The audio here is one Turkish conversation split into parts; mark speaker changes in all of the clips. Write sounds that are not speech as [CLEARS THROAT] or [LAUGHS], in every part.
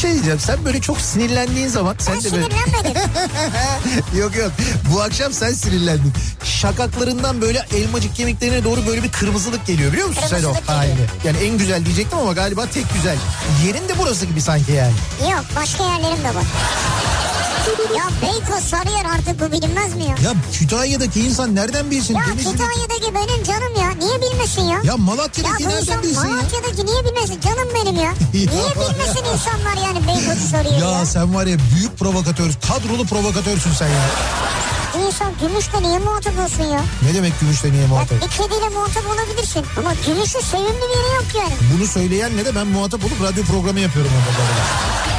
Speaker 1: şey diyeceğim. Sen böyle çok sinirlendiğin zaman sen
Speaker 2: Ben
Speaker 1: de böyle...
Speaker 2: sinirlenmedim.
Speaker 1: [LAUGHS] yok yok. Bu akşam sen sinirlendin. Şakaklarından böyle elmacık kemiklerine doğru böyle bir kırmızılık geliyor biliyor musun sen o
Speaker 2: Kırmızılık geliyor.
Speaker 1: halini? Yani en güzel diyecektim ama galiba tek güzel. Yerin de burası gibi sanki yani.
Speaker 2: Yok başka yerlerim de var. Ya Beykoz Sarıyer artık bu bilinmez mi ya?
Speaker 1: Ya Kütahya'daki insan nereden bilsin?
Speaker 2: Ya
Speaker 1: Denizli'de-
Speaker 2: Kütahya'daki benim canım ya. Niye bilmesin ya?
Speaker 1: Ya
Speaker 2: Ya
Speaker 1: Malatya'daki
Speaker 2: bu
Speaker 1: nereden
Speaker 2: insan
Speaker 1: bilsin ya?
Speaker 2: Malatya'daki niye bilmesin? Canım benim
Speaker 1: [LAUGHS]
Speaker 2: ya. Niye bilmesin insanlar yani Beykoz'u soruyor ya?
Speaker 1: Ya sen var ya büyük provokatör, kadrolu provokatörsün sen ya.
Speaker 2: İnsan gümüşle niye muhatap olsun ya?
Speaker 1: Ne demek gümüşle niye
Speaker 2: Ya
Speaker 1: muhatap?
Speaker 2: bir kediyle muhatap olabilirsin. Ama gümüşün sevimli bir yeri yok yani.
Speaker 1: Bunu söyleyen ne de ben muhatap olup radyo programı yapıyorum onunla beraber.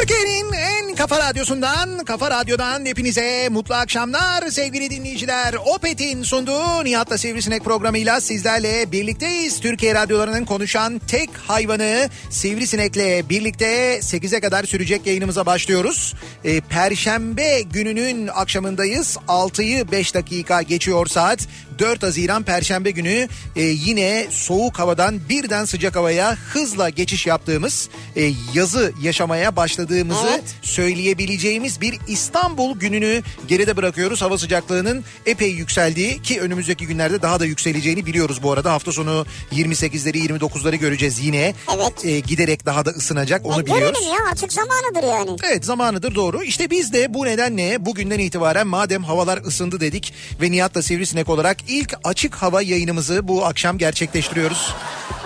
Speaker 1: Türkiye'nin en kafa radyosundan, kafa radyodan hepinize mutlu akşamlar sevgili dinleyiciler. Opet'in sunduğu Nihat'la Sivrisinek programıyla sizlerle birlikteyiz. Türkiye radyolarının konuşan tek hayvanı Sivrisinek'le birlikte 8'e kadar sürecek yayınımıza başlıyoruz. Ee, Perşembe gününün akşamındayız. 6'yı 5 dakika geçiyor saat. 4 Haziran Perşembe günü e, yine soğuk havadan birden sıcak havaya hızla geçiş yaptığımız e, yazı yaşamaya başladığımızı söyleyebileceğimiz bir İstanbul gününü geride bırakıyoruz. Hava sıcaklığının epey yükseldiği ki önümüzdeki günlerde daha da yükseleceğini biliyoruz bu arada. Hafta sonu 28'leri 29'ları göreceğiz yine.
Speaker 2: Evet.
Speaker 1: E, giderek daha da ısınacak onu
Speaker 2: E,
Speaker 1: biliyoruz.
Speaker 2: Görelim ya artık zamanıdır yani.
Speaker 1: Evet zamanıdır doğru. İşte biz de bu nedenle bugünden itibaren madem havalar ısındı dedik ve Nihat'la Sivrisinek olarak ilk açık hava yayınımızı bu akşam gerçekleştiriyoruz.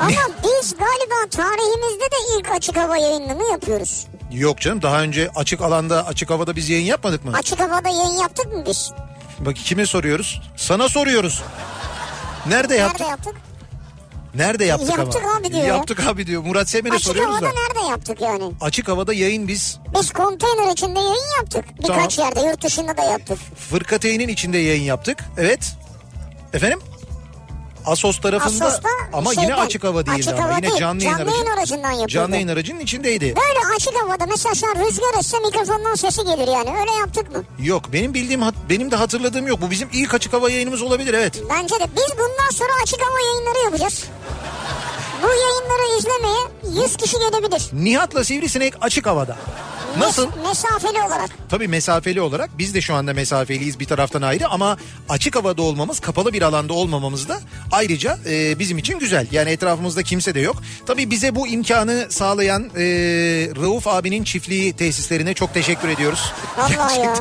Speaker 2: Ama biz galiba tarihimizde de ilk açık hava yayınını yapıyoruz.
Speaker 1: Yok canım daha önce açık alanda açık havada biz yayın yapmadık mı?
Speaker 2: Açık havada yayın yaptık mı biz?
Speaker 1: Bak kime soruyoruz? Sana soruyoruz. Nerede yaptık?
Speaker 2: Nerede yaptık?
Speaker 1: Nerede yaptık,
Speaker 2: Yaptık
Speaker 1: ama?
Speaker 2: abi diyor.
Speaker 1: Yaptık abi diyor. Murat Semer'e
Speaker 2: Açık
Speaker 1: soruyoruz
Speaker 2: havada
Speaker 1: da.
Speaker 2: nerede yaptık yani?
Speaker 1: Açık havada yayın biz
Speaker 2: Biz konteyner içinde yayın yaptık. Birkaç yerde yurt dışında da yaptık.
Speaker 1: Fırkateynin içinde yayın yaptık. Evet. Efendim? Asos tarafında
Speaker 2: Asos'ta
Speaker 1: ama yine
Speaker 2: şeyden,
Speaker 1: açık hava değildi
Speaker 2: şey
Speaker 1: ama
Speaker 2: açık hava
Speaker 1: yine
Speaker 2: değil,
Speaker 1: canlı yayın
Speaker 2: canlı
Speaker 1: aracı.
Speaker 2: yayın aracından yapıldı.
Speaker 1: Canlı yayın aracının içindeydi.
Speaker 2: Böyle açık havada mesela sen rüzgar etse mikrofondan sesi gelir yani. Öyle yaptık mı?
Speaker 1: Yok benim bildiğim hat- benim de hatırladığım yok. Bu bizim ilk açık hava yayınımız olabilir evet.
Speaker 2: Bence de biz bundan sonra açık hava yayınları yapacağız. Bu yayınları izlemeye 100 kişi gelebilir.
Speaker 1: Nihat'la Sivrisinek açık havada. Nasıl?
Speaker 2: Mes- mesafeli olarak.
Speaker 1: Tabii mesafeli olarak biz de şu anda mesafeliyiz bir taraftan ayrı ama açık havada olmamız, kapalı bir alanda olmamamız da ayrıca e, bizim için güzel. Yani etrafımızda kimse de yok. Tabii bize bu imkanı sağlayan e, Rauf abinin çiftliği tesislerine çok teşekkür ediyoruz.
Speaker 2: Vallahi ya.
Speaker 1: [LAUGHS]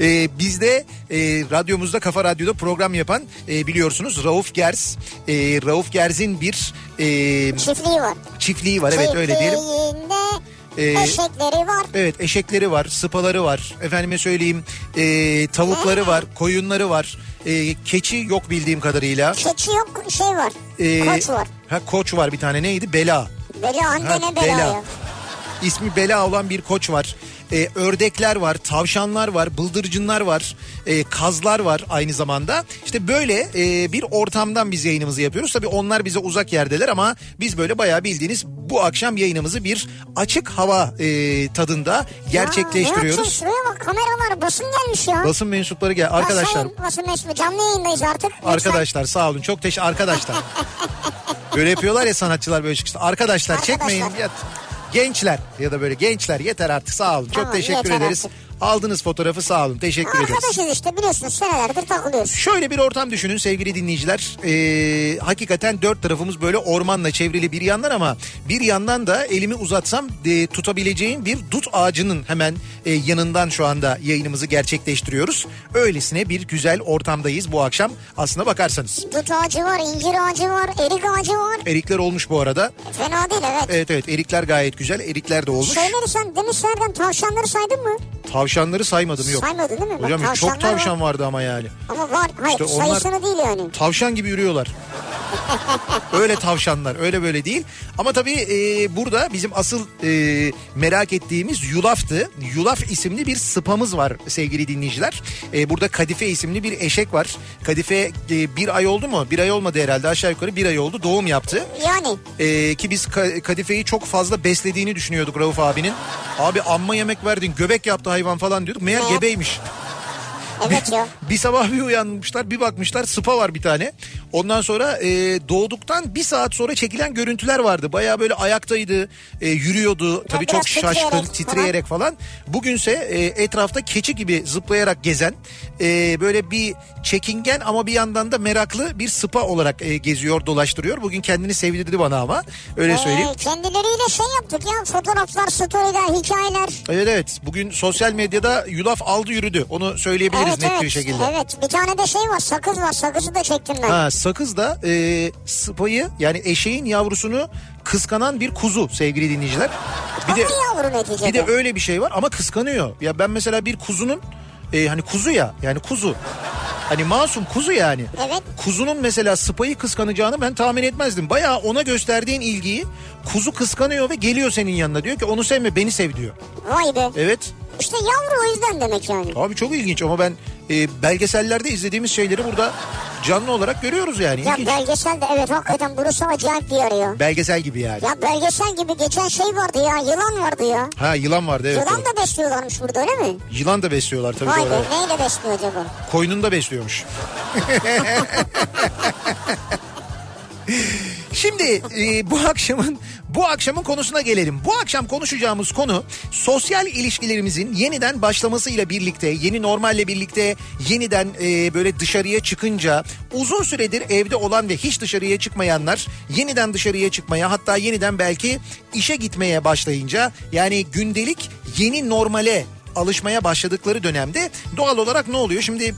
Speaker 1: e, bizde e, radyomuzda Kafa Radyo'da program yapan e, biliyorsunuz Rauf Gers. E, Rauf Gers'in bir e,
Speaker 2: Çiftliği var.
Speaker 1: çiftliği var evet öyle diyelim.
Speaker 2: Çiftliğinde
Speaker 1: Ee,
Speaker 2: eşekleri var.
Speaker 1: Evet eşekleri var, sıpaları var, efendime söyleyeyim e, tavukları var, koyunları var, e, keçi yok bildiğim kadarıyla.
Speaker 2: Keçi yok şey var.
Speaker 1: E,
Speaker 2: koç var.
Speaker 1: Ha, koç var bir tane neydi? Bela.
Speaker 2: Bela
Speaker 1: Ha,
Speaker 2: annene bela. ya.
Speaker 1: İsmi Bela olan bir koç var. E, ördekler var, tavşanlar var, bıldırcınlar var, e, kazlar var aynı zamanda. İşte böyle e, bir ortamdan biz yayınımızı yapıyoruz. Tabii onlar bize uzak yerdeler ama biz böyle bayağı bildiğiniz bu akşam yayınımızı bir açık hava e, tadında
Speaker 2: Ya,
Speaker 1: gerçekleştiriyoruz.
Speaker 2: Nihat'cığım şuraya bak kameralar basın gelmiş ya.
Speaker 1: Basın mensupları gel arkadaşlar.
Speaker 2: Basın, basın mesajı canlı yayındayız artık. Lütfen.
Speaker 1: Arkadaşlar sağ olun çok teşekkür
Speaker 2: [LAUGHS]
Speaker 1: arkadaşlar. böyle yapıyorlar ya sanatçılar böyle çıkışta. Arkadaşlar,
Speaker 2: Arkadaşlar.
Speaker 1: çekmeyin. Ya, gençler ya da böyle gençler yeter artık sağ olun. Çok
Speaker 2: Tamam,
Speaker 1: teşekkür
Speaker 2: yeter
Speaker 1: ederiz.
Speaker 2: artık.
Speaker 1: Aldınız fotoğrafı sağ olun. Teşekkür ederiz.
Speaker 2: Arkadaşız işte biliyorsunuz senelerdir takılıyoruz.
Speaker 1: Şöyle bir ortam düşünün sevgili dinleyiciler. Ee, hakikaten dört tarafımız böyle ormanla çevrili bir yandan ama bir yandan da elimi uzatsam e, tutabileceğim bir dut ağacının hemen e, yanından şu anda yayınımızı gerçekleştiriyoruz. Öylesine bir güzel ortamdayız bu akşam aslına bakarsanız.
Speaker 2: Dut ağacı var, incir ağacı var, erik ağacı var.
Speaker 1: Erikler olmuş bu arada.
Speaker 2: Fena değil evet.
Speaker 1: Evet evet erikler gayet güzel. Erikler de olmuş.
Speaker 2: Şeyleri sen demişlerden tavşanları saydın mı?
Speaker 1: Tavşanları saymadım yok.
Speaker 2: Saymadın değil mi? Bak,
Speaker 1: Hocam
Speaker 2: tavşanlar
Speaker 1: çok tavşan vardı ama yani.
Speaker 2: Ama var hayır
Speaker 1: İşte onlar-
Speaker 2: sayısını değil yani.
Speaker 1: Tavşan gibi yürüyorlar. öyle tavşanlar öyle böyle değil. Ama tabii e, burada bizim asıl e, merak ettiğimiz Yulaf'tı. Yulaf isimli bir sıpamız var sevgili dinleyiciler. E, burada Kadife isimli bir eşek var. Kadife e, bir ay oldu mu? Bir ay olmadı herhalde aşağı yukarı bir ay oldu doğum yaptı.
Speaker 2: Yani
Speaker 1: E, ki biz Ka- Kadife'yi çok fazla beslediğini düşünüyorduk Rauf abinin. Abi amma yemek verdin göbek yaptı hayvan falan diyorduk. Meğer
Speaker 2: Ne?
Speaker 1: gebeymiş. [LAUGHS]
Speaker 2: evet ya.
Speaker 1: Bir sabah bir uyanmışlar bir bakmışlar spa var bir tane. Ondan sonra e, doğduktan bir saat sonra çekilen görüntüler vardı. Bayağı böyle ayaktaydı, e, yürüyordu. Tabii
Speaker 2: biraz
Speaker 1: çok şaşkın,
Speaker 2: titreyerek
Speaker 1: titreyerek falan. Bugünse e, etrafta keçi gibi zıplayarak gezen, e, böyle bir çekingen ama bir yandan da meraklı bir spa olarak e, geziyor, dolaştırıyor. Bugün kendini sevdirdi bana ama öyle söyleyeyim.
Speaker 2: Ee, kendileriyle şey yaptık ya fotoğraflar, storyler, hikayeler.
Speaker 1: Evet evet bugün sosyal medyada yulaf aldı yürüdü. Onu söyleyebiliriz
Speaker 2: evet
Speaker 1: net
Speaker 2: evet.
Speaker 1: bir şekilde.
Speaker 2: Evet bir tane de şey var sakız var sakızı da çektim ben.
Speaker 1: Ha, sakız da e, sıpayı yani eşeğin yavrusunu kıskanan bir kuzu sevgili dinleyiciler. Bir de
Speaker 2: Ama yavru neticede.
Speaker 1: bir de öyle bir şey var ama kıskanıyor. Ya ben mesela bir kuzunun e, hani kuzu ya yani kuzu. Hani masum kuzu yani.
Speaker 2: Evet.
Speaker 1: Kuzunun mesela sıpayı kıskanacağını ben tahmin etmezdim. Bayağı ona gösterdiğin ilgiyi kuzu kıskanıyor ve geliyor senin yanına. Diyor ki onu sevme beni sev diyor.
Speaker 2: Vay be.
Speaker 1: Evet.
Speaker 2: İşte yavru o yüzden demek yani.
Speaker 1: Abi çok ilginç ama ben e, belgesellerde izlediğimiz şeyleri burada canlı olarak görüyoruz yani.
Speaker 2: Ya
Speaker 1: İlginç.
Speaker 2: belgesel de evet hakikaten burası acayip bir yer ya.
Speaker 1: Belgesel gibi yani.
Speaker 2: Ya belgesel gibi geçen şey vardı ya yılan vardı ya.
Speaker 1: Ha yılan vardı evet.
Speaker 2: Yılan
Speaker 1: doğru.
Speaker 2: da besliyorlarmış burada öyle mi?
Speaker 1: Yılan da besliyorlar tabii
Speaker 2: Vay
Speaker 1: doğru.
Speaker 2: be neyle besliyor acaba?
Speaker 1: Koyununu da besliyormuş. Şimdi e, bu akşamın bu akşamın konusuna gelelim. Bu akşam konuşacağımız konu sosyal ilişkilerimizin yeniden başlamasıyla birlikte, yeni normalle birlikte yeniden e, böyle dışarıya çıkınca uzun süredir evde olan ve hiç dışarıya çıkmayanlar yeniden dışarıya çıkmaya hatta yeniden belki işe gitmeye başlayınca yani gündelik yeni normale alışmaya başladıkları dönemde doğal olarak ne oluyor? Şimdi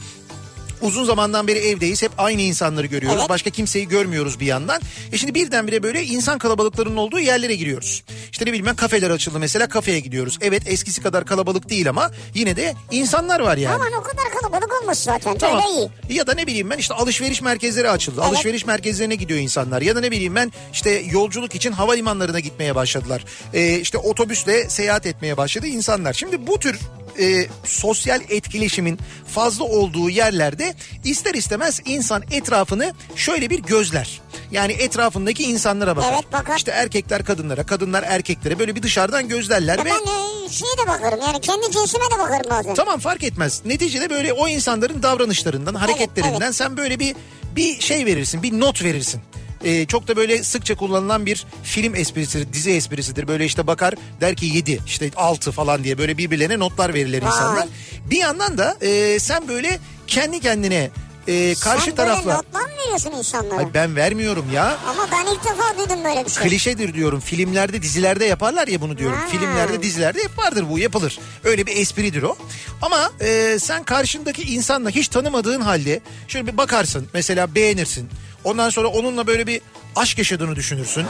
Speaker 1: uzun zamandan beri evdeyiz. Hep aynı insanları görüyoruz.
Speaker 2: Evet.
Speaker 1: Başka kimseyi görmüyoruz bir yandan. E şimdi birdenbire böyle insan kalabalıklarının olduğu yerlere giriyoruz. İşte ne bileyim ben kafeler açıldı mesela kafeye gidiyoruz. Evet eskisi kadar kalabalık değil ama yine de insanlar var yani.
Speaker 2: Aman o kadar kalabalık olmuş zaten.
Speaker 1: Tamam.
Speaker 2: Öyle iyi.
Speaker 1: Ya da ne bileyim ben işte alışveriş merkezleri açıldı.
Speaker 2: Evet.
Speaker 1: Alışveriş merkezlerine gidiyor insanlar. Ya da ne bileyim ben işte yolculuk için havalimanlarına gitmeye başladılar. Ee, işte otobüsle seyahat etmeye başladı insanlar. Şimdi bu tür e, sosyal etkileşimin fazla olduğu yerlerde ister istemez insan etrafını şöyle bir gözler. Yani etrafındaki insanlara bakar.
Speaker 2: Evet, bakar.
Speaker 1: İşte erkekler kadınlara, kadınlar erkeklere böyle bir dışarıdan gözlerler
Speaker 2: Ya
Speaker 1: ve
Speaker 2: ben e, şeye de bakarım yani kendi cinsime de bakarım bazen.
Speaker 1: Tamam fark etmez. Neticede böyle o insanların davranışlarından, hareketlerinden
Speaker 2: evet.
Speaker 1: sen böyle bir bir şey verirsin, bir not verirsin. Ee, çok da böyle sıkça kullanılan bir film esprisidir, dizi esprisidir. Böyle işte bakar der ki 7, işte 6 falan diye böyle birbirlerine notlar verirler
Speaker 2: Vay.
Speaker 1: insanlar. Bir yandan da e, sen böyle kendi kendine e, karşı
Speaker 2: Sen böyle
Speaker 1: tarafla...
Speaker 2: notlar mı veriyorsun insanlara?
Speaker 1: Ay ben vermiyorum ya.
Speaker 2: Ama ben ilk defa duydum böyle bir şey.
Speaker 1: Klişedir diyorum. Filmlerde, dizilerde yaparlar ya bunu diyorum.
Speaker 2: Ha.
Speaker 1: Filmlerde, dizilerde hep vardır bu, yapılır. Öyle bir espridir o. Ama e, sen karşındaki insanla hiç tanımadığın halde şöyle bir bakarsın. Mesela beğenirsin. Ondan sonra onunla böyle bir aşk yaşadığını düşünürsün.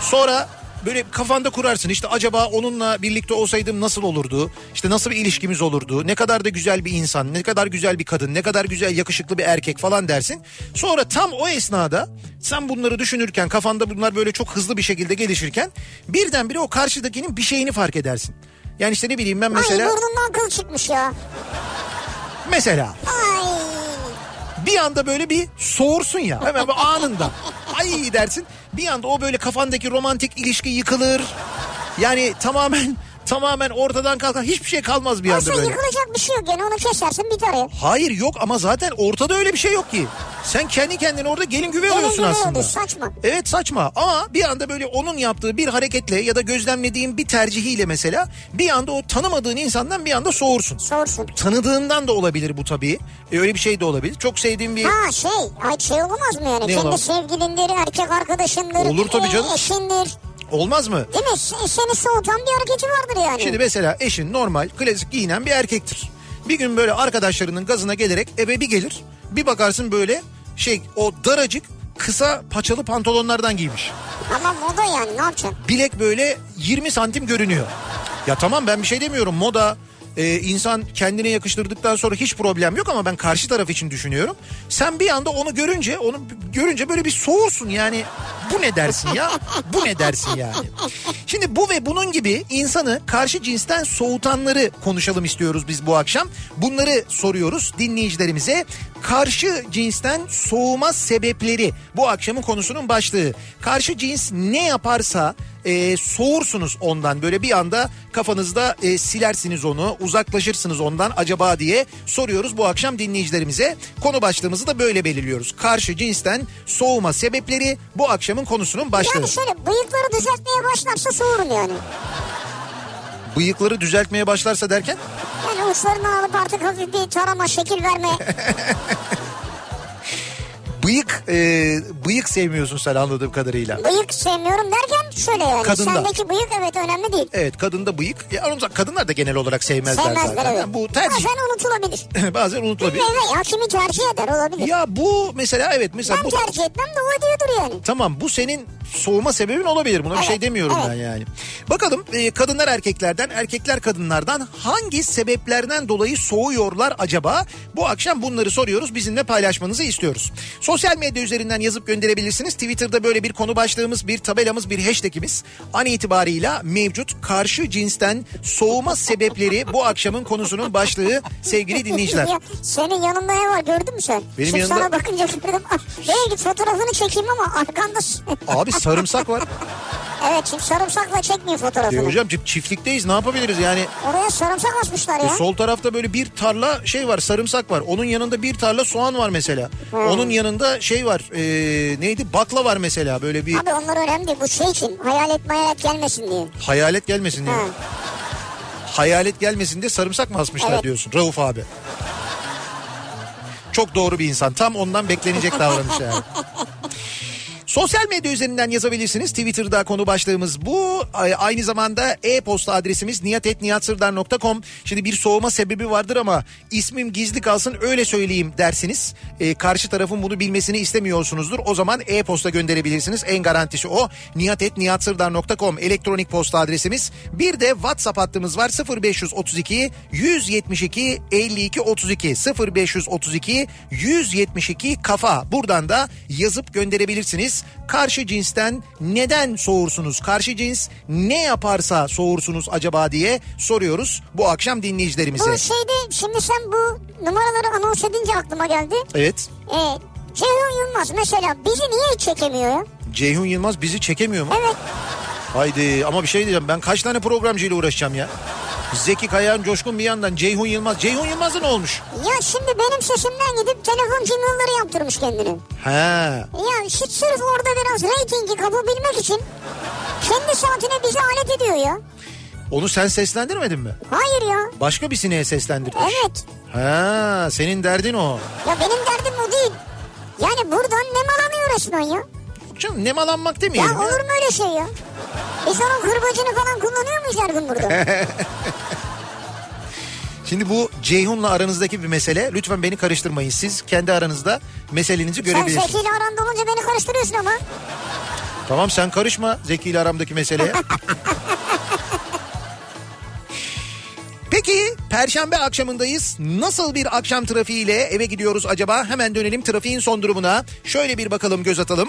Speaker 1: Sonra böyle kafanda kurarsın işte acaba onunla birlikte olsaydım nasıl olurdu? İşte nasıl bir ilişkimiz olurdu? Ne kadar da güzel bir insan, ne kadar güzel bir kadın, ne kadar güzel yakışıklı bir erkek falan dersin. Sonra tam o esnada sen bunları düşünürken kafanda bunlar böyle çok hızlı bir şekilde gelişirken birdenbire o karşıdakinin bir şeyini fark edersin. Yani işte ne bileyim ben mesela
Speaker 2: Ay burnumdan kıl çıkmış ya.
Speaker 1: mesela
Speaker 2: Ay.
Speaker 1: bir anda böyle bir soğursun ya hemen bu anında. Ay dersin bir anda o böyle kafandaki romantik ilişki yıkılır. Yani tamamen tamamen ortadan kalkan hiçbir şey kalmaz bir anda
Speaker 2: Aslında
Speaker 1: böyle.
Speaker 2: yıkılacak bir şey yok yani onu kesersin biter ya.
Speaker 1: Hayır yok ama zaten ortada öyle bir şey yok ki. Sen kendi kendine orada gelin güve
Speaker 2: Gelin
Speaker 1: oluyorsun
Speaker 2: güvey
Speaker 1: aslında.
Speaker 2: oldu, saçma.
Speaker 1: Evet saçma ama bir anda böyle onun yaptığı bir hareketle ya da gözlemlediğin bir tercihiyle mesela bir anda o tanımadığın insandan bir anda soğursun.
Speaker 2: Sorsun.
Speaker 1: Tanıdığından da olabilir bu tabii. E, öyle bir şey de olabilir. Çok sevdiğim bir...
Speaker 2: Ha şey, ay şey olamaz mı yani?
Speaker 1: Ne
Speaker 2: Kendi
Speaker 1: olamaz?
Speaker 2: sevgilindir, erkek arkadaşındır,
Speaker 1: Olur tabii
Speaker 2: e,
Speaker 1: canım.
Speaker 2: eşindir.
Speaker 1: Olmaz mı?
Speaker 2: Değil mi? Se- Seni soğutan bir hareketi vardır yani.
Speaker 1: Şimdi mesela eşin normal klasik giyinen bir erkektir. Bir gün böyle arkadaşlarının gazına gelerek eve bir gelir. Bir bakarsın böyle şey o daracık kısa paçalı pantolonlardan giymiş.
Speaker 2: Ama moda yani ne yapacaksın?
Speaker 1: Bilek böyle 20 santim görünüyor. Ya tamam ben bir şey demiyorum moda e, insan kendine yakıştırdıktan sonra hiç problem yok ama ben karşı taraf için düşünüyorum. Sen bir anda onu görünce onu görünce böyle bir soğursun yani bu ne dersin ya bu ne dersin yani. Şimdi bu ve bunun gibi insanı karşı cinsten soğutanları konuşalım istiyoruz biz bu akşam. Bunları soruyoruz dinleyicilerimize. Karşı cinsten soğuma sebepleri bu akşamın konusunun başlığı. Karşı cins ne yaparsa e, soğursunuz ondan böyle bir anda kafanızda e, silersiniz onu uzaklaşırsınız ondan acaba diye soruyoruz bu akşam dinleyicilerimize. Konu başlığımızı da böyle belirliyoruz. Karşı cinsten soğuma sebepleri bu akşamın konusunun başlığı.
Speaker 2: Yani şöyle bıyıkları düzeltmeye başlarsa soğurum yani.
Speaker 1: Bıyıkları düzeltmeye başlarsa derken
Speaker 2: Yani uçlarını alıp artık hafif bir tarama, şekil
Speaker 1: [LAUGHS]
Speaker 2: verme.
Speaker 1: bıyık e, bıyık sevmiyorsun sen anladığım kadarıyla.
Speaker 2: bıyık sevmiyorum derken şöyle yani.
Speaker 1: Kadında.
Speaker 2: Sendeki bıyık evet önemli değil.
Speaker 1: Evet kadında bıyık. Ya, aramızda kadınlar da genel olarak sevmezler,
Speaker 2: Sevmezler
Speaker 1: zaten.
Speaker 2: evet.
Speaker 1: Yani bu tercih
Speaker 2: Bazen
Speaker 1: [LAUGHS]
Speaker 2: unutulabilir.
Speaker 1: bazen unutulabilir.
Speaker 2: Evet ya kimi tercih eder olabilir.
Speaker 1: Ya bu mesela evet mesela
Speaker 2: ben
Speaker 1: bu
Speaker 2: tercih etmem de o ediyordur yani.
Speaker 1: tamam bu senin soğuma sebebin olabilir. Buna bir
Speaker 2: Evet,
Speaker 1: şey demiyorum
Speaker 2: evet.
Speaker 1: ben yani. Bakalım e, kadınlar erkeklerden, erkekler kadınlardan hangi sebeplerden dolayı soğuyorlar acaba? Bu akşam bunları soruyoruz. Bizimle paylaşmanızı istiyoruz. Sosyal medya üzerinden yazıp gönderebilirsiniz. Twitter'da böyle bir konu başlığımız, bir tabelamız, bir hashtagimiz an itibarıyla mevcut karşı cinsten soğuma sebepleri bu akşamın konusunun başlığı sevgili dinleyiciler.
Speaker 2: Ya, senin yanında ne var gördün mü sen?
Speaker 1: Benim
Speaker 2: Şimdi
Speaker 1: yanımda-
Speaker 2: sana bakınca gördüm. Ben git fotoğrafını çekeyim ama arkanda... s- [LAUGHS]
Speaker 1: Abi sarımsak var.
Speaker 2: evet şimdi sarımsakla çekmiyor fotoğrafını.
Speaker 1: Ya Şey hocam çi- çiftlikteyiz ne yapabiliriz yani?
Speaker 2: Oraya sarımsak asmışlar
Speaker 1: E,
Speaker 2: ya.
Speaker 1: sol tarafta böyle bir tarla şey var sarımsak var. Onun yanında bir tarla soğan var mesela. Onun yanında şey var e, neydi bakla var mesela böyle bir
Speaker 2: Abi onlar önemli değil. Bu şey için hayalet mayalet gelmesin diye.
Speaker 1: hayalet gelmesin diye.
Speaker 2: Ha.
Speaker 1: Hayalet gelmesin diye sarımsak mı asmışlar
Speaker 2: Evet.
Speaker 1: diyorsun Rauf abi. Çok doğru bir insan. Tam ondan beklenecek davranış yani. Sosyal medya üzerinden yazabilirsiniz. Twitter'da konu başlığımız bu. A- Aynı zamanda e-posta adresimiz niyatetniyatsırdar.com. Şimdi bir soğuma sebebi vardır ama ismim gizli kalsın öyle söyleyeyim dersiniz. Ee, karşı tarafın bunu bilmesini istemiyorsunuzdur. O zaman e-posta gönderebilirsiniz. En garantisi o. niyatetniyatsırdar.com elektronik posta adresimiz. Bir de WhatsApp hattımız var 0532 172 52 32 0532 172 kafa. Buradan da yazıp gönderebilirsiniz. Karşı cinsten neden soğursunuz? Karşı cins ne yaparsa soğursunuz acaba diye soruyoruz bu akşam dinleyicilerimize.
Speaker 2: Bu şeyde şimdi sen bu numaraları anons edince aklıma geldi.
Speaker 1: Evet.
Speaker 2: Ee, Ceyhun Yılmaz mesela bizi niye hiç çekemiyor ya?
Speaker 1: Ceyhun Yılmaz bizi çekemiyor mu?
Speaker 2: Evet.
Speaker 1: Haydi ama bir şey diyeceğim ben kaç tane programcıyla uğraşacağım ya? Zeki Kayan, Coşkun bir yandan Ceyhun Yılmaz. Ceyhun Yılmaz'ın olmuş?
Speaker 2: Ya şimdi benim sesimden gidip telefon jingle'ları yaptırmış kendini.
Speaker 1: He.
Speaker 2: Ya hiç sırf orada biraz reytingi kapabilmek için kendi saatine bizi alet ediyor ya.
Speaker 1: Onu sen seslendirmedin mi?
Speaker 2: Hayır ya.
Speaker 1: Başka bir sineğe seslendirmiş.
Speaker 2: Evet.
Speaker 1: Ha, senin derdin o.
Speaker 2: Ya benim derdim o değil. Yani buradan nemalanıyor resmen ya.
Speaker 1: Yok canım nemalanmak
Speaker 2: Ya
Speaker 1: demeyelim. ya.
Speaker 2: olur mu öyle şey ya? Biz onun kırbacını falan kullanıyor muyuz her gün burada?
Speaker 1: Şimdi bu Ceyhun'la aranızdaki bir mesele. Lütfen beni karıştırmayın. Siz kendi aranızda meselenizi
Speaker 2: Sen
Speaker 1: görebilirsiniz.
Speaker 2: Zeki ile aranda olunca beni karıştırıyorsun ama.
Speaker 1: Tamam sen karışma Zeki ile aramdaki
Speaker 2: [LAUGHS]
Speaker 1: meseleye. Peki perşembe akşamındayız. Nasıl bir akşam trafiğiyle eve gidiyoruz acaba? Hemen dönelim trafiğin son durumuna. Şöyle bir bakalım göz atalım.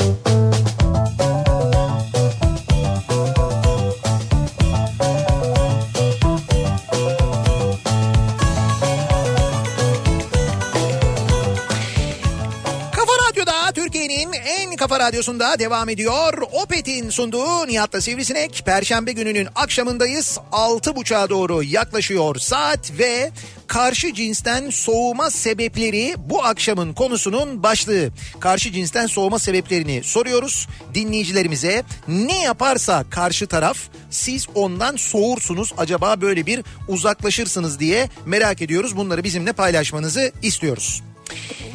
Speaker 1: Kafa Radyo'da Türkiye'nin en kafa Radyosu'nda devam ediyor. Opet'in sunduğu Nihat'la Sivrisinek. Perşembe gününün akşamındayız. 6.30'a doğru yaklaşıyor saat ve karşı cinsten soğuma sebepleri bu akşamın konusunun başlığı. Karşı cinsten soğuma sebeplerini soruyoruz dinleyicilerimize. Ne yaparsa karşı taraf siz ondan soğursunuz acaba böyle bir uzaklaşırsınız diye merak ediyoruz. Bunları bizimle paylaşmanızı istiyoruz.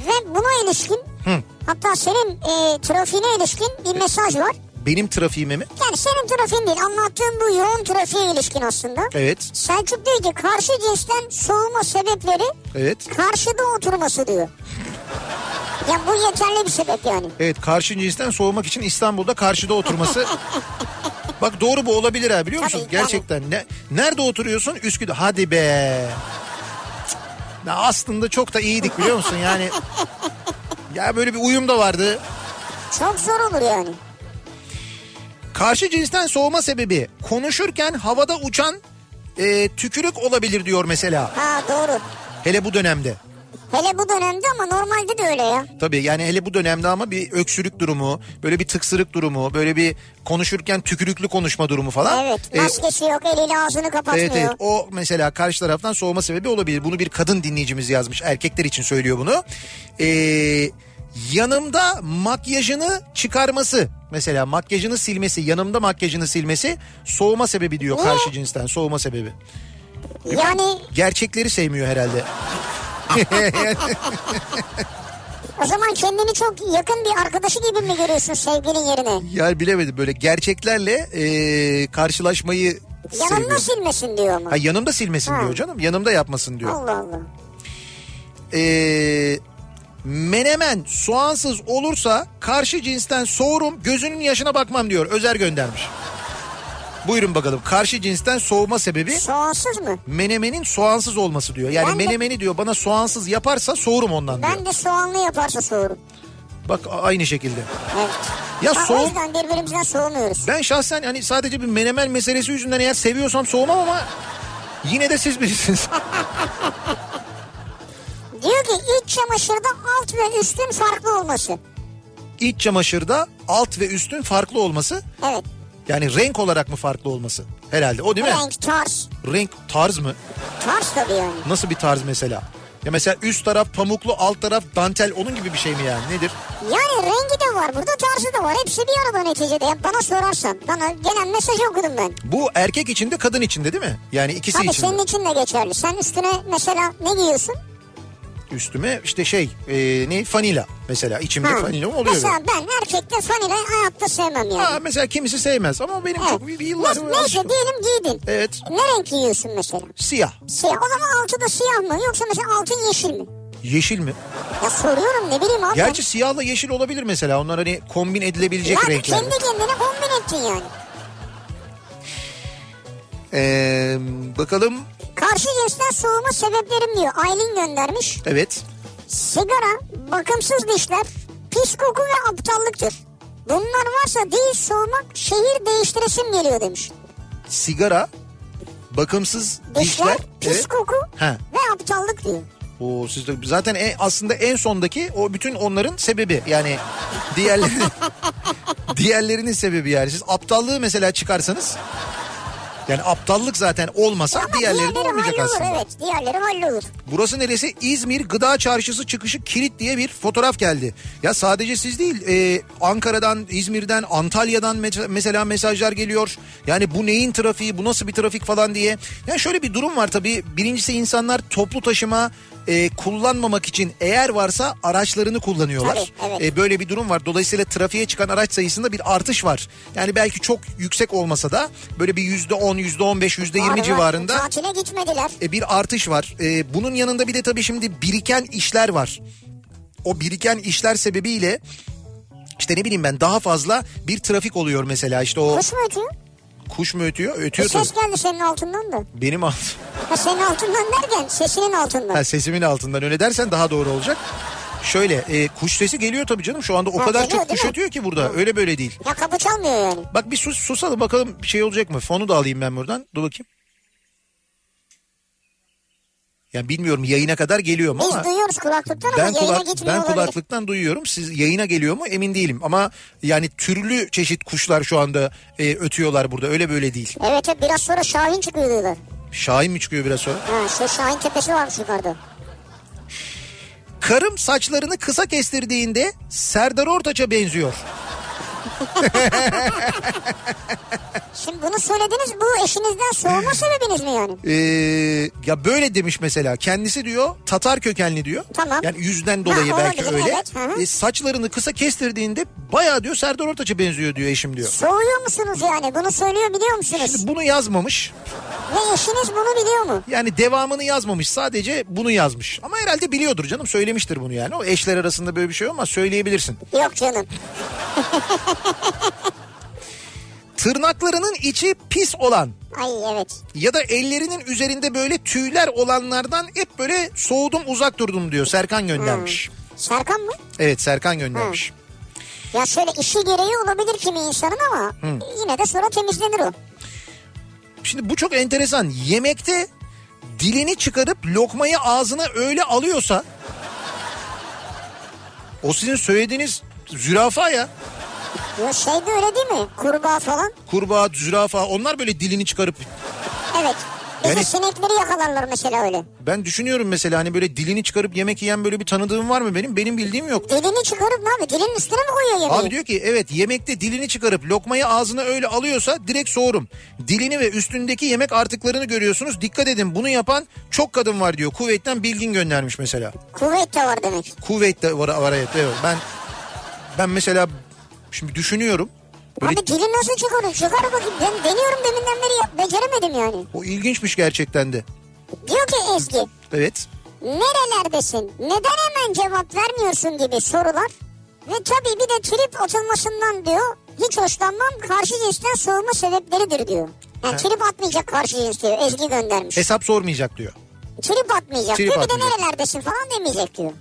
Speaker 2: Ve buna ilişkin hatta senin e, trafiğine ilişkin bir mesaj var.
Speaker 1: Benim trafiğime mi?
Speaker 2: Yani senin trafiğin değil anlattığım bu yoğun trafiğe ilişkin aslında.
Speaker 1: Evet.
Speaker 2: Selçuk diyor ki karşı cinsten soğuma sebepleri
Speaker 1: Evet.
Speaker 2: karşıda oturması diyor. Ya bu yeterli bir sebep yani.
Speaker 1: Evet karşı cinsten soğumak için İstanbul'da karşıda
Speaker 2: [LAUGHS]
Speaker 1: oturması. Bak doğru bu olabilir ha biliyor musun?
Speaker 2: Tabii, tabii.
Speaker 1: Gerçekten. Ne, nerede oturuyorsun? Üsküdar. Hadi be. Cık. Ya aslında çok da iyiydik biliyor musun?
Speaker 2: [LAUGHS]
Speaker 1: Yani ya böyle bir uyum da vardı.
Speaker 2: Çok zor olur yani.
Speaker 1: Karşı cinsten soğuma sebebi konuşurken havada uçan e, tükürük olabilir diyor mesela.
Speaker 2: Ha doğru.
Speaker 1: Hele bu dönemde.
Speaker 2: Hele bu dönemde ama normalde de öyle ya.
Speaker 1: Tabii yani hele bu dönemde ama bir öksürük durumu, böyle bir tıksırık durumu, böyle bir konuşurken tükürüklü konuşma durumu falan.
Speaker 2: Evet
Speaker 1: E,
Speaker 2: maskesi yok eliyle ağzını kapatmıyor.
Speaker 1: Evet evet o mesela karşı taraftan soğuma sebebi olabilir. Bunu bir kadın dinleyicimiz yazmış. Erkekler için söylüyor bunu. Ee, yanımda makyajını çıkarması mesela makyajını silmesi yanımda makyajını silmesi soğuma sebebi diyor karşı cinsten soğuma sebebi.
Speaker 2: Yani
Speaker 1: Gerçekleri sevmiyor herhalde.
Speaker 2: o zaman kendini çok yakın bir arkadaşı gibi mi görüyorsun sevgilin yerine?
Speaker 1: yani bilemedim böyle gerçeklerle ee, karşılaşmayı
Speaker 2: Yanında
Speaker 1: sevmiyor.
Speaker 2: silmesin diyor ama.
Speaker 1: Ha, yanımda silmesin
Speaker 2: Ha.
Speaker 1: diyor canım yanımda yapmasın diyor.
Speaker 2: Allah Allah.
Speaker 1: Ee, menemen soğansız olursa karşı cinsten soğurum gözünün yaşına bakmam diyor. Özer göndermiş. Buyurun bakalım karşı cinsten soğuma sebebi
Speaker 2: Soğansız mı?
Speaker 1: menemenin soğansız olması diyor. Yani
Speaker 2: Ben de-
Speaker 1: menemeni diyor bana soğansız yaparsa soğurum ondan diyor.
Speaker 2: Ben de soğanlı yaparsa soğurum.
Speaker 1: Bak a- aynı şekilde.
Speaker 2: Evet.
Speaker 1: Ya
Speaker 2: Ha, O
Speaker 1: soğum
Speaker 2: yüzden birbirimizden soğumuyoruz.
Speaker 1: ben şahsen hani sadece bir menemen meselesi yüzünden eğer seviyorsam soğumam ama yine de siz
Speaker 2: [LAUGHS]
Speaker 1: bilirsiniz.
Speaker 2: Diyor ki iç çamaşırda alt ve üstün farklı olması.
Speaker 1: İç çamaşırda alt ve üstün farklı olması
Speaker 2: Evet.
Speaker 1: yani renk olarak mı farklı olması herhalde o değil mi?
Speaker 2: Renk, tarz.
Speaker 1: renk tarz mı?
Speaker 2: Tarz tabii yani.
Speaker 1: Nasıl bir tarz mesela? Ya mesela üst taraf pamuklu, alt taraf dantel onun gibi bir şey mi yani? Nedir?
Speaker 2: Yani rengi de var burada tarzı da var. Hepsi bir arada neticede. Ya bana sorarsan. Bana gelen mesajı okudum ben.
Speaker 1: Bu erkek içinde, kadın içinde değil mi? Yani ikisi
Speaker 2: Tabii
Speaker 1: içinde.
Speaker 2: senin için de geçerli. Sen üstüne mesela ne giyiyorsun?
Speaker 1: Üstüme işte şey, e, ne? Fanila mesela. içimde
Speaker 2: Ha.
Speaker 1: fanila oluyor.
Speaker 2: Mesela
Speaker 1: böyle.
Speaker 2: ben erkekte fanila hayatta sevmem yani.
Speaker 1: Ha, mesela kimisi sevmez ama benim
Speaker 2: Evet.
Speaker 1: çok bir bir yıllar
Speaker 2: Ne- Neyse
Speaker 1: alıştım.
Speaker 2: diyelim giydin.
Speaker 1: Evet.
Speaker 2: Ne renk giyiyorsun mesela?
Speaker 1: Siyah.
Speaker 2: Siyah. O zaman altı da siyah mı? Yoksa mesela altın yeşil mi?
Speaker 1: Yeşil mi?
Speaker 2: Ya soruyorum ne bileyim abi.
Speaker 1: Gerçi siyahla yeşil olabilir mesela. Onlar hani kombin edilebilecek
Speaker 2: ya
Speaker 1: renkler.
Speaker 2: kendi kendine kombin ettin yani.
Speaker 1: Ee, bakalım.
Speaker 2: Karşı cinsten soğuma sebeplerim diyor. Aylin göndermiş.
Speaker 1: Evet.
Speaker 2: Sigara, bakımsız dişler, pis koku ve aptallıktır. Bunlar varsa değil soğumak şehir değiştiresim geliyor demiş.
Speaker 1: Sigara, bakımsız
Speaker 2: Dişler,
Speaker 1: dişler.
Speaker 2: pis
Speaker 1: evet.
Speaker 2: koku
Speaker 1: Ha.
Speaker 2: ve aptallık diyor.
Speaker 1: Oo, siz de, zaten en, aslında en sondaki o bütün onların sebebi yani diğerleri
Speaker 2: [LAUGHS]
Speaker 1: diğerlerinin sebebi yani siz aptallığı mesela çıkarsanız yani aptallık zaten olmasa
Speaker 2: Ama
Speaker 1: diğerlerinin
Speaker 2: diğerleri
Speaker 1: olmayacak
Speaker 2: hallolur
Speaker 1: aslında.
Speaker 2: evet diğerleri hallolur.
Speaker 1: Burası neresi? İzmir Gıda Çarşısı çıkışı kilit diye bir fotoğraf geldi. Ya sadece siz değil e, Ankara'dan, İzmir'den, Antalya'dan me- mesela mesajlar geliyor. Yani bu neyin trafiği, bu nasıl bir trafik falan diye. Yani şöyle bir durum var tabii. Birincisi insanlar toplu taşıma e, kullanmamak için eğer varsa araçlarını kullanıyorlar.
Speaker 2: Tabii, evet.
Speaker 1: E, böyle bir durum var. Dolayısıyla trafiğe çıkan araç sayısında bir artış var. Yani belki çok yüksek olmasa da böyle bir yüzde on, yüzde on beş, yüzde
Speaker 2: Abi
Speaker 1: yirmi
Speaker 2: bak,
Speaker 1: civarında
Speaker 2: Tatile gitmediler.
Speaker 1: e, bir artış var. E, bunun yanında bir de tabii şimdi biriken işler var. O biriken işler sebebiyle işte ne bileyim ben daha fazla bir trafik oluyor mesela işte o
Speaker 2: Kuş mu ötüyor?
Speaker 1: kuş mu ötüyor?
Speaker 2: Bir
Speaker 1: Ötüyor tabii.
Speaker 2: ses geldi senin altından da.
Speaker 1: Benim alt, [LAUGHS]
Speaker 2: Ha, senin altından derken sesinin altından.
Speaker 1: ha, sesimin altından öyle dersen daha doğru olacak. Şöyle e, kuş sesi geliyor tabii canım şu anda o
Speaker 2: Ha,
Speaker 1: kadar
Speaker 2: geliyor
Speaker 1: çok kuş
Speaker 2: değil mi?
Speaker 1: ötüyor ki burada öyle böyle değil.
Speaker 2: Ya kapı çalmıyor yani.
Speaker 1: Bak bir sus susalım bakalım bir şey olacak mı? Fonu da alayım ben buradan. Dur bakayım. Yani bilmiyorum yayına kadar geliyor mu
Speaker 2: Biz
Speaker 1: ama
Speaker 2: duyuyoruz kulaklıktan ama
Speaker 1: ben,
Speaker 2: yayına
Speaker 1: kulak,
Speaker 2: gitmiyor
Speaker 1: ben
Speaker 2: olabilir.
Speaker 1: kulaklıktan duyuyorum. Siz yayına geliyor mu emin değilim. Ama yani türlü çeşit kuşlar şu anda e, ötüyorlar burada. Öyle böyle değil.
Speaker 2: Evet evet biraz sonra Şahin çıkıyor diyorlar.
Speaker 1: Şahin mi çıkıyor biraz sonra?
Speaker 2: Ha şey Şahin tepesi varmış yukarıda.
Speaker 1: Karım saçlarını kısa kestirdiğinde Serdar Ortaç'a benziyor.
Speaker 2: Şimdi bunu söylediniz bu eşinizden soğuma sebebiniz mi yani?
Speaker 1: Ee, ya böyle demiş mesela kendisi diyor Tatar kökenli diyor.
Speaker 2: Tamam.
Speaker 1: Yani yüzden dolayı
Speaker 2: Ha,
Speaker 1: belki
Speaker 2: olabilir,
Speaker 1: öyle.
Speaker 2: evet, hı hı.
Speaker 1: E, saçlarını kısa kestirdiğinde bayağı diyor Serdar Ortaç'a benziyor diyor eşim diyor.
Speaker 2: Soğuyor musunuz yani? Bunu söylüyor biliyor musunuz?
Speaker 1: Şimdi bunu yazmamış.
Speaker 2: Ve eşiniz bunu biliyor mu?
Speaker 1: Yani devamını yazmamış sadece bunu yazmış. Ama herhalde biliyordur canım söylemiştir bunu yani. O eşler arasında böyle bir şey olmaz söyleyebilirsin.
Speaker 2: Yok canım.
Speaker 1: Tırnaklarının içi pis olan
Speaker 2: Ay evet.
Speaker 1: ya da ellerinin üzerinde böyle tüyler olanlardan hep böyle soğudum uzak durdum diyor Serkan göndermiş.
Speaker 2: Serkan mı?
Speaker 1: Evet Serkan göndermiş.
Speaker 2: Ya şöyle işi gereği olabilir kimi insanın ama yine de sonra temizlenir o.
Speaker 1: Şimdi bu çok enteresan. Yemekte dilini çıkarıp lokmayı ağzına öyle alıyorsa o sizin söylediğiniz zürafa ya.
Speaker 2: Ya şey de öyle değil mi? Kurbağa falan.
Speaker 1: Kurbağa, zürafa onlar böyle dilini çıkarıp
Speaker 2: Evet. Bir de
Speaker 1: Yani-
Speaker 2: sinekleri yakalarlar mesela öyle.
Speaker 1: ben düşünüyorum mesela hani böyle dilini çıkarıp yemek yiyen böyle bir tanıdığım var mı benim? Benim bildiğim yok.
Speaker 2: Dilini çıkarıp ne yapıyor? Dilinin üstüne mi koyuyor yemeği?
Speaker 1: Abi diyor ki evet yemekte dilini çıkarıp lokmayı ağzına öyle alıyorsa direkt soğurum. Dilini ve üstündeki yemek artıklarını görüyorsunuz. Dikkat edin bunu yapan çok kadın var diyor. Kuvvetten bilgin göndermiş mesela.
Speaker 2: Kuvvet de var demek.
Speaker 1: Kuvvet de var, var evet, evet. Ben ben mesela şimdi düşünüyorum. Böyle
Speaker 2: Abi dili nasıl çıkarıyor? Çıkar bakayım. Ben deniyorum deminden beri yap- beceremedim yani.
Speaker 1: o ilginçmiş gerçekten de.
Speaker 2: Diyor ki Ezgi
Speaker 1: Evet.
Speaker 2: nerelerdesin? Neden hemen cevap vermiyorsun gibi sorular. Ve tabii bir de trip atılmasından diyor. Hiç hoşlanmam karşı cinsten soğuma sebepleridir diyor. Yani trip atmayacak karşı cins diyor. Ezgi göndermiş.
Speaker 1: Hesap sormayacak diyor.
Speaker 2: trip atmayacak
Speaker 1: Trip
Speaker 2: diyor. Bir de
Speaker 1: atmayacak.
Speaker 2: nerelerdesin falan demeyecek diyor.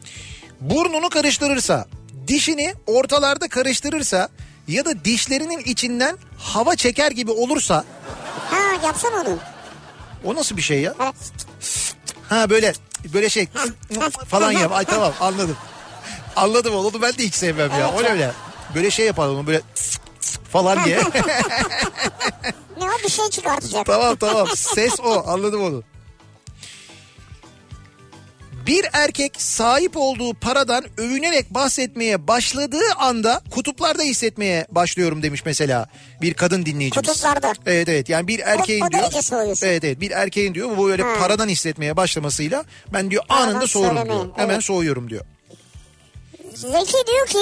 Speaker 1: Burnunu karıştırırsa, dişini ortalarda karıştırırsa ya da dişlerinin içinden hava çeker gibi olursa
Speaker 2: Ha yapsın onu.
Speaker 1: o nasıl bir şey ya?
Speaker 2: Böyle
Speaker 1: Ha böyle böyle şey falan yap. Ay tamam anladım. Anladım oğlum ben de hiç sevmem ya. O ne öyle. Böyle şey yapalım böyle falan diye.
Speaker 2: Ne o bir şey çıkartacak.
Speaker 1: tamam tamam ses o anladım onu. Bir erkek sahip olduğu paradan övünerek bahsetmeye başladığı anda kutuplarda hissetmeye başlıyorum demiş mesela bir kadın dinleyicimiz.
Speaker 2: Kutuplarda.
Speaker 1: Evet evet yani bir erkeğin
Speaker 2: o
Speaker 1: diyor.
Speaker 2: derece soğuyorsun.
Speaker 1: Evet evet bir erkeğin diyor bu böyle
Speaker 2: Ha.
Speaker 1: paradan hissetmeye başlamasıyla ben diyor
Speaker 2: Paradan
Speaker 1: anında soğurum
Speaker 2: söylemeyin,
Speaker 1: diyor. Hemen
Speaker 2: evet.
Speaker 1: soğuyorum diyor.
Speaker 2: Zeki diyor ki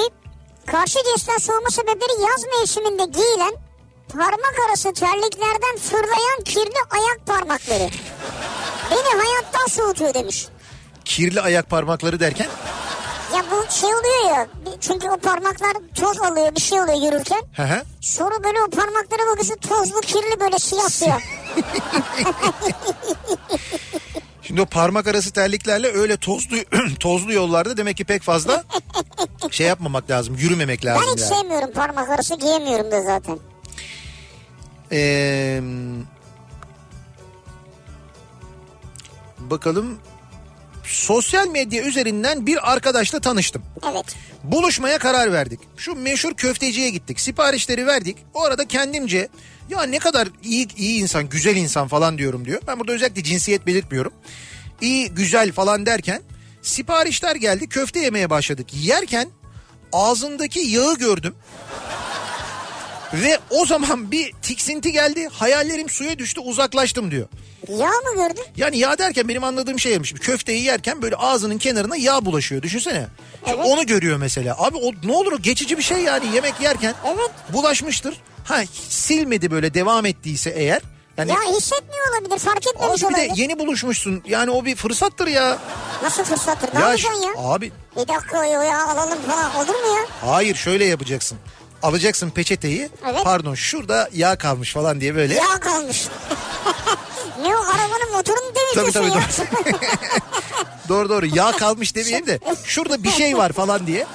Speaker 2: karşı cinsten soğuma sebepleri yaz mevsiminde giyilen parmak arası terliklerden fırlayan kirli ayak parmakları. Beni hayattan soğutuyor demiş.
Speaker 1: Kirli ayak parmakları derken
Speaker 2: Ya bu şey oluyor ya bir- çünkü o parmaklar toz oluyor bir şey oluyor yürürken.
Speaker 1: hı hı.
Speaker 2: Sonra böyle o parmaklara bakıyorsun tozlu kirli böyle
Speaker 1: [LAUGHS]
Speaker 2: siyah siyah.
Speaker 1: Şimdi o parmak arası terliklerle öyle tozlu [CLEARS THROAT] tozlu yollarda demek ki pek fazla şey yapmamak lazım. Yürümemek lazım
Speaker 2: Ben hiç şey-
Speaker 1: yani.
Speaker 2: sevmiyorum parmak arası giyemiyorum da zaten.
Speaker 1: Ee, bakalım sosyal medya üzerinden bir arkadaşla tanıştım.
Speaker 2: Evet.
Speaker 1: Buluşmaya karar verdik. Şu meşhur köfteciye gittik. Siparişleri verdik. O arada kendimce ya ne kadar iyi iyi insan, güzel insan falan diyorum diyor. Ben burada özellikle cinsiyet belirtmiyorum. İyi, güzel falan derken siparişler geldi. Köfte yemeye başladık. Yerken ağzındaki yağı gördüm. Ve o zaman bir tiksinti geldi. Hayallerim suya düştü, uzaklaştım diyor.
Speaker 2: Yağ mı gördün?
Speaker 1: Yani yağ derken benim anladığım şey yemiş. Köfteyi yerken böyle ağzının kenarına yağ bulaşıyor. Düşünsene. Şimdi
Speaker 2: Evet.
Speaker 1: Onu görüyor mesela. Abi o ne olur o geçici bir şey yani yemek yerken
Speaker 2: Evet.
Speaker 1: bulaşmıştır. Ha silmedi böyle devam ettiyse eğer. Yani
Speaker 2: Ya hissetmiyor olabilir fark
Speaker 1: Abi
Speaker 2: etmemiş
Speaker 1: bir de
Speaker 2: olabilir.
Speaker 1: yeni buluşmuşsun. Yani o bir fırsattır ya.
Speaker 2: Nasıl fırsattır? Ne yapacaksın
Speaker 1: ş-
Speaker 2: ya?
Speaker 1: Abi
Speaker 2: Bir dakika o ya alalım falan olur mu ya?
Speaker 1: hayır şöyle yapacaksın. Alacaksın peçeteyi.
Speaker 2: Evet.
Speaker 1: Pardon şurada yağ kalmış falan diye böyle. [LAUGHS]
Speaker 2: Yağ kalmış. ne o arabanın motorunu
Speaker 1: Tabii tabii
Speaker 2: temizliyorsun
Speaker 1: doğru.
Speaker 2: ya.
Speaker 1: doğru doğru yağ
Speaker 2: [LAUGHS]
Speaker 1: kalmış demeyelim de şurada bir şey var falan diye.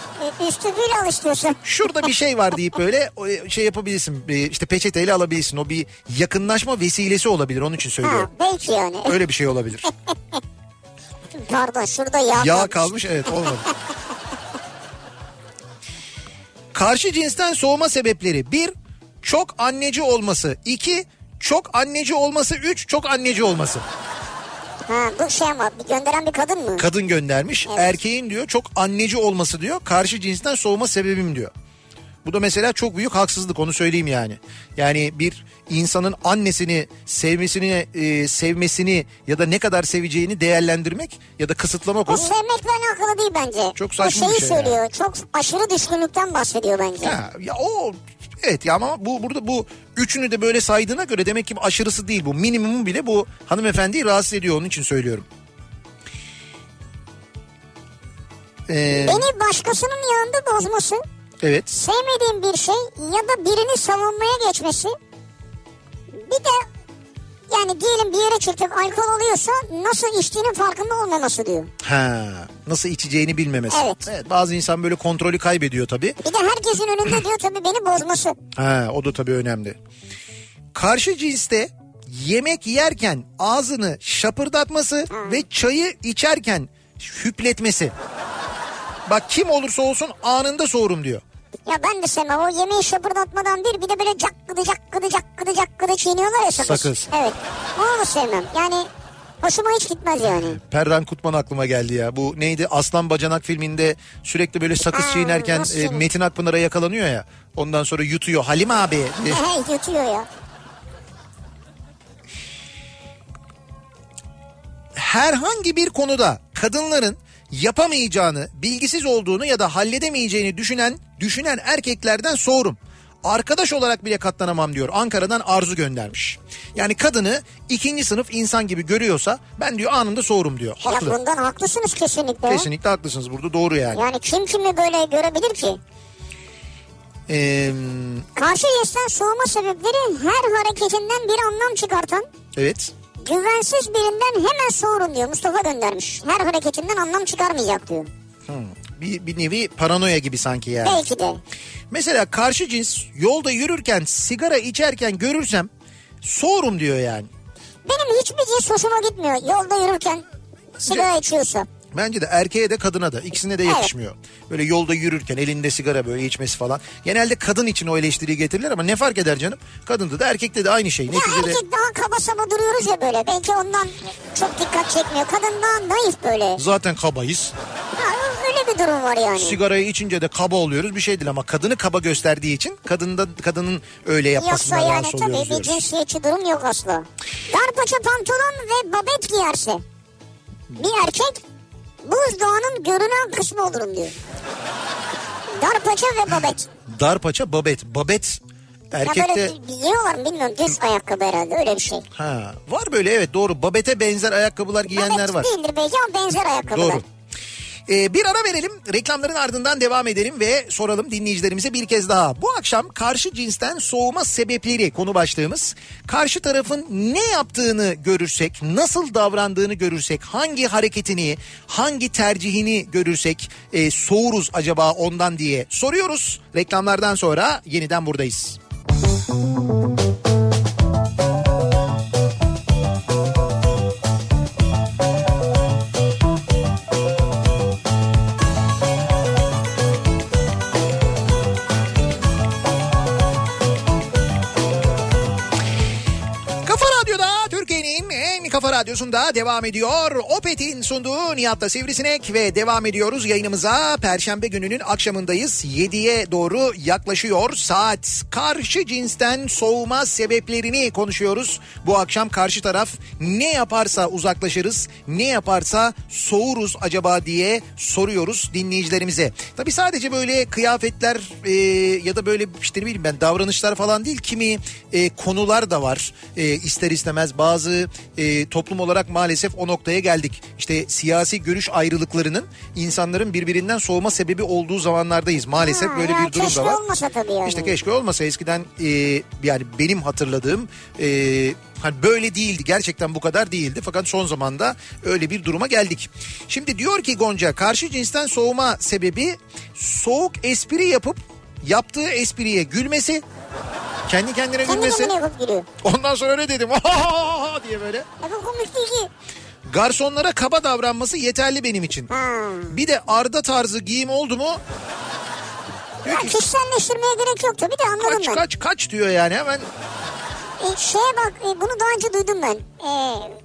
Speaker 2: Ü- [LAUGHS] Üstüpüyle alıştırıyorsun.
Speaker 1: şurada bir şey var deyip böyle o- şey yapabilirsin. e, işte peçeteyle alabilirsin. O bir yakınlaşma vesilesi olabilir. Onun için
Speaker 2: Ha,
Speaker 1: söylüyorum.
Speaker 2: belki yani.
Speaker 1: Öyle bir şey olabilir.
Speaker 2: Pardon şurada yağ,
Speaker 1: Yağ
Speaker 2: kalmış.
Speaker 1: kalmış evet olmadı. Karşı cinsten soğuma sebepleri. Bir, çok anneci olması. İki, çok anneci olması. Üç, çok anneci olması.
Speaker 2: Ha, bu şey ama gönderen bir kadın mı?
Speaker 1: Kadın göndermiş. Erkeğin diyor çok anneci olması diyor. Karşı cinsten soğuma sebebim diyor. Bu da mesela çok büyük haksızlık onu söyleyeyim yani. Yani bir insanın annesini sevmesini e, sevmesini ya da ne kadar seveceğini değerlendirmek ya da kısıtlamak
Speaker 2: o
Speaker 1: onu.
Speaker 2: sevmekle alakalı değil bence.
Speaker 1: Çok saçma
Speaker 2: o şeyi
Speaker 1: bir şey
Speaker 2: söylüyor. Çok aşırı düşkünlükten bahsediyor bence.
Speaker 1: Ha, ya o evet ya ama bu burada bu üçünü de böyle saydığına göre demek ki aşırısı değil bu. Minimumu bile bu hanımefendiyi rahatsız ediyor onun için söylüyorum. Ee,
Speaker 2: Beni başkasının yanında bozması,
Speaker 1: evet.
Speaker 2: sevmediğim bir şey ya da birini savunmaya geçmesi. Bir de yani diyelim bir yere çıktık alkol alıyorsa nasıl içtiğinin farkında olmaması diyor.
Speaker 1: Ha, nasıl içeceğini bilmemesi.
Speaker 2: Evet.
Speaker 1: bazı insan böyle kontrolü kaybediyor tabii.
Speaker 2: Bir de herkesin önünde diyor tabii beni bozması.
Speaker 1: Ha, o da tabii önemli. Karşı cinste yemek yerken ağzını şapırdatması
Speaker 2: Hmm.
Speaker 1: ve çayı içerken hüpletmesi. Bak kim olursa olsun anında soğurum diyor.
Speaker 2: Ya ben de sevmem o yemeği şapırdatmadan bir bir de böyle cakkıdı cakkıdı cakkıdı cakkıdı çiğniyorlar ya sakız.
Speaker 1: Sakız.
Speaker 2: Evet onu da sevmem yani hoşuma hiç gitmez yani.
Speaker 1: Perdan Kutman aklıma geldi ya. Bu neydi? Aslan Bacanak filminde sürekli böyle sakız
Speaker 2: Aa,
Speaker 1: çiğnerken
Speaker 2: nasıl
Speaker 1: e,
Speaker 2: yani?
Speaker 1: Metin Akpınar'a yakalanıyor ya. Ondan sonra yutuyor. Halim abi. E,
Speaker 2: Hey [LAUGHS] yutuyor ya.
Speaker 1: herhangi bir konuda kadınların yapamayacağını, bilgisiz olduğunu ya da halledemeyeceğini düşünen düşünen erkeklerden soğurum. Arkadaş olarak bile katlanamam diyor. Ankara'dan Arzu göndermiş. Yani kadını ikinci sınıf insan gibi görüyorsa ben diyor anında soğurum diyor.
Speaker 2: Ya
Speaker 1: Haklı.
Speaker 2: bundan haklısınız kesinlikle.
Speaker 1: Kesinlikle haklısınız burada doğru yani.
Speaker 2: Yani kim kimi böyle görebilir ki?
Speaker 1: Ee,
Speaker 2: Karşı cinsten soğuma sebepleri her hareketinden bir anlam çıkartan
Speaker 1: evet.
Speaker 2: güvensiz birinden hemen soğurun diyor Mustafa göndermiş. Her hareketinden anlam çıkarmayacak diyor.
Speaker 1: Hmm. Bir, bir nevi paranoya gibi sanki yani.
Speaker 2: Belki de.
Speaker 1: Mesela karşı cins yolda yürürken sigara içerken görürsem soğurum diyor yani.
Speaker 2: Benim hiçbir cins hoşuma gitmiyor yolda yürürken sigara içiyorsa.
Speaker 1: Bence de erkeğe de kadına da ikisine de
Speaker 2: Evet.
Speaker 1: yakışmıyor. Böyle yolda yürürken elinde sigara böyle içmesi falan. Genelde kadın için o eleştiriyi getirilir ama ne fark eder canım? Kadında da erkekte de aynı şey.
Speaker 2: Ya
Speaker 1: Neticede
Speaker 2: erkek daha kaba saba duruyoruz ya böyle. Belki ondan çok dikkat çekmiyor. Kadın daha naif böyle.
Speaker 1: zaten kabayız.
Speaker 2: Ha, öyle bir durum var yani.
Speaker 1: Sigarayı içince de kaba oluyoruz bir şey değil ama kadını kaba gösterdiği için kadında kadının öyle
Speaker 2: Yoksa
Speaker 1: yapmasına
Speaker 2: yani
Speaker 1: rahatsız
Speaker 2: tabii
Speaker 1: oluyoruz
Speaker 2: bir
Speaker 1: diyoruz.
Speaker 2: cinsiyetçi durum yok asla. Darpaça pantolon ve babet giyerse bir erkek buzdağının görünen kısmı olurum diyor. Darpaça ve babet.
Speaker 1: Darpaça babet. Babet
Speaker 2: Ya
Speaker 1: erkekte...
Speaker 2: böyle giyiyorlar mı bilmiyorum düz ayakkabı herhalde öyle bir şey.
Speaker 1: Ha, var böyle evet doğru. Babete benzer ayakkabılar giyenler
Speaker 2: babet
Speaker 1: var.
Speaker 2: değildir belki ama benzer ayakkabılar.
Speaker 1: Doğru. Ee, bir ara verelim reklamların ardından devam edelim ve soralım dinleyicilerimize bir kez daha. Bu akşam karşı cinsten soğuma sebepleri konu başlığımız. Karşı tarafın ne yaptığını görürsek, nasıl davrandığını görürsek, hangi hareketini, hangi tercihini görürsek e, soğuruz acaba ondan diye soruyoruz. Reklamlardan sonra yeniden buradayız. Kafa Radyo'da Türkiye'nin en kafa radyosunda devam ediyor. Opet'in sunduğu Nihat'la Sivrisinek ve devam ediyoruz yayınımıza. Perşembe gününün akşamındayız. 7'ye doğru yaklaşıyor saat. Karşı cinsten soğuma sebeplerini konuşuyoruz. Bu akşam karşı taraf ne yaparsa uzaklaşırız, ne yaparsa soğuruz acaba diye soruyoruz dinleyicilerimize. Tabii sadece böyle kıyafetler e, ya da böyle işte ne bileyim ben davranışlar falan değil. Kimi e, konular da var e, ister istemez bazı e, toplum olarak maalesef o noktaya geldik. İşte siyasi görüş ayrılıklarının insanların birbirinden soğuma sebebi olduğu zamanlardayız. Maalesef
Speaker 2: Ha,
Speaker 1: böyle
Speaker 2: ya
Speaker 1: bir durum
Speaker 2: keşke
Speaker 1: da var.
Speaker 2: olmasa tabii yani.
Speaker 1: İşte keşke olmasa eskiden e, yani benim hatırladığım e, hani böyle değildi gerçekten bu kadar değildi fakat son zamanda öyle bir duruma geldik. Şimdi diyor ki Gonca karşı cinsten soğuma sebebi soğuk espri yapıp yaptığı espriye gülmesi kendi kendine
Speaker 2: Kendi
Speaker 1: gülmesi [LAUGHS]
Speaker 2: kendine yapıp gülüyor.
Speaker 1: ondan sonra öyle dedim diye böyle
Speaker 2: E bu komik değil ki.
Speaker 1: Garsonlara kaba davranması yeterli benim için.
Speaker 2: Ha.
Speaker 1: Bir de Arda tarzı giyim oldu mu
Speaker 2: Ya kişiselleştirmeye gerek yok tabii de anladım
Speaker 1: kaç
Speaker 2: ben.
Speaker 1: kaç kaç diyor yani hemen.
Speaker 2: E, şeye bak e, bunu daha önce duydum ben. E,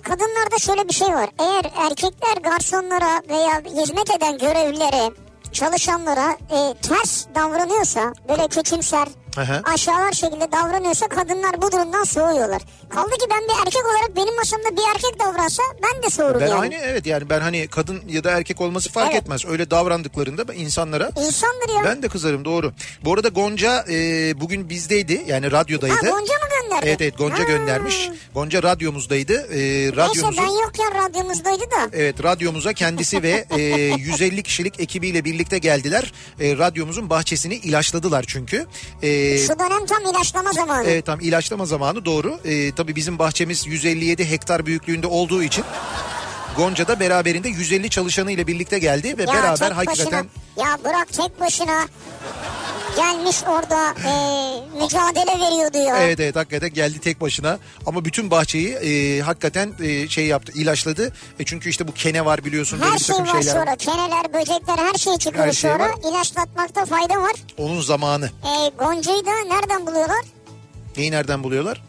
Speaker 2: kadınlarda şöyle bir şey var. Eğer erkekler garsonlara veya hizmet eden görevlilere çalışanlara e, ters davranıyorsa böyle küçümser
Speaker 1: Aha.
Speaker 2: aşağılar şekilde davranıyorsa kadınlar bu durumdan soğuyorlar. Kaldı ki ben bir erkek olarak benim masamda bir erkek davransa ben de soğurum
Speaker 1: Ben
Speaker 2: yani.
Speaker 1: aynı evet yani ben hani kadın ya da erkek olması fark
Speaker 2: Evet.
Speaker 1: etmez. Öyle davrandıklarında ben- insanlara
Speaker 2: İnsandır ya.
Speaker 1: ben de kızarım doğru. Bu arada Gonca e, bugün bizdeydi yani radyodaydı.
Speaker 2: Ha, Gonca mı gönderdi?
Speaker 1: Evet evet Gonca
Speaker 2: Ha.
Speaker 1: göndermiş. Gonca radyomuzdaydı. E,
Speaker 2: Neyse
Speaker 1: radyomuzun...
Speaker 2: ben yokken radyomuzdaydı da.
Speaker 1: Evet radyomuza kendisi ve
Speaker 2: [LAUGHS]
Speaker 1: e, 150 kişilik ekibiyle birlikte geldiler. E, radyomuzun bahçesini ilaçladılar çünkü. E,
Speaker 2: Şu dönem tam ilaçlama zamanı.
Speaker 1: Evet Ee, tam ilaçlama zamanı doğru. Ee, tabii bizim bahçemiz 157 hektar büyüklüğünde olduğu için Gonca da beraberinde 150 çalışanıyla birlikte geldi ve
Speaker 2: Ya
Speaker 1: beraber
Speaker 2: tek
Speaker 1: hakikaten
Speaker 2: Başına, ya bırak tek başına gelmiş orada e, mücadele veriyordu ya.
Speaker 1: Evet evet hakikaten geldi tek başına ama bütün bahçeyi e, hakikaten e, şey yaptı ilaçladı. E, çünkü işte bu kene var biliyorsun böyle
Speaker 2: Her
Speaker 1: bir
Speaker 2: şey
Speaker 1: takım
Speaker 2: var
Speaker 1: şeyler. var.
Speaker 2: sonra. Keneler, böcekler her şey çıkıyor
Speaker 1: Her şey
Speaker 2: sonra.
Speaker 1: var.
Speaker 2: İlaçlatmakta fayda var.
Speaker 1: Onun zamanı.
Speaker 2: E, Gonca'yı da nereden buluyorlar?
Speaker 1: Neyi nereden buluyorlar?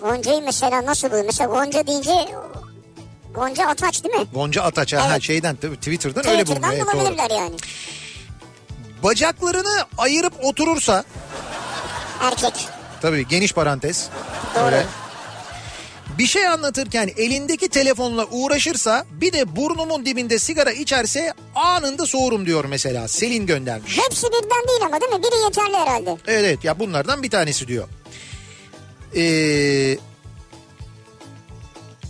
Speaker 2: Gonca'yı mesela nasıl buluyor? Mesela Gonca deyince Gonca Ataç değil mi?
Speaker 1: Gonca Ataç ha, ha,
Speaker 2: Evet.
Speaker 1: şeyden tabii Twitter'dan öyle bulunuyor.
Speaker 2: Twitter'dan
Speaker 1: Evet, doğru.
Speaker 2: bulabilirler yani.
Speaker 1: Bacaklarını ayırıp oturursa
Speaker 2: Erkek.
Speaker 1: Tabii geniş parantez.
Speaker 2: Doğru.
Speaker 1: Öyle. Bir şey anlatırken elindeki telefonla uğraşırsa bir de burnumun dibinde sigara içerse anında soğurum diyor mesela. Selin göndermiş.
Speaker 2: Hepsi birden değil ama değil mi? Biri yeterli herhalde.
Speaker 1: Evet evet ya bunlardan bir tanesi diyor. Ee,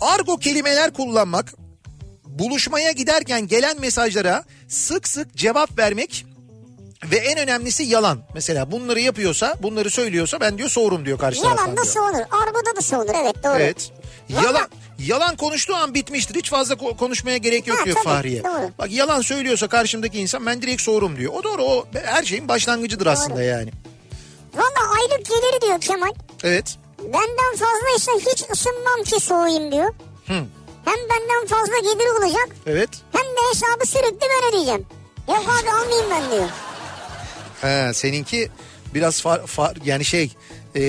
Speaker 1: argo kelimeler kullanmak, buluşmaya giderken gelen mesajlara sık sık cevap vermek ve en önemlisi yalan. Mesela bunları yapıyorsa, bunları söylüyorsa ben diyor soğurum diyor karşı taraftan
Speaker 2: Yalan da
Speaker 1: diyor.
Speaker 2: savunur. Argoda da savunur. Evet doğru.
Speaker 1: Evet.
Speaker 2: Yalan-
Speaker 1: Yalan yalan konuştuğu an bitmiştir. Hiç fazla ko- konuşmaya gerek yok
Speaker 2: Ha,
Speaker 1: diyor
Speaker 2: tabii,
Speaker 1: Fahriye.
Speaker 2: doğru.
Speaker 1: Bak yalan söylüyorsa karşımdaki insan ben direkt sorum diyor. O doğru o her şeyin başlangıcıdır aslında yani.
Speaker 2: Valla aylık geliri diyor Kemal.
Speaker 1: Evet.
Speaker 2: Benden fazlaysa hiç ısınmam ki soğuyayım diyor.
Speaker 1: Hı.
Speaker 2: Hem benden fazla gelir olacak
Speaker 1: Evet.
Speaker 2: hem de hesabı sürekli ben ödeyeceğim. Yok abi almayayım ben diyor.
Speaker 1: Ha, seninki biraz far, far- yani şey e,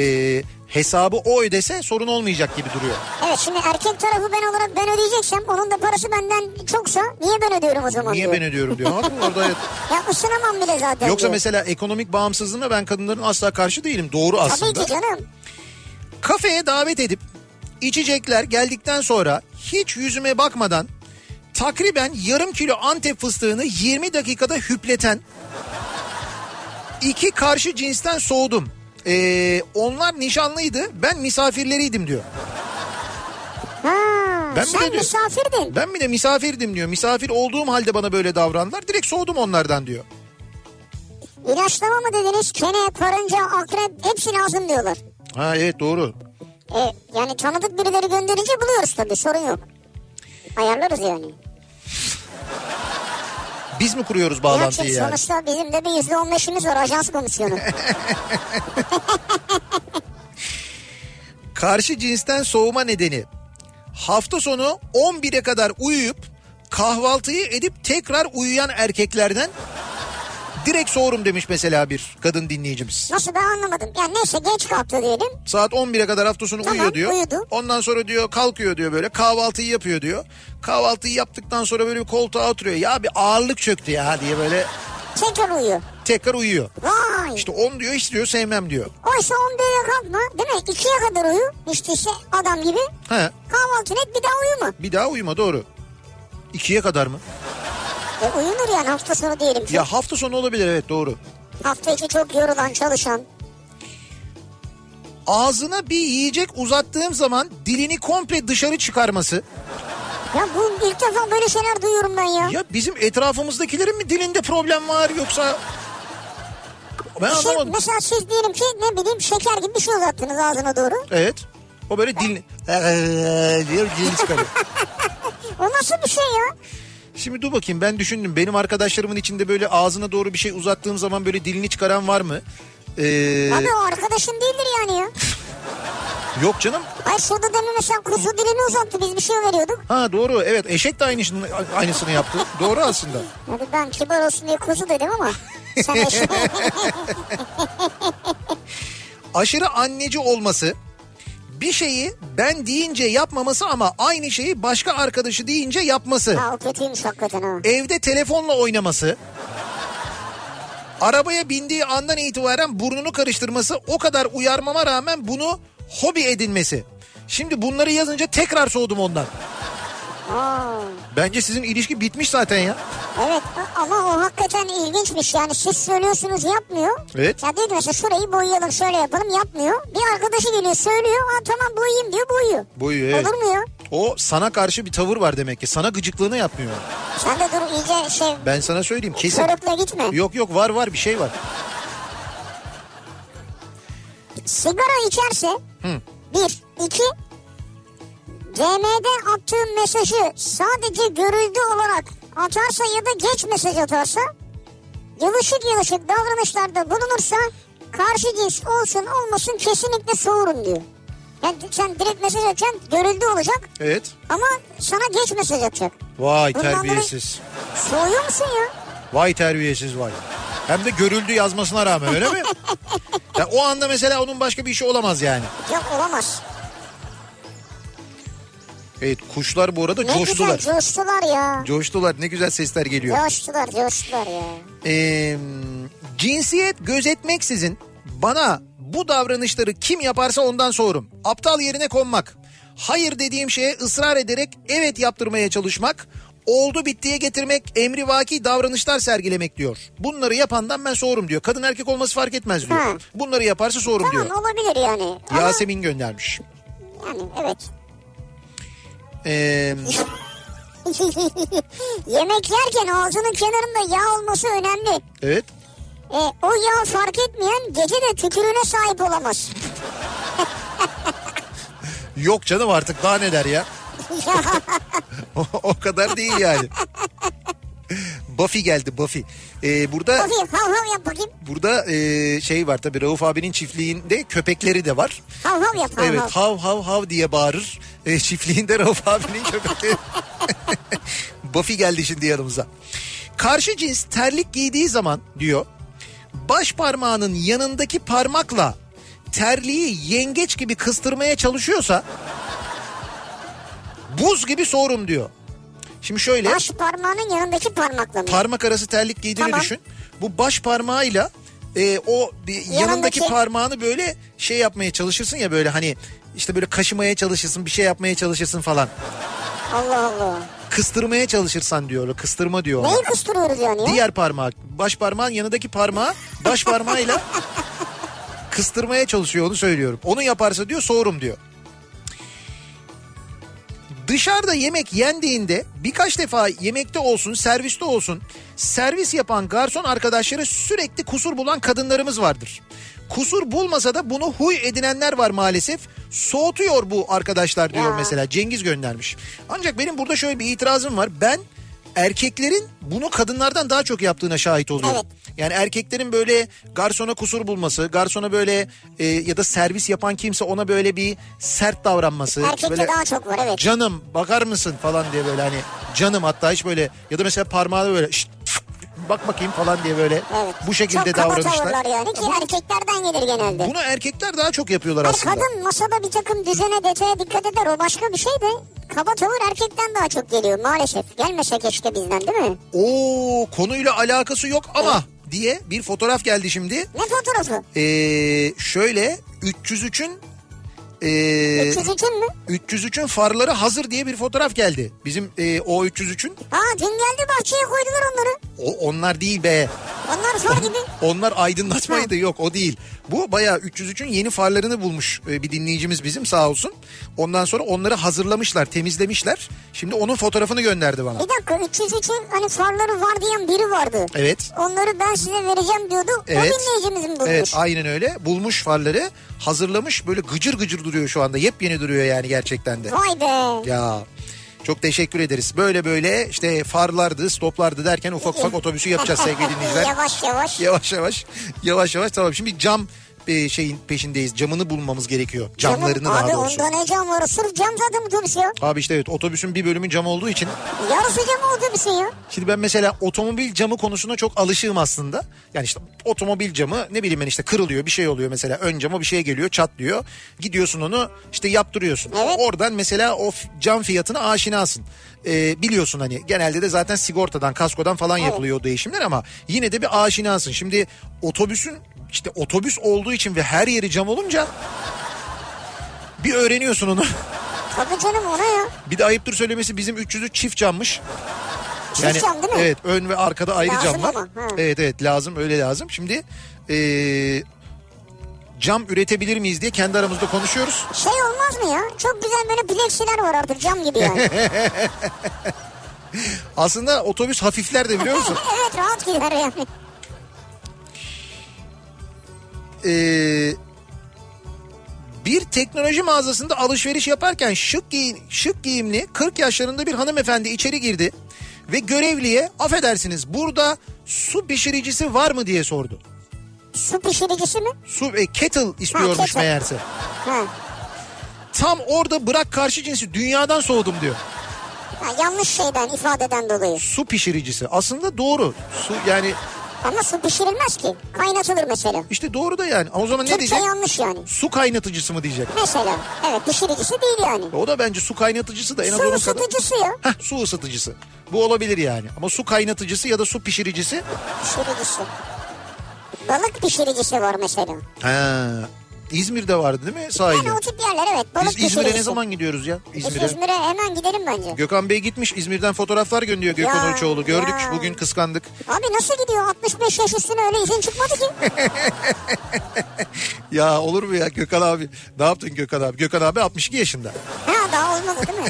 Speaker 1: hesabı o ödese sorun olmayacak gibi duruyor.
Speaker 2: Evet şimdi erkek tarafı ben olarak ben ödeyeceksem onun da parası benden çoksa niye ben ödüyorum o zaman
Speaker 1: Niye
Speaker 2: diyor.
Speaker 1: ben ödüyorum diyor. Ama bu
Speaker 2: [LAUGHS]
Speaker 1: orada evet.
Speaker 2: Ya ısınamam bile zaten
Speaker 1: Yoksa
Speaker 2: diyor.
Speaker 1: mesela ekonomik bağımsızlığına ben kadınların asla karşı değilim. Doğru aslında.
Speaker 2: Tabii ki canım.
Speaker 1: kafeye davet edip içecekler geldikten sonra hiç yüzüme bakmadan takriben yarım kilo Antep fıstığını 20 dakikada hüpleten iki karşı cinsten soğudum. Ee, onlar nişanlıydı ben misafirleriydim diyor.
Speaker 2: Ha,
Speaker 1: Ben bile
Speaker 2: sen
Speaker 1: diyor-
Speaker 2: misafirdin.
Speaker 1: Ben bir de misafirdim diyor. Misafir olduğum halde bana böyle davrandılar. Direkt soğudum onlardan diyor.
Speaker 2: İlaçlama mı dediniz? Kene, karınca, akrep hepsi lazım diyorlar.
Speaker 1: Ha evet doğru.
Speaker 2: E, yani tanıdık birileri gönderince buluyoruz tabii sorun yok. Ayarlarız yani.
Speaker 1: Biz mi kuruyoruz
Speaker 2: Ya
Speaker 1: bağlantıyı
Speaker 2: çünkü
Speaker 1: yani?
Speaker 2: sonuçta bizim de bir yüzde on beşimiz var ajans
Speaker 1: [LAUGHS]
Speaker 2: komisyonu.
Speaker 1: Karşı cinsten soğuma nedeni hafta sonu 11'e kadar uyuyup kahvaltıyı edip tekrar uyuyan erkeklerden direkt soğurum demiş mesela bir kadın dinleyicimiz.
Speaker 2: Nasıl ben anlamadım. Yani neyse geç kalktı diyelim.
Speaker 1: Saat 11'e kadar hafta sonu
Speaker 2: Tamam,
Speaker 1: uyuyor diyor.
Speaker 2: uyudu.
Speaker 1: Ondan sonra diyor kalkıyor diyor böyle kahvaltıyı yapıyor diyor. Kahvaltıyı yaptıktan sonra böyle bir koltuğa oturuyor. Ya bir ağırlık çöktü ya diye böyle
Speaker 2: Tekrar uyuyor.
Speaker 1: tekrar uyuyor.
Speaker 2: Vay.
Speaker 1: İşte on diyor hiç diyor sevmem diyor.
Speaker 2: Oysa 11'e kalkma değil mi? 2'ye kadar uyu. İşte işte adam gibi.
Speaker 1: He
Speaker 2: Kahvaltını et bir daha uyuma.
Speaker 1: bir daha uyuma doğru. İkiye kadar mı?
Speaker 2: E uyunur yani hafta sonu diyelim. ki.
Speaker 1: Ya hafta sonu olabilir evet doğru.
Speaker 2: Hafta içi çok yorulan çalışan.
Speaker 1: ağzına bir yiyecek uzattığım zaman dilini komple dışarı çıkarması.
Speaker 2: Ya bu ilk defa böyle şeyler duyuyorum ben ya.
Speaker 1: Ya bizim etrafımızdakilerin mi dilinde problem var yoksa... Ben
Speaker 2: Şey,
Speaker 1: anlamadım.
Speaker 2: mesela siz diyelim ki ne bileyim şeker gibi bir şey uzattınız ağzına doğru.
Speaker 1: Evet. O böyle dilini... diye dilini çıkarıyor.
Speaker 2: O nasıl bir şey ya?
Speaker 1: Şimdi dur bakayım ben düşündüm. Benim arkadaşlarımın içinde böyle ağzına doğru bir şey uzattığım zaman böyle dilini çıkaran var mı? Ee,
Speaker 2: Abi o arkadaşın değildir yani ya.
Speaker 1: Yok canım.
Speaker 2: Ay şurada demin mesela kuzu dilini uzattı biz bir şey veriyorduk.
Speaker 1: Ha doğru evet eşek de aynısını, aynısını yaptı. doğru aslında.
Speaker 2: Hadi ben kibar olsun diye kuzu dedim ama.
Speaker 1: [LAUGHS]
Speaker 2: Sen eşek.
Speaker 1: Aşırı anneci olması bir şeyi ben deyince yapmaması ama aynı şeyi başka arkadaşı deyince yapması.
Speaker 2: ha o kötüymüş hakikaten ha.
Speaker 1: Evde telefonla oynaması. Arabaya bindiği andan itibaren burnunu karıştırması o kadar uyarmama rağmen bunu hobi edinmesi. Şimdi bunları yazınca tekrar soğudum ondan.
Speaker 2: Aa,
Speaker 1: Bence sizin ilişki bitmiş zaten ya.
Speaker 2: evet ama o hakikaten ilginçmiş yani siz söylüyorsunuz yapmıyor.
Speaker 1: Evet.
Speaker 2: Ya diyor ki mesela şurayı boyayalım şöyle yapalım yapmıyor. Bir arkadaşı geliyor söylüyor ha tamam boyayayım diyor boyuyor.
Speaker 1: Boyuyor, evet.
Speaker 2: Olur mu ya?
Speaker 1: O sana karşı bir tavır var demek ki. Sana gıcıklığını yapmıyor.
Speaker 2: Sen de dur iyice şey
Speaker 1: Ben sana söyleyeyim kesin.
Speaker 2: körükle gitme.
Speaker 1: Yok yok var var bir şey var.
Speaker 2: Sigara içerse bir, iki DM'de attığım mesajı sadece görüldü olarak atarsa ya da geç mesaj atarsa yılışık yılışık davranışlarda bulunursa karşı cins olsun olmasın kesinlikle soğurun diyor. Yani sen direkt mesaj atacaksın görüldü olacak
Speaker 1: Evet.
Speaker 2: ama sana geç mesaj atacak.
Speaker 1: Vay
Speaker 2: Bundan dolayı-
Speaker 1: terbiyesiz.
Speaker 2: Soğuyor musun ya?
Speaker 1: Vay terbiyesiz vay. Hem de görüldü yazmasına rağmen öyle mi? Ya o anda mesela onun başka bir işi olamaz yani.
Speaker 2: Yok olamaz.
Speaker 1: Evet kuşlar bu arada
Speaker 2: Ne
Speaker 1: coştular.
Speaker 2: güzel coştular ya.
Speaker 1: Coştular ne güzel sesler geliyor.
Speaker 2: Coştular coştular ya.
Speaker 1: Ee, cinsiyet gözetmeksizin bana bu davranışları kim yaparsa ondan sorum. Aptal yerine konmak. Hayır dediğim şeye ısrar ederek evet yaptırmaya çalışmak. Oldu bittiye getirmek, emrivaki davranışlar sergilemek diyor. Bunları yapandan ben sorum diyor. Kadın erkek olması fark etmez diyor.
Speaker 2: Ha.
Speaker 1: Bunları yaparsa sorum
Speaker 2: Tamam
Speaker 1: diyor.
Speaker 2: olabilir yani. Ama
Speaker 1: Yasemin göndermiş.
Speaker 2: yani evet. [LAUGHS]
Speaker 1: Ee,
Speaker 2: Yemek yerken ağzının kenarında yağ olması önemli.
Speaker 1: evet.
Speaker 2: E, o yağ fark etmeyen gece de tükürüğüne
Speaker 1: [LAUGHS]
Speaker 2: sahip olamaz.
Speaker 1: Yok canım artık daha ne der ya. O- o kadar değil yani. Buffy geldi Buffy. Ee, burada
Speaker 2: Bakayım hav hav yap bakayım.
Speaker 1: burada e, şey var tabii Rauf abinin çiftliğinde köpekleri de var.
Speaker 2: Hav hav yap hav
Speaker 1: evet
Speaker 2: hav.
Speaker 1: hav hav hav diye bağırır. E, çiftliğinde [LAUGHS] Rauf abinin köpekleri. [LAUGHS] Buffy geldi şimdi yanımıza. Karşı cins terlik giydiği zaman diyor baş parmağının yanındaki parmakla terliği yengeç gibi kıstırmaya çalışıyorsa buz gibi sorum diyor. Şimdi şöyle
Speaker 2: Baş parmağının yanındaki parmakla mı?
Speaker 1: parmak arası terlik giydiğini
Speaker 2: Tamam.
Speaker 1: düşün. Bu baş parmağıyla e, o bir yanındaki, parmağını böyle şey yapmaya çalışırsın ya böyle hani işte böyle kaşımaya çalışırsın bir şey yapmaya çalışırsın falan.
Speaker 2: Allah Allah.
Speaker 1: Kıstırmaya çalışırsan diyor öyle, kıstırma diyor. ona.
Speaker 2: Neyi kıstırıyoruz yani ya?
Speaker 1: Diğer parmağı baş parmağın yanındaki parmağı baş parmağıyla kıstırmaya çalışıyor onu söylüyorum. Onu yaparsa diyor soğurum diyor. Dışarıda yemek yendiğinde birkaç defa yemekte olsun serviste olsun servis yapan garson arkadaşları sürekli kusur bulan kadınlarımız vardır. Kusur bulmasa da bunu huy edinenler var maalesef. Soğutuyor bu arkadaşlar diyor
Speaker 2: Ya.
Speaker 1: mesela Cengiz göndermiş. Ancak benim burada şöyle bir itirazım var. Ben erkeklerin bunu kadınlardan daha çok yaptığına şahit oluyorum.
Speaker 2: Evet.
Speaker 1: Yani erkeklerin böyle garsona kusur bulması, garsona böyle e, ya da servis yapan kimse ona böyle bir sert davranması.
Speaker 2: Erkekte
Speaker 1: böyle,
Speaker 2: daha çok var evet.
Speaker 1: canım bakar mısın falan diye böyle hani canım hatta hiç böyle ya da mesela parmağına böyle "Şşt, fık, bak bakayım falan diye böyle
Speaker 2: evet.
Speaker 1: bu şekilde
Speaker 2: çok kaba
Speaker 1: davranışlar.
Speaker 2: tavırlar yani ki erkeklerden gelir genelde.
Speaker 1: Bunu erkekler daha çok yapıyorlar
Speaker 2: Her
Speaker 1: aslında.
Speaker 2: Hani kadın masada bir takım düzene detaya dikkat eder o başka bir şey de kaba tavır erkekten daha çok geliyor maalesef. Gelmese keşke bizden değil mi?
Speaker 1: Oo konuyla alakası yok ama diye bir fotoğraf geldi şimdi.
Speaker 2: Ne fotoğrafı?
Speaker 1: Ee, şöyle 303'ün
Speaker 2: Ee,
Speaker 1: ee,
Speaker 2: mi?
Speaker 1: 303'ün farları hazır diye bir fotoğraf geldi. Bizim ee, o 303'ün
Speaker 2: Ha dün geldi bahçeye koydular onları.
Speaker 1: o, onlar değil be.
Speaker 2: Onlar far gibi.
Speaker 1: Onlar aydınlatmaydı yok o değil. Bu bayağı 303'ün yeni farlarını bulmuş e, bir dinleyicimiz bizim sağ olsun. Ondan sonra onları hazırlamışlar temizlemişler. Şimdi onun fotoğrafını gönderdi bana.
Speaker 2: Bir dakika 303'ün hani farları var diyen biri vardı.
Speaker 1: Evet.
Speaker 2: Onları ben size vereceğim diyordu.
Speaker 1: Evet.
Speaker 2: O dinleyicimiz mi bulmuş?
Speaker 1: Evet aynen öyle bulmuş farları hazırlamış böyle gıcır gıcır duruyor şu anda yepyeni duruyor yani gerçekten de.
Speaker 2: Vay be.
Speaker 1: Ya çok teşekkür ederiz. Böyle böyle işte farlardı stoplardı derken
Speaker 2: [LAUGHS]
Speaker 1: ufak ufak otobüsü yapacağız sevgili dinleyiciler.
Speaker 2: yavaş yavaş.
Speaker 1: Yavaş yavaş yavaş yavaş tamam şimdi cam e, şeyin peşindeyiz. Camını bulmamız gerekiyor. Camlarını
Speaker 2: Canım,
Speaker 1: daha
Speaker 2: abi
Speaker 1: doğrusu.
Speaker 2: onda ne cam var? Sırf cam zaten otobüs ya.
Speaker 1: Abi işte evet otobüsün bir bölümü cam olduğu için.
Speaker 2: Yarısı cam otobüsün ya.
Speaker 1: Şimdi ben mesela otomobil camı konusuna çok alışığım aslında. Yani işte otomobil camı ne bileyim ben işte kırılıyor bir şey oluyor mesela ön cama bir şey geliyor çatlıyor. Gidiyorsun onu işte yaptırıyorsun.
Speaker 2: Evet.
Speaker 1: Oradan mesela o f- cam fiyatına aşinasın. Ee, biliyorsun hani genelde de zaten sigortadan kaskodan falan yapılıyor o değişimler ama yine de bir aşinasın. Şimdi otobüsün işte otobüs olduğu için ve her yeri cam olunca bir öğreniyorsun onu. [LAUGHS]
Speaker 2: Tabii canım ona ya.
Speaker 1: Bir de ayıptır söylemesi bizim 300'ü çift cammış.
Speaker 2: Çift cam değil mi?
Speaker 1: Evet ön ve arkada ayrı
Speaker 2: Lazım
Speaker 1: cam var.
Speaker 2: ama, ha.
Speaker 1: Evet evet lazım öyle lazım. Şimdi eee, cam üretebilir miyiz diye kendi aramızda konuşuyoruz.
Speaker 2: Şey olmaz mı ya? Çok güzel böyle plexiler var artık cam
Speaker 1: [LAUGHS]
Speaker 2: gibi yani.
Speaker 1: Aslında otobüs hafifler de biliyor
Speaker 2: [LAUGHS]
Speaker 1: musun?
Speaker 2: evet rahat gider yani.
Speaker 1: Eee, E, bir teknoloji mağazasında alışveriş yaparken şık, giyin, şık giyimli 40 yaşlarında bir hanımefendi içeri girdi. Ve görevliye affedersiniz burada su pişiricisi var mı diye sordu.
Speaker 2: Su pişiricisi mi?
Speaker 1: Su e, kettle istiyormuş
Speaker 2: kettle.
Speaker 1: meğerse.
Speaker 2: Ha.
Speaker 1: Tam orada bırak karşı cinsi dünyadan soğudum diyor.
Speaker 2: ha. Yanlış şeyden ifadeden dolayı.
Speaker 1: Su pişiricisi. Aslında doğru. Su yani
Speaker 2: Ama su pişirilmez ki. Kaynatılır mesela.
Speaker 1: işte doğru da yani. Ama o zaman ne
Speaker 2: Türkçe
Speaker 1: diyecek?
Speaker 2: yanlış yani.
Speaker 1: Su kaynatıcısı mı diyecek?
Speaker 2: Mesela. Evet pişiricisi değil yani.
Speaker 1: O da bence su kaynatıcısı da en az
Speaker 2: Su
Speaker 1: onun kadar.
Speaker 2: ısıtıcısı ya.
Speaker 1: Heh, su ısıtıcısı. Bu olabilir yani. Ama su kaynatıcısı ya da su pişiricisi.
Speaker 2: Pişiricisi. Balık pişiricisi var mesela.
Speaker 1: Ha. İzmir'de vardı değil mi sahilde?
Speaker 2: Yani o tip yerler evet. Balık
Speaker 1: Biz İzmir'e
Speaker 2: pişiricisi.
Speaker 1: ne zaman gidiyoruz ya?
Speaker 2: Biz
Speaker 1: İzmir'e.
Speaker 2: İzmir'e hemen gidelim bence.
Speaker 1: Gökhan Bey gitmiş. İzmir'den fotoğraflar gönderiyor Gökhan
Speaker 2: Ya,
Speaker 1: Uçoğlu. Gördük.
Speaker 2: ya.
Speaker 1: Bugün kıskandık.
Speaker 2: Abi nasıl gidiyor 65 yaş üstüne öyle izin çıkmadı ki.
Speaker 1: [LAUGHS] Ya olur mu ya Gökhan abi? Ne yaptın Gökhan abi? Gökhan abi 62 yaşında.
Speaker 2: ha daha olmadı
Speaker 1: [LAUGHS]
Speaker 2: değil mi?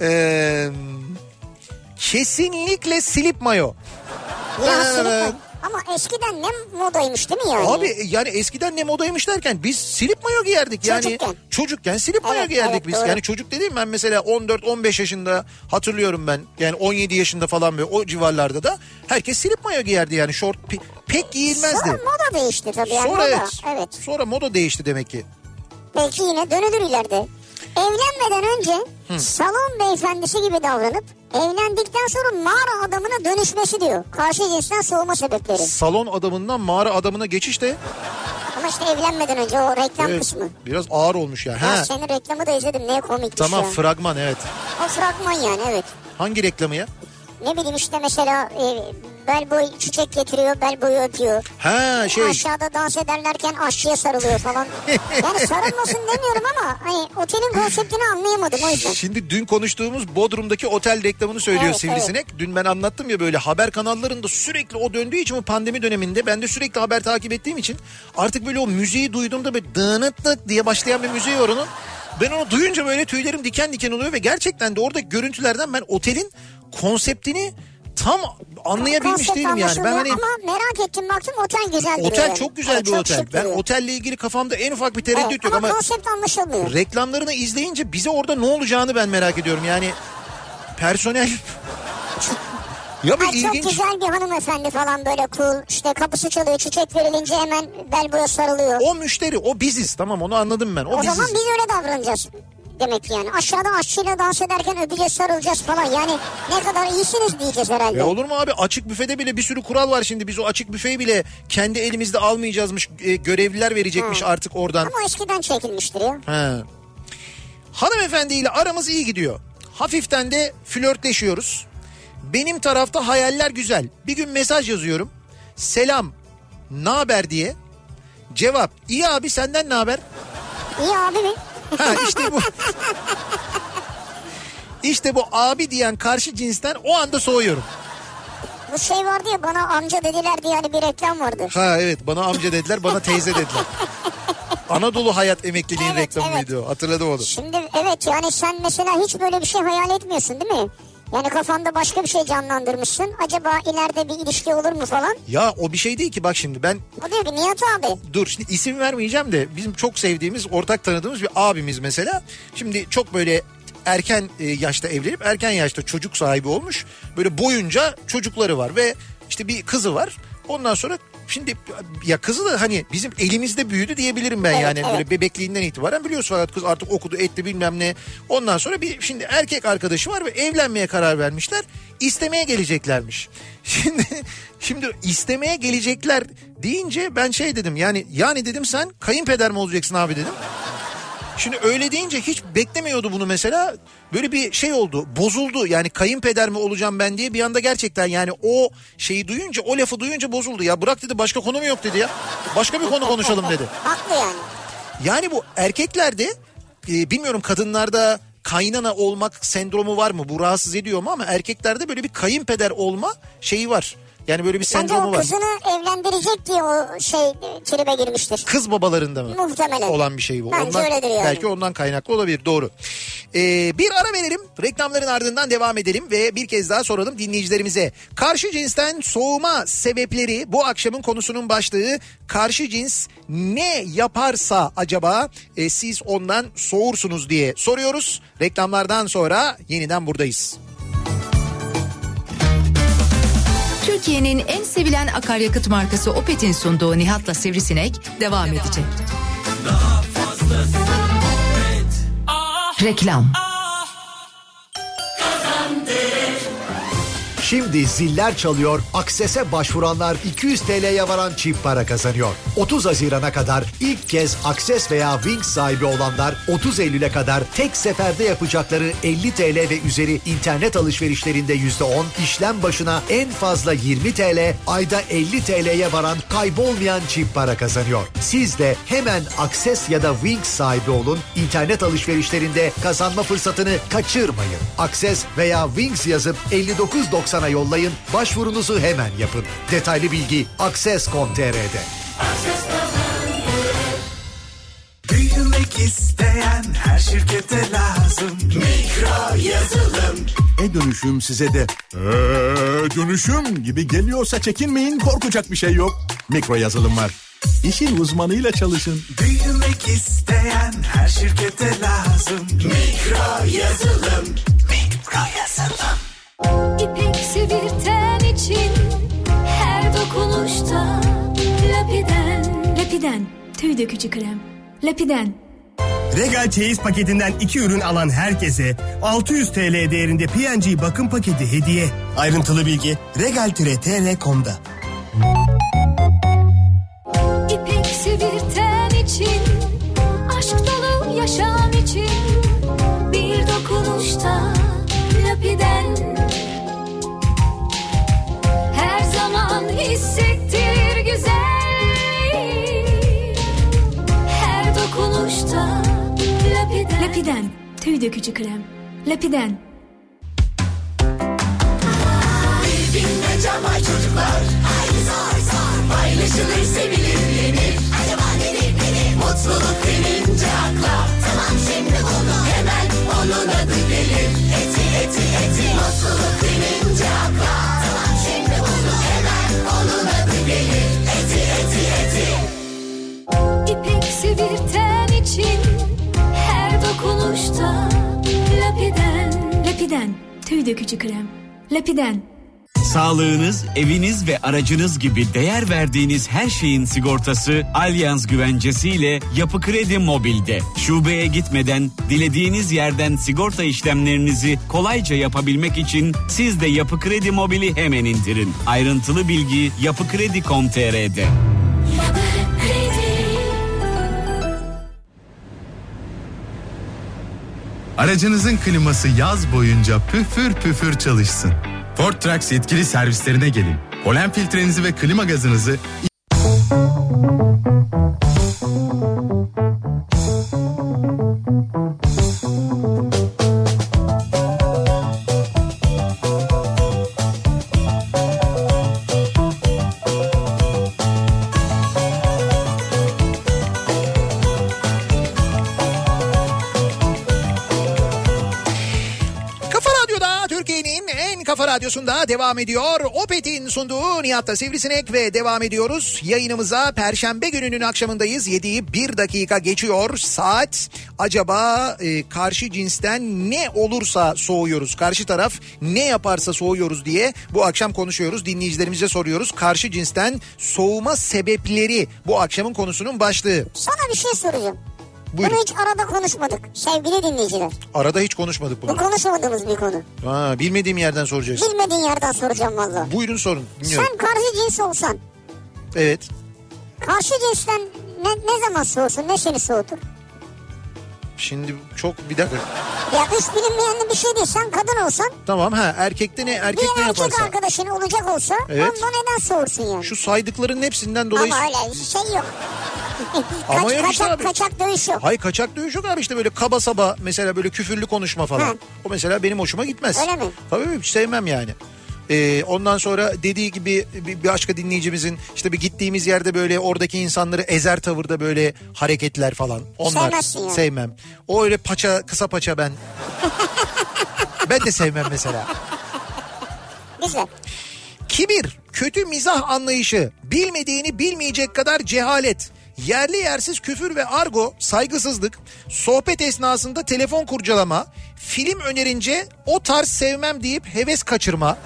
Speaker 1: Ee, kesinlikle silip mayo.
Speaker 2: Ya
Speaker 1: Ee,
Speaker 2: Süleyman, Ama eskiden ne modaymış değil mi yani?
Speaker 1: Abi yani eskiden ne modaymış derken biz silip mayo giyerdik yani.
Speaker 2: Çocukken.
Speaker 1: Çocukken silip mayo
Speaker 2: Evet,
Speaker 1: giyerdik
Speaker 2: evet,
Speaker 1: biz.
Speaker 2: doğru.
Speaker 1: Yani çocuk dediğim ben mesela 14-15 yaşında hatırlıyorum ben. Yani 17 yaşında falan ve o civarlarda da herkes silip mayo giyerdi yani şort pe- pek giyilmezdi.
Speaker 2: Sonra moda değişti tabii. Yani
Speaker 1: Sonra
Speaker 2: moda.
Speaker 1: evet.
Speaker 2: evet.
Speaker 1: Sonra moda değişti demek ki.
Speaker 2: Belki yine dönülür ileride. Evlenmeden önce salon beyefendisi gibi davranıp evlendikten sonra mağara adamına dönüşmesi diyor. Karşı cinsten soğuma sebepleri.
Speaker 1: Salon adamından mağara adamına geçiş de
Speaker 2: Ama işte evlenmeden önce o reklam
Speaker 1: evet,
Speaker 2: kısmı.
Speaker 1: biraz ağır olmuş yani.
Speaker 2: Ya
Speaker 1: Ha,
Speaker 2: senin reklamı da izledim ne komikmiş
Speaker 1: tamam
Speaker 2: ya.
Speaker 1: fragman evet.
Speaker 2: o fragman yani evet.
Speaker 1: Hangi reklamı ya?
Speaker 2: Ne bileyim işte mesela e, bel boy çiçek getiriyor bel boyu öpüyor.
Speaker 1: Ha şey.
Speaker 2: Aşağıda dans ederlerken aşçıya sarılıyor falan. yani sarılmasın demiyorum ama hani otelin konseptini anlayamadım o
Speaker 1: [LAUGHS]
Speaker 2: yüzden.
Speaker 1: Şimdi dün konuştuğumuz Bodrum'daki otel reklamını söylüyor
Speaker 2: Evet,
Speaker 1: Sivrisinek. Dün ben anlattım ya böyle haber kanallarında sürekli o döndüğü için bu pandemi döneminde ben de sürekli haber takip ettiğim için artık böyle o müziği duyduğumda böyle dınıt dıt diye başlayan bir müziği var onun. Ben onu duyunca böyle tüylerim diken diken oluyor ve gerçekten de orada görüntülerden ben otelin konseptini tam anlayabilmiş
Speaker 2: Konsept
Speaker 1: değilim yani. Ben
Speaker 2: anlaşılıyor
Speaker 1: hani
Speaker 2: Ama merak ettim baktım otel güzel duruyor.
Speaker 1: otel
Speaker 2: yani.
Speaker 1: çok güzel
Speaker 2: Evet,
Speaker 1: bir
Speaker 2: çok
Speaker 1: otel.
Speaker 2: şık
Speaker 1: Ben
Speaker 2: duruyor.
Speaker 1: otelle ilgili kafamda en ufak bir
Speaker 2: Evet,
Speaker 1: tereddüt yok ama
Speaker 2: konsept anlaşılmıyor.
Speaker 1: reklamlarını izleyince bize orada ne olacağını ben merak ediyorum. Yani personel ya bir
Speaker 2: Ay, çok
Speaker 1: ilginç.
Speaker 2: güzel bir hanımefendi falan böyle cool. İşte kapısı çalıyor çiçek verilince hemen bel boya sarılıyor. O,
Speaker 1: O müşteri, o biziz. Tamam onu anladım ben. O, biziz.
Speaker 2: zaman biz öyle davranacağız. Demek ki yani aşağıda aşçıyla dans ederken öpeceğiz sarılacağız falan yani ne kadar iyisiniz diyeceğiz herhalde.
Speaker 1: Ya E, olur mu abi açık büfede bile bir sürü kural var şimdi biz o açık büfeyi bile kendi elimizde almayacağızmış e, görevliler verecekmiş
Speaker 2: Ha.
Speaker 1: artık oradan.
Speaker 2: Ama eskiden çekilmiştir ya.
Speaker 1: He. Hanımefendiyle aramız iyi gidiyor. Hafiften de flörtleşiyoruz. Benim tarafta hayaller güzel. Bir gün mesaj yazıyorum. Selam, ne haber diye. Cevap, iyi abi senden ne haber?
Speaker 2: İyi abi mi?
Speaker 1: Ha işte bu. İşte bu abi diyen karşı cinsten o anda soğuyorum.
Speaker 2: Bu şey vardı ya bana amca dediler diye hani bir reklam vardı.
Speaker 1: Ha evet bana amca dediler bana teyze dediler. Anadolu Hayat Emekliliğin
Speaker 2: Evet,
Speaker 1: reklamıydı o. Hatırladım onu.
Speaker 2: Şimdi evet yani sen mesela hiç böyle bir şey hayal etmiyorsun değil mi? Yani kafanda başka bir şey canlandırmışsın. Acaba ileride bir ilişki olur mu falan?
Speaker 1: Ya o bir şey değil ki bak şimdi ben
Speaker 2: O diyor ki Nihat abi.
Speaker 1: dur şimdi isim vermeyeceğim de bizim çok sevdiğimiz ortak tanıdığımız bir abimiz mesela. Şimdi çok böyle erken e, yaşta evlenip erken yaşta çocuk sahibi olmuş. Böyle boyunca çocukları var ve işte bir kızı var. Ondan sonra şimdi ya kızı da hani bizim elimizde büyüdü diyebilirim ben
Speaker 2: Evet,
Speaker 1: yani
Speaker 2: evet.
Speaker 1: böyle bebekliğinden itibaren biliyorsun Ferhat kız artık okudu etti bilmem ne. Ondan sonra bir şimdi erkek arkadaşı var ve evlenmeye karar vermişler. İstemeye geleceklermiş. [LAUGHS] Şimdi şimdi istemeye gelecekler deyince ben şey dedim yani yani dedim sen kayınpeder mi olacaksın abi dedim. Şimdi öyle deyince hiç beklemiyordu bunu mesela. Böyle bir şey oldu. Bozuldu. Yani kayınpeder mi olacağım ben diye bir anda gerçekten yani o şeyi duyunca o lafı duyunca bozuldu. Ya bırak dedi başka konu mu yok dedi ya. Başka bir konu konuşalım dedi.
Speaker 2: Haklı yani.
Speaker 1: Yani bu erkeklerde e, bilmiyorum kadınlarda kaynana olmak sendromu var mı? Bu rahatsız ediyor mu ama erkeklerde böyle bir kayınpeder olma şeyi var. Yani böyle bir
Speaker 2: Bence o
Speaker 1: sendromu var.
Speaker 2: kızını evlendirecek diye o şey e, tribe girmiştir.
Speaker 1: Kız babalarında mı?
Speaker 2: Muhtemelen.
Speaker 1: Olan bir şey bu.
Speaker 2: Bence
Speaker 1: ondan,
Speaker 2: öyledir yani.
Speaker 1: Belki ondan kaynaklı olabilir doğru. Ee, bir ara verelim reklamların ardından devam edelim ve bir kez daha soralım dinleyicilerimize. Karşı cinsten soğuma sebepleri bu akşamın konusunun başlığı karşı cins ne yaparsa acaba e, siz ondan soğursunuz diye soruyoruz. Reklamlardan sonra yeniden buradayız.
Speaker 3: Türkiye'nin en sevilen akaryakıt markası Opet'in sunduğu Nihat'la Sivrisinek devam edecek. Reklam.
Speaker 4: Şimdi ziller çalıyor, Akses'e başvuranlar 200 TL'ye varan çift para kazanıyor. 30 Haziran'a kadar ilk kez Akses veya Wings sahibi olanlar 30 Eylül'e kadar tek seferde yapacakları 50 TL ve üzeri internet alışverişlerinde %10, işlem başına en fazla 20 TL, ayda 50 TL'ye varan kaybolmayan çift para kazanıyor. Siz de hemen Akses ya da Wings sahibi olun, internet alışverişlerinde kazanma fırsatını kaçırmayın. Akses veya Wings yazıp 59.90'a yollayın, başvurunuzu hemen yapın. Detaylı bilgi akses.com.tr'de.
Speaker 5: Büyümek isteyen her şirkete lazım. Mikro yazılım.
Speaker 6: E-dönüşüm size de "Ee, dönüşüm gibi geliyorsa çekinmeyin korkacak bir şey yok. Mikro yazılım var. İşin uzmanıyla çalışın.
Speaker 5: Büyümek isteyen her şirkete lazım. Mikro yazılım. Mikro yazılım.
Speaker 7: İpek sevirten için her dokunuşta Lapiden Lapiden tüy dökücü krem Lapiden
Speaker 8: Regal çeyiz paketinden 2 ürün alan herkese 600 TL değerinde PNG bakım paketi hediye. Ayrıntılı bilgi regal-tr.com'da.
Speaker 7: İpek sevirten için aşk dolu yaşam için bir dokunuşta Lapiden her zaman hissettir güzelliği her dokunuşta Lapiden Lapiden tüy dökücü krem Lapiden İpek sevirten için her dokunuşta Lapiden Lapiden tüy dökücü krem Lapiden
Speaker 9: Sağlığınız, eviniz ve aracınız gibi değer verdiğiniz her şeyin sigortası Allianz Güvencesi ile Yapı Kredi Mobil'de. Şubeye gitmeden dilediğiniz yerden sigorta işlemlerinizi kolayca yapabilmek için siz de Yapı Kredi Mobil'i hemen indirin. Ayrıntılı bilgi yapıkredi.com.tr'de.
Speaker 7: Kredi
Speaker 10: Aracınızın kliması yaz boyunca püfür püfür çalışsın. Ford Trucks yetkili servislerine gelin. Polen filtrenizi ve klima gazınızı
Speaker 1: Kafa Radyo'da Türkiye'nin en Kafa Radyosu'nda devam ediyor. Opet'in sunduğu Nihat'ta Sivrisinek ve devam ediyoruz. Yayınımıza Perşembe gününün akşamındayız. 7'yi bir dakika geçiyor. Saat acaba e, karşı cinsten ne olursa soğuyoruz. Karşı taraf ne yaparsa soğuyoruz diye bu akşam konuşuyoruz. Dinleyicilerimize soruyoruz. Karşı cinsten soğuma sebepleri bu akşamın konusunun başlığı.
Speaker 2: Sana bir şey soracağım.
Speaker 1: Buyurun.
Speaker 2: Bunu hiç arada konuşmadık sevgili dinleyiciler.
Speaker 1: Arada hiç konuşmadık
Speaker 2: Bu
Speaker 1: bunu.
Speaker 2: konuşmadığımız bir konu.
Speaker 1: Ha, bilmediğim yerden soracaksın.
Speaker 2: Bilmediğin yerden soracağım valla.
Speaker 1: Buyurun sorun. Dinliyorum.
Speaker 2: Sen karşı cins olsan
Speaker 1: Evet.
Speaker 2: karşı cinsten ne, ne zaman soğusun ne seni soğutur?
Speaker 1: Şimdi çok bir dakika.
Speaker 2: Ya üç bilinmeyenli bir şey değil sen kadın olsan
Speaker 1: Tamam ha erkekte ne erkek
Speaker 2: bir
Speaker 1: ne
Speaker 2: erkek
Speaker 1: yaparsa.
Speaker 2: arkadaşın olacak olsa
Speaker 1: Evet.
Speaker 2: ondan neden soğursun yani?
Speaker 1: Şu saydıkların hepsinden dolayı.
Speaker 2: Ama öyle şey yok.
Speaker 1: Ama
Speaker 2: [LAUGHS] Kaç-
Speaker 1: yok işte
Speaker 2: kaçak,
Speaker 1: abi.
Speaker 2: kaçak dövüş yok.
Speaker 1: Hay kaçak dövüş yok abi işte böyle kaba saba mesela böyle küfürlü konuşma falan.
Speaker 2: Ha.
Speaker 1: O mesela benim hoşuma gitmez.
Speaker 2: Öyle mi?
Speaker 1: Tabii hiç sevmem yani. Ee, ondan sonra dediği gibi bir bir başka dinleyicimizin işte bir gittiğimiz yerde böyle oradaki insanları ezer tavırda böyle hareketler falan. Onlar
Speaker 2: Sevmezsin yani.
Speaker 1: sevmem. O öyle paça kısa paça
Speaker 2: [LAUGHS]
Speaker 1: ben. ben de sevmem mesela.
Speaker 2: Güzel.
Speaker 1: Kibir, kötü mizah anlayışı, bilmediğini bilmeyecek kadar cehalet, yerli yersiz küfür ve argo, saygısızlık, sohbet esnasında telefon kurcalama, film önerince o tarz sevmem deyip heves kaçırma.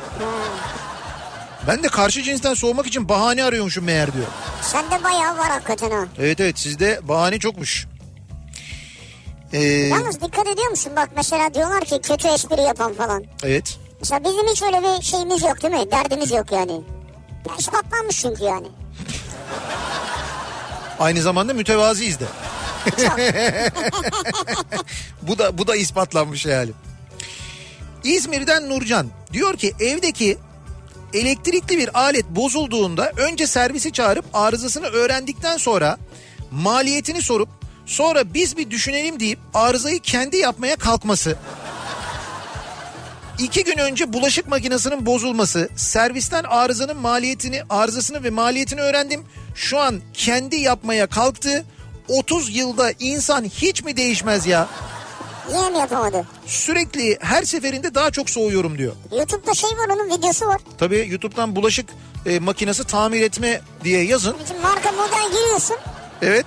Speaker 1: Ben de karşı cinsten soğumak için bahane arıyormuşum meğer diyor.
Speaker 2: Sende bayağı var hakikaten ha.
Speaker 1: Evet evet sizde bahane çokmuş. Ee,
Speaker 2: Yalnız dikkat ediyor musun bak mesela diyorlar ki kötü espri yapan falan.
Speaker 1: evet.
Speaker 2: Mesela bizim hiç öyle bir şeyimiz yok değil mi? Derdimiz yok yani. Ya ispatlanmış çünkü yani.
Speaker 1: Aynı zamanda mütevaziyiz de. bu da bu da ispatlanmış yani. İzmir'den Nurcan diyor ki evdeki elektrikli bir alet bozulduğunda önce servisi çağırıp arızasını öğrendikten sonra maliyetini sorup sonra biz bir düşünelim deyip arızayı kendi yapmaya kalkması. İki gün önce bulaşık makinesinin bozulması, servisten arızanın maliyetini, arızasını ve maliyetini öğrendim. Şu an kendi yapmaya kalktı. 30 yılda insan hiç mi değişmez ya?
Speaker 2: Niye mi yapamadı?
Speaker 1: Sürekli her seferinde daha çok soğuyorum diyor.
Speaker 2: Youtube'da şey var onun videosu var.
Speaker 1: Tabii YouTube'dan bulaşık e, makinesi tamir etme diye yazın.
Speaker 2: Şimdi marka model giriyorsun.
Speaker 1: Evet.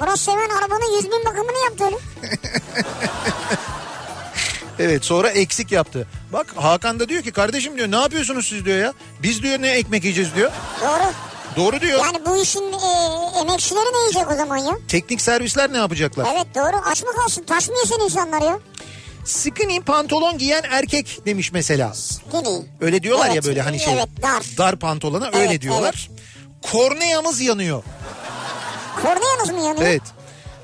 Speaker 2: Murat Seven arabanın 100 bin bakımını yaptı öyle.
Speaker 1: Evet sonra eksik yaptı. Bak Hakan da diyor ki kardeşim diyor ne yapıyorsunuz siz diyor ya. Biz diyor ne ekmek yiyeceğiz diyor.
Speaker 2: Doğru.
Speaker 1: Doğru diyor.
Speaker 2: Yani bu işin e, emekçileri ne yiyecek o zaman ya?
Speaker 1: Teknik servisler ne yapacaklar?
Speaker 2: Evet doğru aç mı kalsın taş mı yesin insanlar ya?
Speaker 1: Skinny pantolon giyen erkek demiş mesela.
Speaker 2: Gene.
Speaker 1: Öyle diyorlar
Speaker 2: Evet,
Speaker 1: ya böyle hani şey
Speaker 2: Evet dar.
Speaker 1: dar pantolona öyle
Speaker 2: Evet,
Speaker 1: diyorlar. Korneyamız yanıyor.
Speaker 2: Korneyanız mı yanıyor?
Speaker 1: Evet.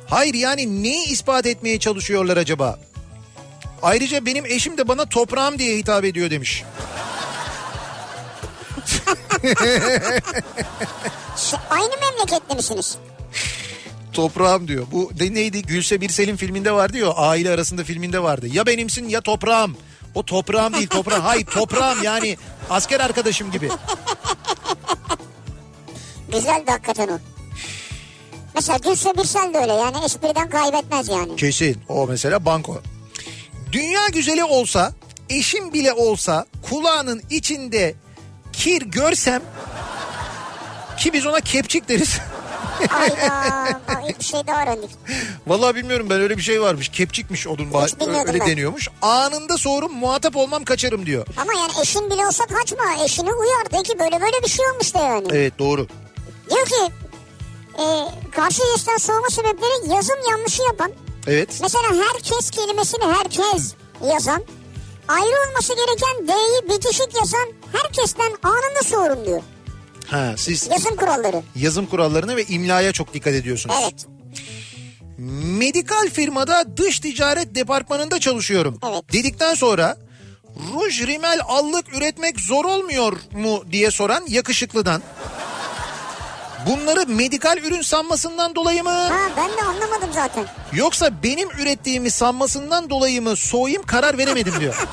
Speaker 1: Hayır yani neyi ispat etmeye çalışıyorlar acaba? Ayrıca benim eşim de bana toprağım diye hitap ediyor demiş.
Speaker 2: Ş- Şey, Aynı memleketli misiniz?
Speaker 1: Toprağım diyor. Bu de neydi? Gülse Birsel'in filminde vardı ya aile arasında filminde vardı. Ya benimsin ya toprağım. O toprağım değil toprağım. Hayır toprağım yani asker arkadaşım gibi.
Speaker 2: Güzeldi hakikaten o. Mesela Gülse Birsel de öyle yani espriden kaybetmez yani.
Speaker 1: Kesin. O mesela banko. Dünya güzeli olsa, eşim bile olsa kulağının içinde kir görsem ki biz ona kepçik deriz.
Speaker 2: Hayda bak ilk bir şey daha öğrendik.
Speaker 1: [LAUGHS] Vallahi bilmiyorum ben öyle bir şey varmış. Kepçikmiş odun bah-
Speaker 2: bilmiyordum
Speaker 1: öyle
Speaker 2: ben.
Speaker 1: deniyormuş. Anında sorum muhatap olmam kaçarım diyor.
Speaker 2: Ama yani eşin bile olsa kaçma eşini uyar de ki böyle böyle bir şey olmuş de yani.
Speaker 1: Evet doğru.
Speaker 2: Diyor ki e, karşı cinsten soğuma sebepleri yazım yanlışı yapan
Speaker 1: Evet.
Speaker 2: Mesela herkes kelimesini herkes yazan, ayrı olması gereken D'yi bitişik yazan herkesten anında soğurum diyor.
Speaker 1: Ha siz
Speaker 2: Yazım kuralları.
Speaker 1: yazım kurallarına ve imlaya çok dikkat ediyorsunuz.
Speaker 2: Evet,
Speaker 1: medikal firmada dış ticaret departmanında çalışıyorum.
Speaker 2: Evet.
Speaker 1: Dedikten sonra ruj rimel allık üretmek zor olmuyor mu diye soran yakışıklıdan. Bunları medikal ürün sanmasından dolayı mı
Speaker 2: ha ben de anlamadım zaten.
Speaker 1: yoksa benim ürettiğimi sanmasından dolayı mı soğuyayım karar veremedim diyor.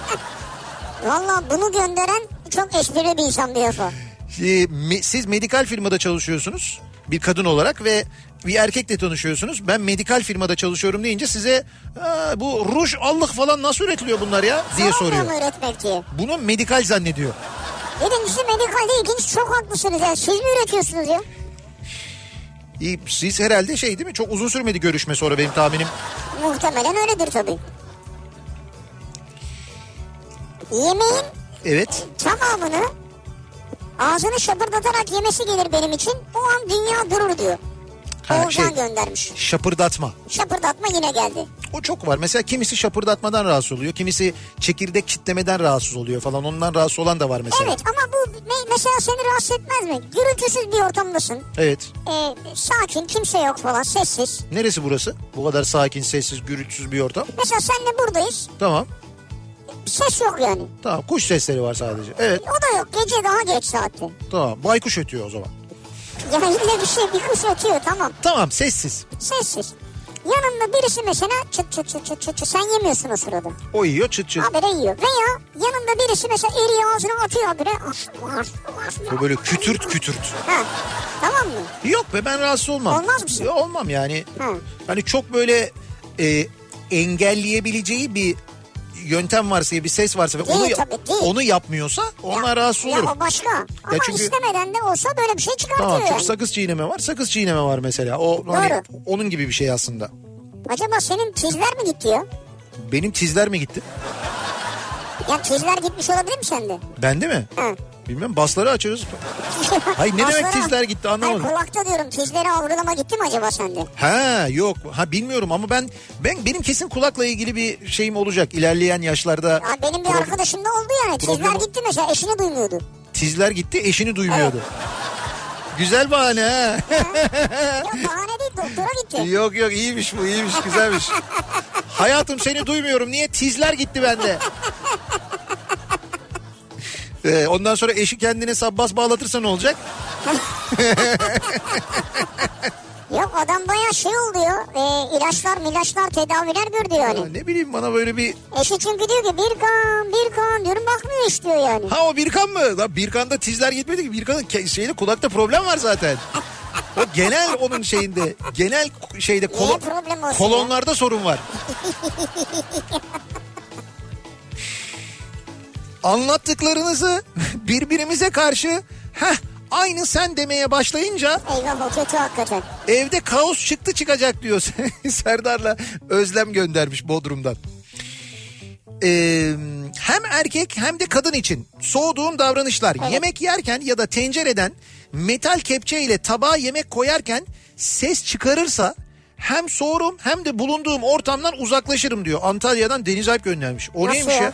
Speaker 2: Valla bunu gönderen çok esprili bir insan diyor o.
Speaker 1: Ee, me- siz medikal firmada çalışıyorsunuz. bir kadın olarak ve bir erkekle tanışıyorsunuz. Ben medikal firmada çalışıyorum deyince size "Aa, bu ruj allık falan nasıl üretiliyor bunlar ya diye soruyor.
Speaker 2: Sormuyor mu üretmek diye.
Speaker 1: Bunu medikal zannediyor.
Speaker 2: Birincisi medikal değil ikincisi çok haklısınız. Yani siz mi üretiyorsunuz ya?
Speaker 1: İyi, Siz herhalde şey değil mi çok uzun sürmedi görüşme sonra benim tahminim.
Speaker 2: Muhtemelen öyledir tabii. Yemeğin
Speaker 1: Evet.
Speaker 2: tamamını ağzını şapırdatarak yemesi gelir benim için. O an dünya durur diyor.
Speaker 1: Ha, şey,
Speaker 2: Oğuzhan göndermiş.
Speaker 1: Şapırdatma.
Speaker 2: Şapırdatma yine geldi.
Speaker 1: O çok var. Mesela kimisi şapırdatmadan rahatsız oluyor. Kimisi çekirdek kitlemeden rahatsız oluyor falan. Ondan rahatsız olan da var mesela.
Speaker 2: Evet ama bu me- mesela seni rahatsız etmez mi? Gürültüsüz bir ortamdasın.
Speaker 1: Evet.
Speaker 2: Ee, sakin kimse yok falan sessiz.
Speaker 1: Neresi burası? Bu kadar sakin, sessiz, gürültüsüz bir ortam.
Speaker 2: Mesela senle buradayız.
Speaker 1: Tamam.
Speaker 2: Ses yok yani.
Speaker 1: Tamam. Kuş sesleri var sadece. Evet.
Speaker 2: O da yok. Gece daha geç [LAUGHS] saatte.
Speaker 1: Tamam. Baykuş ötüyor o zaman.
Speaker 2: Ya illa bir şey bir kuş ötüyor tamam.
Speaker 1: Tamam sessiz.
Speaker 2: Sessiz. Yanında birisi mesela çıt çıt çıt çıt çıt çıt sen yemiyorsun o sırada.
Speaker 1: O yiyor çıt çıt.
Speaker 2: Habire yiyor. Veya yanında birisi mesela eriği ağzına atıyor habire. Ah,
Speaker 1: Bu böyle kütürt kütürt.
Speaker 2: Ha, tamam mı?
Speaker 1: Yok be ben rahatsız olmam.
Speaker 2: Olmaz mısın?
Speaker 1: Ya, olmam yani.
Speaker 2: Ha.
Speaker 1: Hani çok böyle e, engelleyebileceği bir yöntem varsa ya bir ses varsa ve
Speaker 2: Değil
Speaker 1: onu,
Speaker 2: tabii, değil.
Speaker 1: onu yapmıyorsa ona rahatsız
Speaker 2: Ya
Speaker 1: olurum.
Speaker 2: o başka. Ama
Speaker 1: çünkü-
Speaker 2: istemeden de olsa böyle bir şey çıkartıyor
Speaker 1: Tamam
Speaker 2: yani.
Speaker 1: çok sakız çiğneme var. Sakız çiğneme var mesela. O hani
Speaker 2: Doğru.
Speaker 1: onun gibi bir şey aslında.
Speaker 2: Acaba senin tizler mi gitti ya?
Speaker 1: Benim tizler mi gitti?
Speaker 2: Ya tizler gitmiş olabilir mi sende?
Speaker 1: Bende mi?
Speaker 2: Ha.
Speaker 1: Bilmem basları açıyoruz. [LAUGHS] Hayır, ne demek
Speaker 2: Baslara-
Speaker 1: tizler gitti, anlamadım.
Speaker 2: Hayır kulakta diyorum tizleri avrulama gitti mi acaba sende?
Speaker 1: Ha yok. Ha bilmiyorum ama ben ben benim kesin kulakla ilgili bir şeyim olacak ilerleyen yaşlarda.
Speaker 2: Ya benim bir
Speaker 1: Problem-
Speaker 2: arkadaşımda oldu yani. Tizler
Speaker 1: problem-
Speaker 2: gitti mesela eşini duymuyordu.
Speaker 1: Tizler gitti, eşini duymuyordu. Güzel bahane ha.
Speaker 2: Yok bahane değil doktora gitti.
Speaker 1: yok yok iyiymiş bu, iyiymiş, güzelmiş. Hayatım seni duymuyorum. Niye tizler gitti bende? Ee, ondan sonra eşi kendine sabbas bağlatırsa ne olacak?
Speaker 2: Yok adam bayağı şey oldu ya. E, ilaçlar milaçlar tedaviler gördü
Speaker 1: Ya
Speaker 2: yani.
Speaker 1: ne bileyim bana böyle bir
Speaker 2: Eşi çünkü diyor ki bir kan bir kan diyorum bakmıyor iş diyor yani.
Speaker 1: Ha o Birkan mı? Lan Birkan'da tizler gitmedi ki. Birkan'ın ke- şeyde kulakta problem var zaten. O genel onun şeyinde, genel k- şeyde kolon-
Speaker 2: problem olsun
Speaker 1: kolonlarda sorun var. Anlattıklarınızı birbirimize karşı heh aynı sen demeye başlayınca
Speaker 2: Eyvah o kötü hakikaten.
Speaker 1: evde kaos çıktı çıkacak diyor [LAUGHS] Serdar'la Özlem göndermiş Bodrum'dan. Ee, hem erkek hem de kadın için soğuduğum davranışlar yemek yerken ya da tencereden metal kepçe ile tabağa yemek koyarken ses çıkarırsa hem soğurum hem de bulunduğum ortamdan uzaklaşırım diyor. Antalya'dan Deniz Alp göndermiş. O
Speaker 2: Nasıl
Speaker 1: neymiş
Speaker 2: ya?
Speaker 1: ya?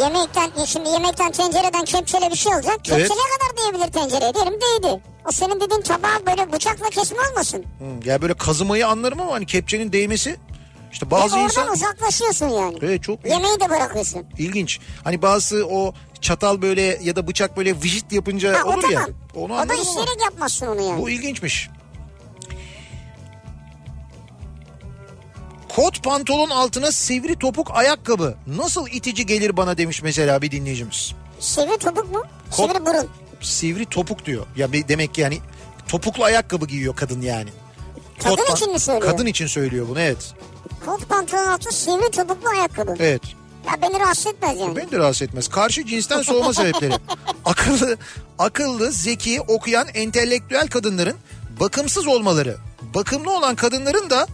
Speaker 2: Yemekten e, şimdi yemekten tencereden kepçeyle bir şey olacak. Kepçe
Speaker 1: Evet.
Speaker 2: ne kadar diyebilir tencereye derim değdi. O senin dediğin tabağı böyle bıçakla kesme olmasın.
Speaker 1: Hmm, ya böyle kazımayı anlarım ama hani kepçenin değmesi işte
Speaker 2: Hem
Speaker 1: bazı
Speaker 2: E oradan
Speaker 1: insan...
Speaker 2: uzaklaşıyorsun yani.
Speaker 1: Evet çok
Speaker 2: Yemeği de bırakıyorsun.
Speaker 1: İlginç. Hani bazı o çatal böyle ya da bıçak böyle vijit yapınca
Speaker 2: Ha, o
Speaker 1: E, olur ya.
Speaker 2: tamam.
Speaker 1: Onu
Speaker 2: o da
Speaker 1: anlarım ama
Speaker 2: isteyerek yapmazsın onu yani.
Speaker 1: bu ilginçmiş. Kot pantolon altına sivri topuk ayakkabı nasıl itici gelir bana demiş mesela bir dinleyicimiz.
Speaker 2: Sivri topuk mu?
Speaker 1: Kop-
Speaker 2: Sivri burun.
Speaker 1: Sivri topuk diyor. Ya bir- demek ki yani topuklu ayakkabı giyiyor kadın yani.
Speaker 2: Kadın
Speaker 1: pan-
Speaker 2: için mi söylüyor?
Speaker 1: Kadın için söylüyor bunu evet.
Speaker 2: Kot pantolonun altı sivri topuklu ayakkabı.
Speaker 1: Evet.
Speaker 2: Ya beni rahatsız etmez yani.
Speaker 1: Beni de rahatsız etmez. Karşı cinsten soğuma
Speaker 2: [LAUGHS]
Speaker 1: sebepleri. Akıllı, akıllı, zeki, okuyan, entelektüel kadınların bakımsız olmaları. Bakımlı olan kadınların da...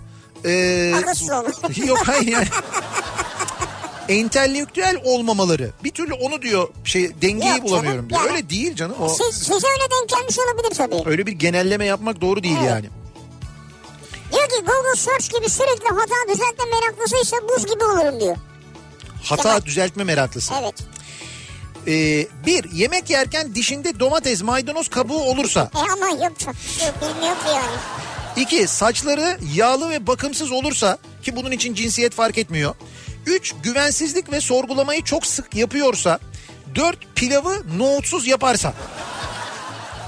Speaker 1: eee,
Speaker 2: Akılsız olmuş.
Speaker 1: [LAUGHS] Yok hayır yani. entelektüel olmamaları. Bir türlü onu diyor şey dengeyi
Speaker 2: Yok canım,
Speaker 1: bulamıyorum diyor.
Speaker 2: yani- Şey-
Speaker 1: Öyle değil canım. O,
Speaker 2: Siz, size öyle denk gelmiş olabilir tabii.
Speaker 1: öyle bir genelleme yapmak doğru değil
Speaker 2: Evet.
Speaker 1: yani.
Speaker 2: Diyor ki Google Search gibi sürekli hata düzeltme meraklısıysa buz gibi olurum diyor.
Speaker 1: Hata
Speaker 2: Tamam.
Speaker 1: düzeltme meraklısı.
Speaker 2: Evet.
Speaker 1: Eee, bir, yemek yerken dişinde domates, maydanoz kabuğu olursa.
Speaker 2: E ama yok çok yok, bilmiyor ki yani.
Speaker 1: İki, saçları yağlı ve bakımsız olursa ki bunun için cinsiyet fark etmiyor. Üç, güvensizlik ve sorgulamayı çok sık yapıyorsa. Dört, pilavı nohutsuz yaparsa.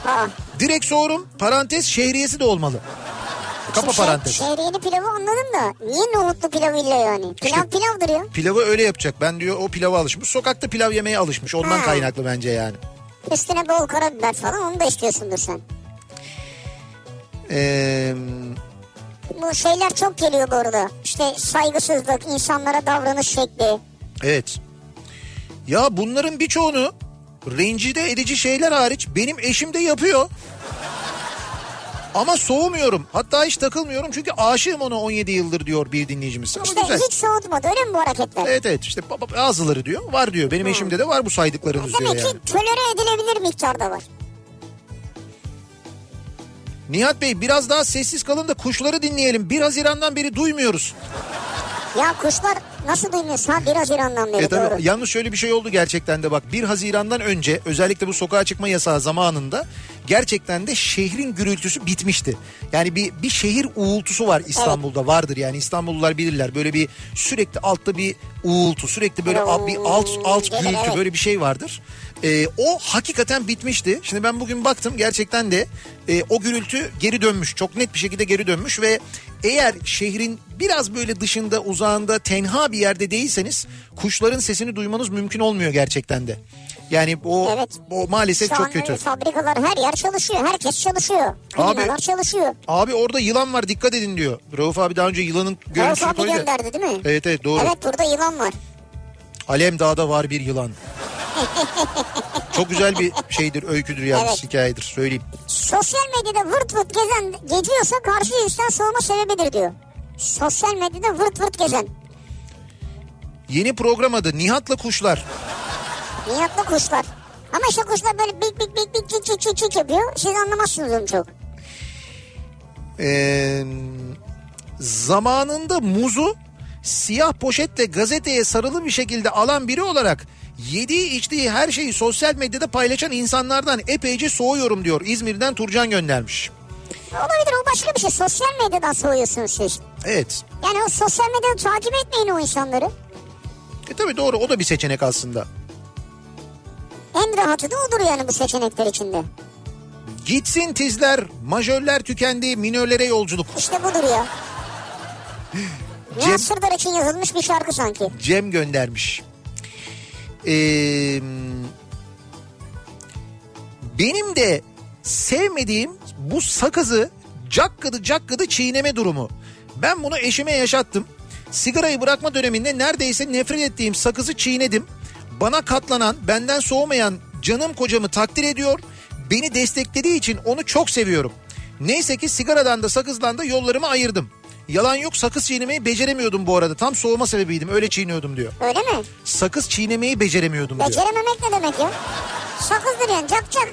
Speaker 2: Aa,
Speaker 1: Direkt sorum parantez şehriyesi de olmalı. Kapa
Speaker 2: şey-
Speaker 1: parantez.
Speaker 2: Şehriyeli pilavı anladım da niye nohutlu pilavıyla yani? Pilav
Speaker 1: İşte-
Speaker 2: pilavdır ya.
Speaker 1: Pilavı öyle yapacak. Ben diyor o pilava alışmış. Sokakta pilav yemeye alışmış. Ondan
Speaker 2: Ha.
Speaker 1: kaynaklı bence yani.
Speaker 2: Üstüne bol karabiber falan onu da istiyorsundur sen.
Speaker 1: Ee,
Speaker 2: Bu şeyler çok geliyor bu arada. İşte saygısızlık, insanlara davranış şekli.
Speaker 1: evet. Ya bunların birçoğunu rencide edici şeyler hariç benim eşim de yapıyor. Ama soğumuyorum. Hatta hiç takılmıyorum çünkü aşığım ona 17 yıldır diyor bir dinleyicimiz. Ama
Speaker 2: İşte
Speaker 1: güzel.
Speaker 2: hiç soğutmadı öyle mi bu hareketler?
Speaker 1: Evet evet işte ba- ba- bazıları diyor var diyor.
Speaker 2: Hmm.
Speaker 1: Benim eşimde de var bu saydıklarınız diyor
Speaker 2: Demek
Speaker 1: yani.
Speaker 2: ki tolere edilebilir miktarda var.
Speaker 1: Nihat Bey biraz daha sessiz kalın da kuşları dinleyelim. 1 Haziran'dan beri duymuyoruz.
Speaker 2: Ya kuşlar nasıl duymuyorsun ha 1 Haziran'dan beri
Speaker 1: E tabii,
Speaker 2: doğru.
Speaker 1: yalnız şöyle bir şey oldu gerçekten de bak 1 Haziran'dan önce özellikle bu sokağa çıkma yasağı zamanında gerçekten de şehrin gürültüsü bitmişti. Yani bir bir şehir uğultusu var İstanbul'da vardır yani İstanbullular bilirler böyle bir sürekli altta bir uğultu sürekli böyle a- bir alt alt
Speaker 2: Evet,
Speaker 1: gürültü
Speaker 2: evet.
Speaker 1: böyle bir şey vardır. E, o hakikaten bitmişti. Şimdi ben bugün baktım gerçekten de e, o gürültü geri dönmüş. Çok net bir şekilde geri dönmüş ve eğer şehrin biraz böyle dışında uzağında tenha bir yerde değilseniz kuşların sesini duymanız mümkün olmuyor gerçekten de. Yani o, o maalesef
Speaker 2: Şu an
Speaker 1: çok kötü.
Speaker 2: öyle fabrikalar her yer çalışıyor. Herkes çalışıyor. Klimalar
Speaker 1: Abi-
Speaker 2: çalışıyor.
Speaker 1: Abi orada yılan var dikkat edin diyor. Rauf abi daha önce yılanın
Speaker 2: Rauf
Speaker 1: görüntüsünü
Speaker 2: abi
Speaker 1: koydu. ya.
Speaker 2: gönderdi değil mi?
Speaker 1: Evet evet doğru.
Speaker 2: Evet burada yılan var.
Speaker 1: Alem Dağ'da var bir
Speaker 2: [LAUGHS]
Speaker 1: yılan. çok güzel bir şeydir, öyküdür yalnız
Speaker 2: Evet.
Speaker 1: hikayedir söyleyeyim.
Speaker 2: Sosyal medyada vırt vırt gezen geziyorsa karşı cinsten soğuma sebebidir diyor. Sosyal medyada vırt vırt gezen.
Speaker 1: Yeni program adı Nihat'la Kuşlar.
Speaker 2: Niyatlı kuşlar. Ama işte kuşlar böyle bik bik bik bik cik cik cik cik yapıyor. Siz anlamazsınız onu çok.
Speaker 1: Ee, zamanında muzu siyah poşetle gazeteye sarılı bir şekilde alan biri olarak yediği içtiği her şeyi sosyal medyada paylaşan insanlardan epeyce soğuyorum diyor. İzmir'den Turcan göndermiş.
Speaker 2: Olabilir o başka bir şey. Sosyal medyadan soğuyorsunuz siz.
Speaker 1: Evet.
Speaker 2: Yani o sosyal medyadan takip etmeyin o insanları.
Speaker 1: E tabii doğru o da bir seçenek aslında.
Speaker 2: En rahatı da odur yani bu seçenekler içinde.
Speaker 1: Gitsin tizler, majörler tükendi, minörlere yolculuk.
Speaker 2: İşte budur ya.
Speaker 1: Cem-
Speaker 2: Nihat Sırdar için yazılmış bir şarkı sanki.
Speaker 1: Cem göndermiş. Ee, benim de sevmediğim bu sakızı cakkıdı cakkıdı çiğneme durumu. Ben bunu eşime yaşattım. Sigarayı bırakma döneminde neredeyse nefret ettiğim sakızı çiğnedim. Bana katlanan, benden soğumayan canım kocamı takdir ediyor. Beni desteklediği için onu çok seviyorum. Neyse ki sigaradan da sakızdan da yollarımı ayırdım. Yalan yok sakız çiğnemeyi beceremiyordum bu arada. Tam soğuma sebebiydim öyle çiğniyordum diyor.
Speaker 2: Öyle mi?
Speaker 1: Sakız çiğnemeyi beceremiyordum diyor.
Speaker 2: Becerememek ne demek ya? Sakızdır yani cak cak.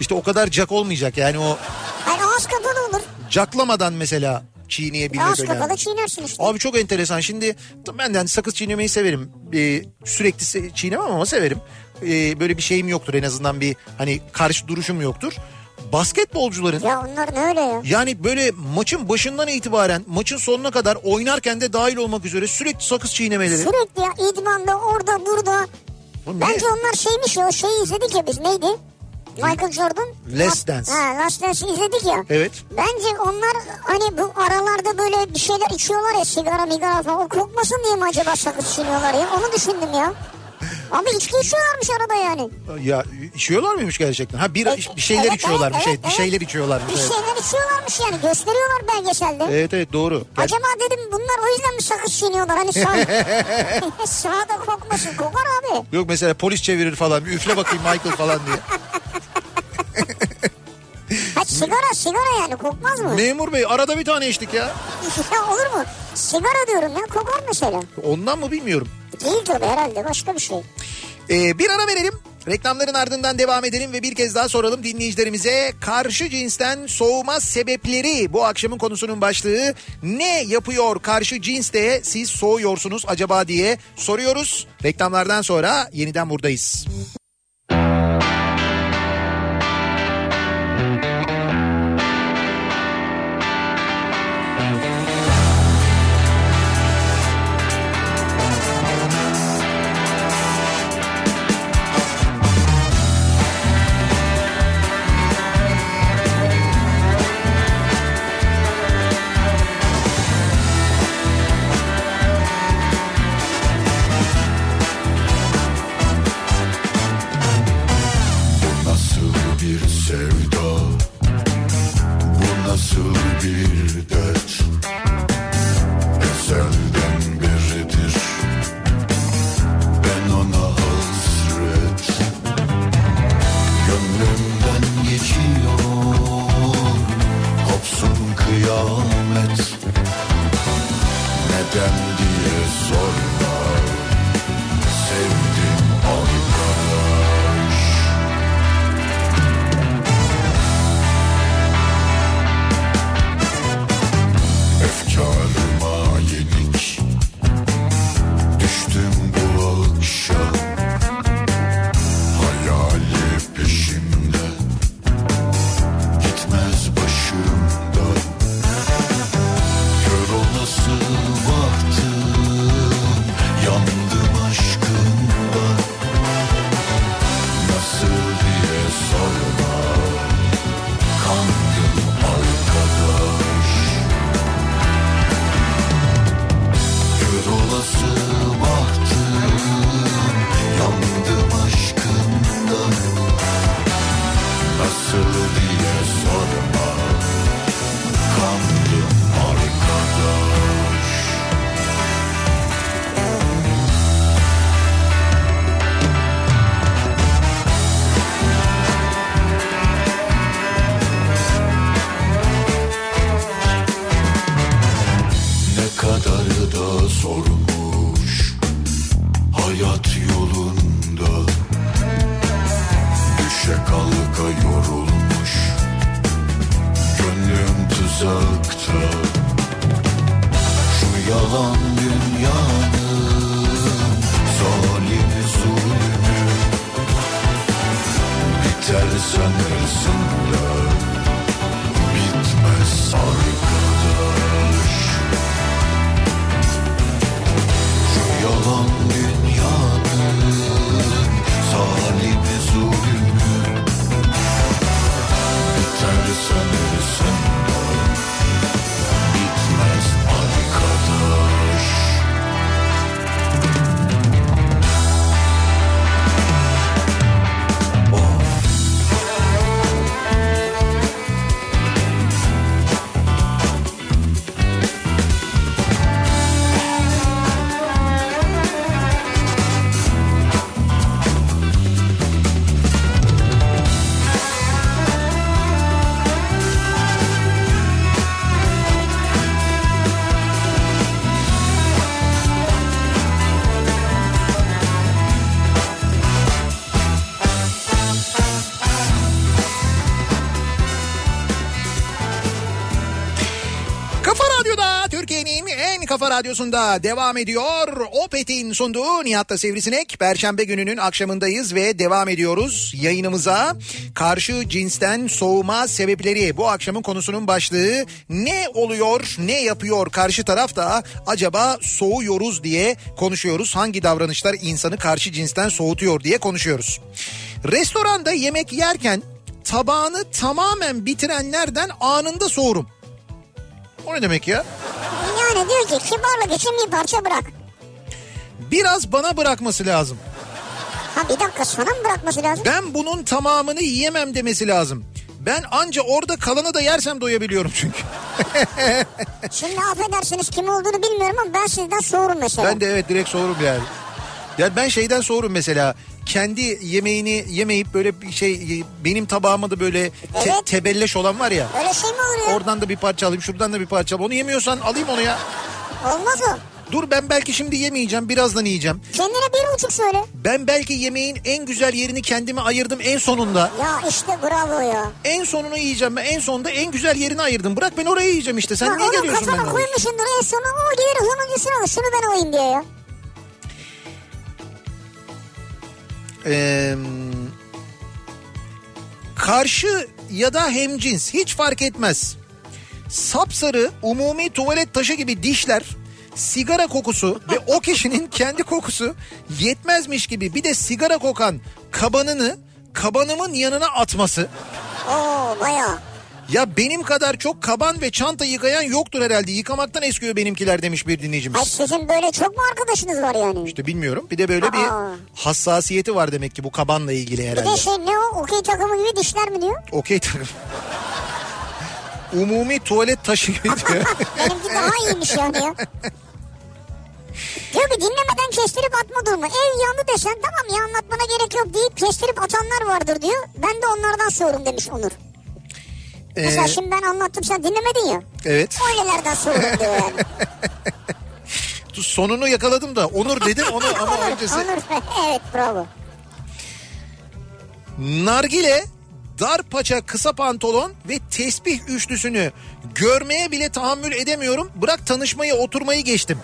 Speaker 1: İşte o kadar cak olmayacak yani o
Speaker 2: Hayır ağız kapalı olur.
Speaker 1: caklamadan mesela çiğneyebilmek
Speaker 2: ağız
Speaker 1: önemli.
Speaker 2: kapalı çiğnersin işte.
Speaker 1: Abi çok enteresan şimdi t- ben de hani sakız çiğnemeyi severim. Ee, sürekli se- çiğnemem ama severim. Ee, böyle bir şeyim yoktur en azından bir hani karşı duruşum yoktur. Basketbolcuların
Speaker 2: Ya onlar ne öyle ya?
Speaker 1: yani böyle maçın başından itibaren maçın sonuna kadar oynarken de dahil olmak üzere sürekli sakız çiğnemeleri.
Speaker 2: Sürekli ya idmanda orada burada.
Speaker 1: Bu ne?
Speaker 2: Bence onlar şeymiş ya o şeyi izledik ya biz neydi? Michael Jordan.
Speaker 1: Last Dance.
Speaker 2: Ha, Last Dance'i izledik ya.
Speaker 1: Evet.
Speaker 2: Bence onlar hani bu aralarda böyle bir şeyler içiyorlar ya sigara migara falan. O kokmasın diye mi acaba sakız çiğniyorlar ya? Onu düşündüm ya. Abi içki içiyorlarmış arada yani.
Speaker 1: Ya içiyorlar mıymış gerçekten? Ha bir,
Speaker 2: Evet,
Speaker 1: bir şeyler
Speaker 2: evet,
Speaker 1: içiyorlar bir
Speaker 2: evet,
Speaker 1: şey
Speaker 2: evet,
Speaker 1: bir şeyler içiyorlar.
Speaker 2: Bir şey- şeyler içiyorlarmış yani gösteriyorlar belgeselde.
Speaker 1: Evet evet doğru. Ger-
Speaker 2: Acaba dedim bunlar o yüzden mi sakız çiğniyorlar hani sağ...
Speaker 1: [LAUGHS]
Speaker 2: [LAUGHS] sağda kokmasın kokar abi.
Speaker 1: Yok mesela polis çevirir falan. Bir üfle bakayım Michael falan diye.
Speaker 2: Ha sigara sigara yani kokmaz mı?
Speaker 1: Memur bey arada bir tane içtik ya.
Speaker 2: ya olur mu? Sigara diyorum ya kokar mesela.
Speaker 1: Ondan mı bilmiyorum.
Speaker 2: Değil tabii herhalde başka bir şey.
Speaker 1: Ee, bir ara verelim. Reklamların ardından devam edelim ve bir kez daha soralım dinleyicilerimize. Karşı cinsten soğuma sebepleri bu akşamın konusunun başlığı. Ne yapıyor karşı cinste siz soğuyorsunuz acaba diye soruyoruz. Reklamlardan sonra yeniden buradayız.
Speaker 11: sorma Sevdim arkadaş Efkarıma yenik Düştüm bu alkışa Hayali peşimde Gitmez başımdan Kör olası baktım Yandım aşkımda Nasıl diye sorma Kandım arkadaş Kör olası baktım Yandım aşkımda Nasıl diye sorma Kandım arkadaş Ne kadar da sormuş Hayat yolunda Düşe kalka yorulmuş Gönlüm tuzakta Şu yalan dünyanın Zalimi zulmü Biter sanırsın da Bitmez arkadaş Şu yalan dünyanın Zalimi zulmü Biter sanırsın da Bitmez arkadaş
Speaker 1: Kafa Radyo'da Türkiye'nin en kafa radyosunda devam ediyor. Opet'in sunduğu Nihat'ta Sivrisinek. Perşembe gününün akşamındayız ve devam ediyoruz yayınımıza. Karşı cinsten soğuma sebepleri bu akşamın konusunun başlığı. Ne oluyor, ne yapıyor karşı taraf da acaba soğuyoruz diye konuşuyoruz. Hangi davranışlar insanı karşı cinsten soğutuyor diye konuşuyoruz. Restoranda yemek yerken tabağını tamamen bitirenlerden anında soğurum. O ne demek ya?
Speaker 2: Yani diyor ki kibarlık için bir parça bırak.
Speaker 1: Biraz bana bırakması lazım.
Speaker 2: Ha bir dakika sana mı bırakması lazım?
Speaker 1: Ben bunun tamamını yiyemem demesi lazım. Ben anca orada kalanı da yersem doyabiliyorum çünkü.
Speaker 2: Şimdi affedersiniz kim olduğunu bilmiyorum ama ben sizden soğurum mesela.
Speaker 1: Ben de evet direkt soğurum yani. Ya ben şeyden soğurum mesela. Kendi yemeğini yemeyip böyle bir şey benim tabağıma da böyle te-
Speaker 2: Evet.
Speaker 1: tebelleş olan var ya.
Speaker 2: Öyle şey mi olur ya?
Speaker 1: Oradan da bir parça alayım şuradan da bir parça alayım. Onu yemiyorsan alayım onu ya.
Speaker 2: Olmaz o.
Speaker 1: Dur ben belki şimdi yemeyeceğim birazdan yiyeceğim.
Speaker 2: Kendine bir buçuk söyle.
Speaker 1: Ben belki yemeğin en güzel yerini kendime ayırdım en sonunda.
Speaker 2: Ya işte bravo ya.
Speaker 1: En sonunu yiyeceğim ben en sonunda en güzel yerini ayırdım. Bırak ben oraya yiyeceğim işte sen
Speaker 2: Ya
Speaker 1: niye
Speaker 2: oğlum
Speaker 1: geliyorsun
Speaker 2: kafana
Speaker 1: benimle?
Speaker 2: koymuşsundur en sonu o gelir hımmıncısını alır şunu ben alayım diye ya.
Speaker 1: Ee, karşı ya da hemcins hiç fark etmez. Sapsarı umumi tuvalet taşı gibi dişler, sigara kokusu ve o kişinin [LAUGHS] kendi kokusu yetmezmiş gibi bir de sigara kokan kabanını kabanımın yanına atması.
Speaker 2: Oo bayağı.
Speaker 1: Ya benim kadar çok kaban ve çanta yıkayan yoktur herhalde. Yıkamaktan eskiyor benimkiler demiş bir
Speaker 2: Ay
Speaker 1: dinleyicimiz.
Speaker 2: sizin böyle çok mu arkadaşınız var yani?
Speaker 1: İşte bilmiyorum. Bir de böyle bir
Speaker 2: Aa.
Speaker 1: hassasiyeti var demek ki bu kabanla ilgili
Speaker 2: bir
Speaker 1: herhalde.
Speaker 2: de şey ne o okey takımı gibi dişler mi diyor?
Speaker 1: Okey takım. Umumi tuvalet taşı gibi
Speaker 2: [LAUGHS]
Speaker 1: diyor.
Speaker 2: Benimki daha iyiymiş yani ya. Diyor ki dinlemeden kestirip atma durumu. Ev yandı desen tamam ya anlatmana gerek yok deyip kestirip atanlar vardır diyor. Ben de onlardan sorum demiş Onur. Mesela
Speaker 1: Ee,
Speaker 2: şimdi ben anlattım sen dinlemedin ya.
Speaker 1: evet. [LAUGHS]
Speaker 2: Öylelerden sorum diyor yani.
Speaker 1: sonunu yakaladım da Onur dedim onu
Speaker 2: [LAUGHS]
Speaker 1: ama
Speaker 2: Onur,
Speaker 1: öncesi.
Speaker 2: Onur. evet bravo.
Speaker 1: Nargile, dar paça kısa pantolon ve tesbih üçlüsünü görmeye bile tahammül edemiyorum. Bırak tanışmayı oturmayı geçtim.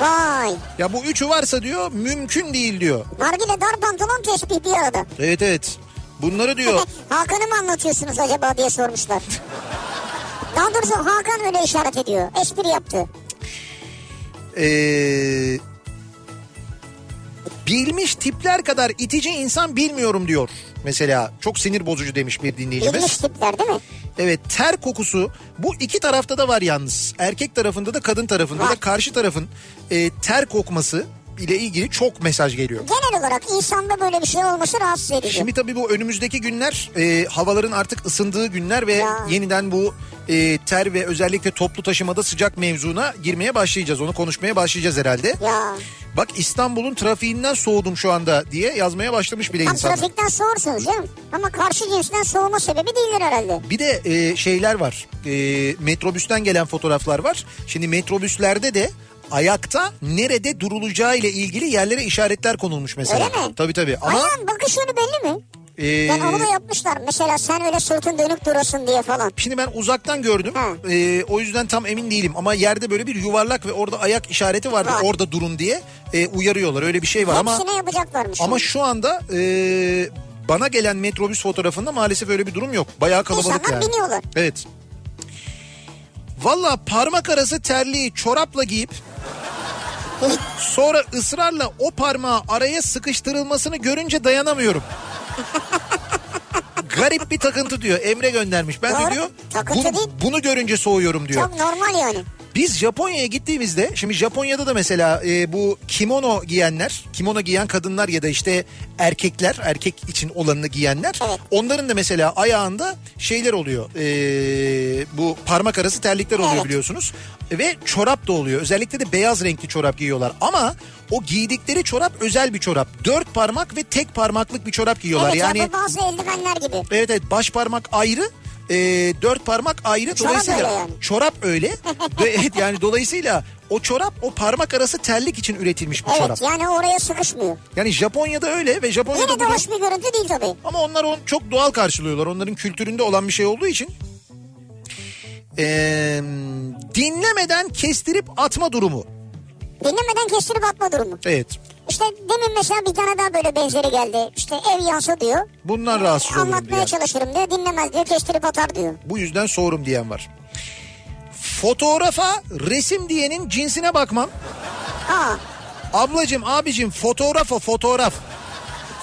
Speaker 2: Vay.
Speaker 1: Ya bu üçü varsa diyor mümkün değil diyor.
Speaker 2: Nargile dar pantolon tespih bir arada.
Speaker 1: Evet evet. Bunları diyor.
Speaker 2: [LAUGHS] Hakan'ı mı anlatıyorsunuz acaba
Speaker 1: [LAUGHS]
Speaker 2: diye sormuşlar. Daha doğrusu Hakan öyle işaret ediyor. Espri yaptı.
Speaker 1: Ee, bilmiş tipler kadar itici insan bilmiyorum diyor. Mesela çok sinir bozucu demiş bir dinleyicimiz.
Speaker 2: Bilmiş tipler değil mi?
Speaker 1: Evet ter kokusu bu iki tarafta da var yalnız. Erkek tarafında da kadın tarafında da karşı tarafın e, ter kokması ile ilgili çok mesaj geliyor.
Speaker 2: Genel olarak insanda böyle bir şey olması rahatsız edici.
Speaker 1: Şimdi tabii bu önümüzdeki günler e, havaların artık ısındığı günler ve yeniden bu e, ter ve özellikle toplu taşımada sıcak mevzuna girmeye başlayacağız. Onu konuşmaya başlayacağız herhalde.
Speaker 2: Ya.
Speaker 1: Bak İstanbul'un trafiğinden soğudum şu anda diye yazmaya başlamış bile
Speaker 2: Tam
Speaker 1: insanlar.
Speaker 2: trafikten soğursunuz canım. Ama karşı cinsten soğuma sebebi değildir herhalde.
Speaker 1: Bir de e, şeyler var. E, metrobüsten gelen fotoğraflar var. Şimdi metrobüslerde de ayakta nerede durulacağı ile ilgili yerlere işaretler konulmuş mesela.
Speaker 2: Öyle mi?
Speaker 1: Tabii tabii. E, Ama
Speaker 2: Ayağın bakış yönü belli mi?
Speaker 1: e,
Speaker 2: Yani onu da yapmışlar. Mesela sen öyle sırtın dönük durasın diye falan.
Speaker 1: Şimdi ben uzaktan gördüm. Ee, o yüzden tam emin değilim ama yerde böyle bir yuvarlak ve orada ayak işareti vardı.
Speaker 2: Var.
Speaker 1: Orada durun diye e, uyarıyorlar. Öyle bir şey var ama
Speaker 2: Hepsine yapacaklarmış.
Speaker 1: ama şu anda e, bana gelen metrobüs fotoğrafında maalesef öyle bir durum yok. Bayağı kalabalık
Speaker 2: İnsanlar
Speaker 1: yani.
Speaker 2: biniyorlar.
Speaker 1: Evet. Valla parmak arası terliği çorapla giyip sonra ısrarla o parmağı araya sıkıştırılmasını görünce dayanamıyorum. Garip bir takıntı diyor. Emre göndermiş. Ben de
Speaker 2: Doğru.
Speaker 1: diyor
Speaker 2: Takıntı
Speaker 1: bunu,
Speaker 2: değil.
Speaker 1: bunu görünce soğuyorum diyor.
Speaker 2: Çok normal yani.
Speaker 1: Biz Japonya'ya gittiğimizde şimdi Japonya'da da mesela e, bu kimono giyenler, kimono giyen kadınlar ya da işte erkekler, erkek için olanını giyenler onların da mesela ayağında şeyler oluyor. E, bu parmak arası terlikler oluyor
Speaker 7: Evet.
Speaker 1: biliyorsunuz. Ve çorap da oluyor. Özellikle de beyaz renkli çorap giyiyorlar. Ama o giydikleri çorap özel bir çorap. Dört parmak ve tek parmaklık bir çorap giyiyorlar.
Speaker 2: evet
Speaker 1: yani
Speaker 2: ya bu bazı eldivenler gibi.
Speaker 1: Evet evet baş parmak ayrı. e, dört parmak ayrı
Speaker 2: Çorap
Speaker 1: dolayısıyla
Speaker 2: öyle yani.
Speaker 1: çorap
Speaker 2: [LAUGHS]
Speaker 1: öyle Ve evet yani dolayısıyla o çorap o parmak arası terlik için üretilmiş bir
Speaker 2: Evet
Speaker 1: çorap.
Speaker 2: yani oraya sıkışmıyor.
Speaker 1: Yani Japonya'da öyle ve Japonya'da
Speaker 2: Yine de
Speaker 1: bunu-
Speaker 2: hoş bir görüntü değil tabii.
Speaker 1: ama onlar onu çok doğal karşılıyorlar. Onların kültüründe olan bir şey olduğu için. Ee, dinlemeden kestirip atma durumu.
Speaker 2: Dinlemeden kestirip atma durumu.
Speaker 1: Evet.
Speaker 2: İşte demin mesela bir tane daha böyle benzeri geldi. İşte ev yansa diyor.
Speaker 1: Bundan rahatsız olurum
Speaker 2: Ee, Anlatmaya
Speaker 1: diye.
Speaker 2: çalışırım diyor. Dinlemez diyor. Kestirip atar diyor.
Speaker 1: Bu yüzden soğurum diyen var. Fotoğrafa resim diyenin cinsine bakmam.
Speaker 2: Aa.
Speaker 1: Ablacım abicim fotoğraf o fotoğraf.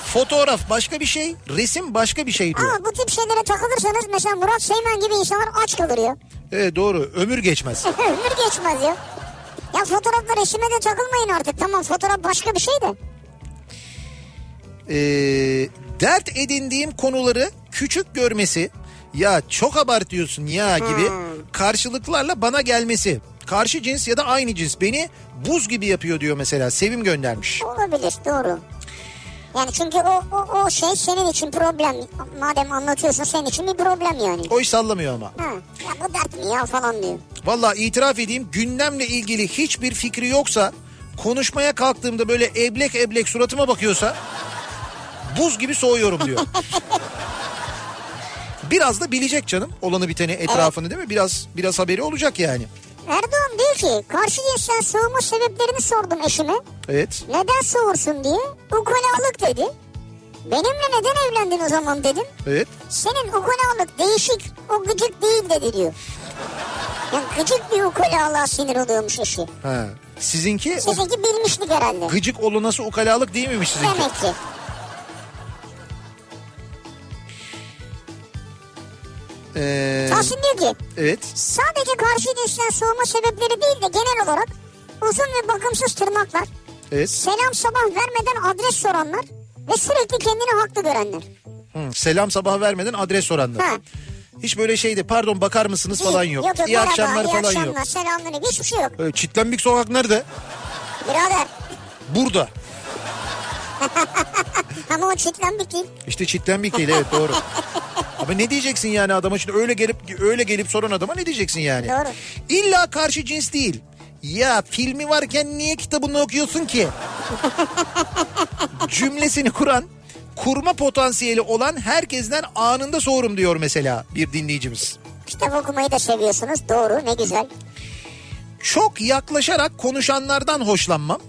Speaker 1: Fotoğraf başka bir şey, resim başka bir şey diyor.
Speaker 2: Ama bu tip şeylere takılırsanız mesela Murat Seymen gibi insanlar aç kalır ya. [LAUGHS]
Speaker 1: Evet doğru ömür geçmez.
Speaker 2: Ömür geçmez ya. Ya fotoğrafla resimle de takılmayın artık. Tamam fotoğraf başka bir şey de.
Speaker 1: Ee, dert edindiğim konuları küçük görmesi ya çok abartıyorsun ya gibi karşılıklarla bana gelmesi. Karşı cins ya da aynı cins beni buz gibi yapıyor diyor mesela Sevim göndermiş.
Speaker 2: Olabilir doğru. Yani çünkü o, o, o şey senin için problem. Madem anlatıyorsun senin için bir problem yani.
Speaker 1: O iş sallamıyor ama.
Speaker 2: Ha, ya bu dert mi ya falan diyor.
Speaker 1: Valla itiraf edeyim gündemle ilgili hiçbir fikri yoksa konuşmaya kalktığımda böyle eblek eblek suratıma bakıyorsa buz gibi soğuyorum
Speaker 2: [LAUGHS]
Speaker 1: diyor. biraz da bilecek canım olanı biteni etrafını değil mi? Biraz biraz haberi olacak yani.
Speaker 2: Erdoğan diyor ki karşı cinsten soğuma sebeplerini sordum eşime.
Speaker 1: Evet.
Speaker 2: Neden soğursun diye. Ukalalık dedi. Benimle neden evlendin o zaman dedim.
Speaker 1: Evet.
Speaker 2: Senin ukalalık değişik o gıcık değil dedi diyor. Yani gıcık bir ukalalığa sinir oluyormuş eşi.
Speaker 1: Ha. Sizinki o
Speaker 2: Sizinki bilmişlik herhalde.
Speaker 1: gıcık olunası ukalalık değil miymiş sizinki?
Speaker 2: Demek ki.
Speaker 1: Ee,
Speaker 2: Tahsin diyor ki
Speaker 1: evet.
Speaker 2: sadece karşı cinsten soğuma sebepleri değil de genel olarak uzun ve bakımsız tırnaklar,
Speaker 1: Evet.
Speaker 2: selam sabah vermeden adres soranlar ve sürekli kendini haklı görenler.
Speaker 1: Hı, selam sabah vermeden adres soranlar.
Speaker 2: Ha.
Speaker 1: Hiç böyle şeydi pardon bakar mısınız falan yok.
Speaker 2: yok,
Speaker 1: iyi
Speaker 2: merhaba,
Speaker 1: akşamlar
Speaker 2: iyi
Speaker 1: falan
Speaker 2: akşamlar,
Speaker 1: yok.
Speaker 2: selamünaleyküm, hiçbir şey yok.
Speaker 1: Ee, Çitlenbik sokak nerede?
Speaker 2: Birader
Speaker 1: Burada.
Speaker 2: ama o çitlen bitti.
Speaker 1: İşte çitlenmek değil evet doğru. Ama ne diyeceksin yani adama şimdi öyle gelip öyle gelip soran adama ne diyeceksin yani?
Speaker 2: Doğru.
Speaker 1: İlla karşı cins değil. Ya filmi varken niye kitabını okuyorsun ki? Cümlesini kuran kurma potansiyeli olan herkesten anında soğurum diyor mesela bir dinleyicimiz.
Speaker 2: Kitap okumayı da seviyorsunuz doğru ne güzel.
Speaker 1: Çok yaklaşarak konuşanlardan hoşlanmam.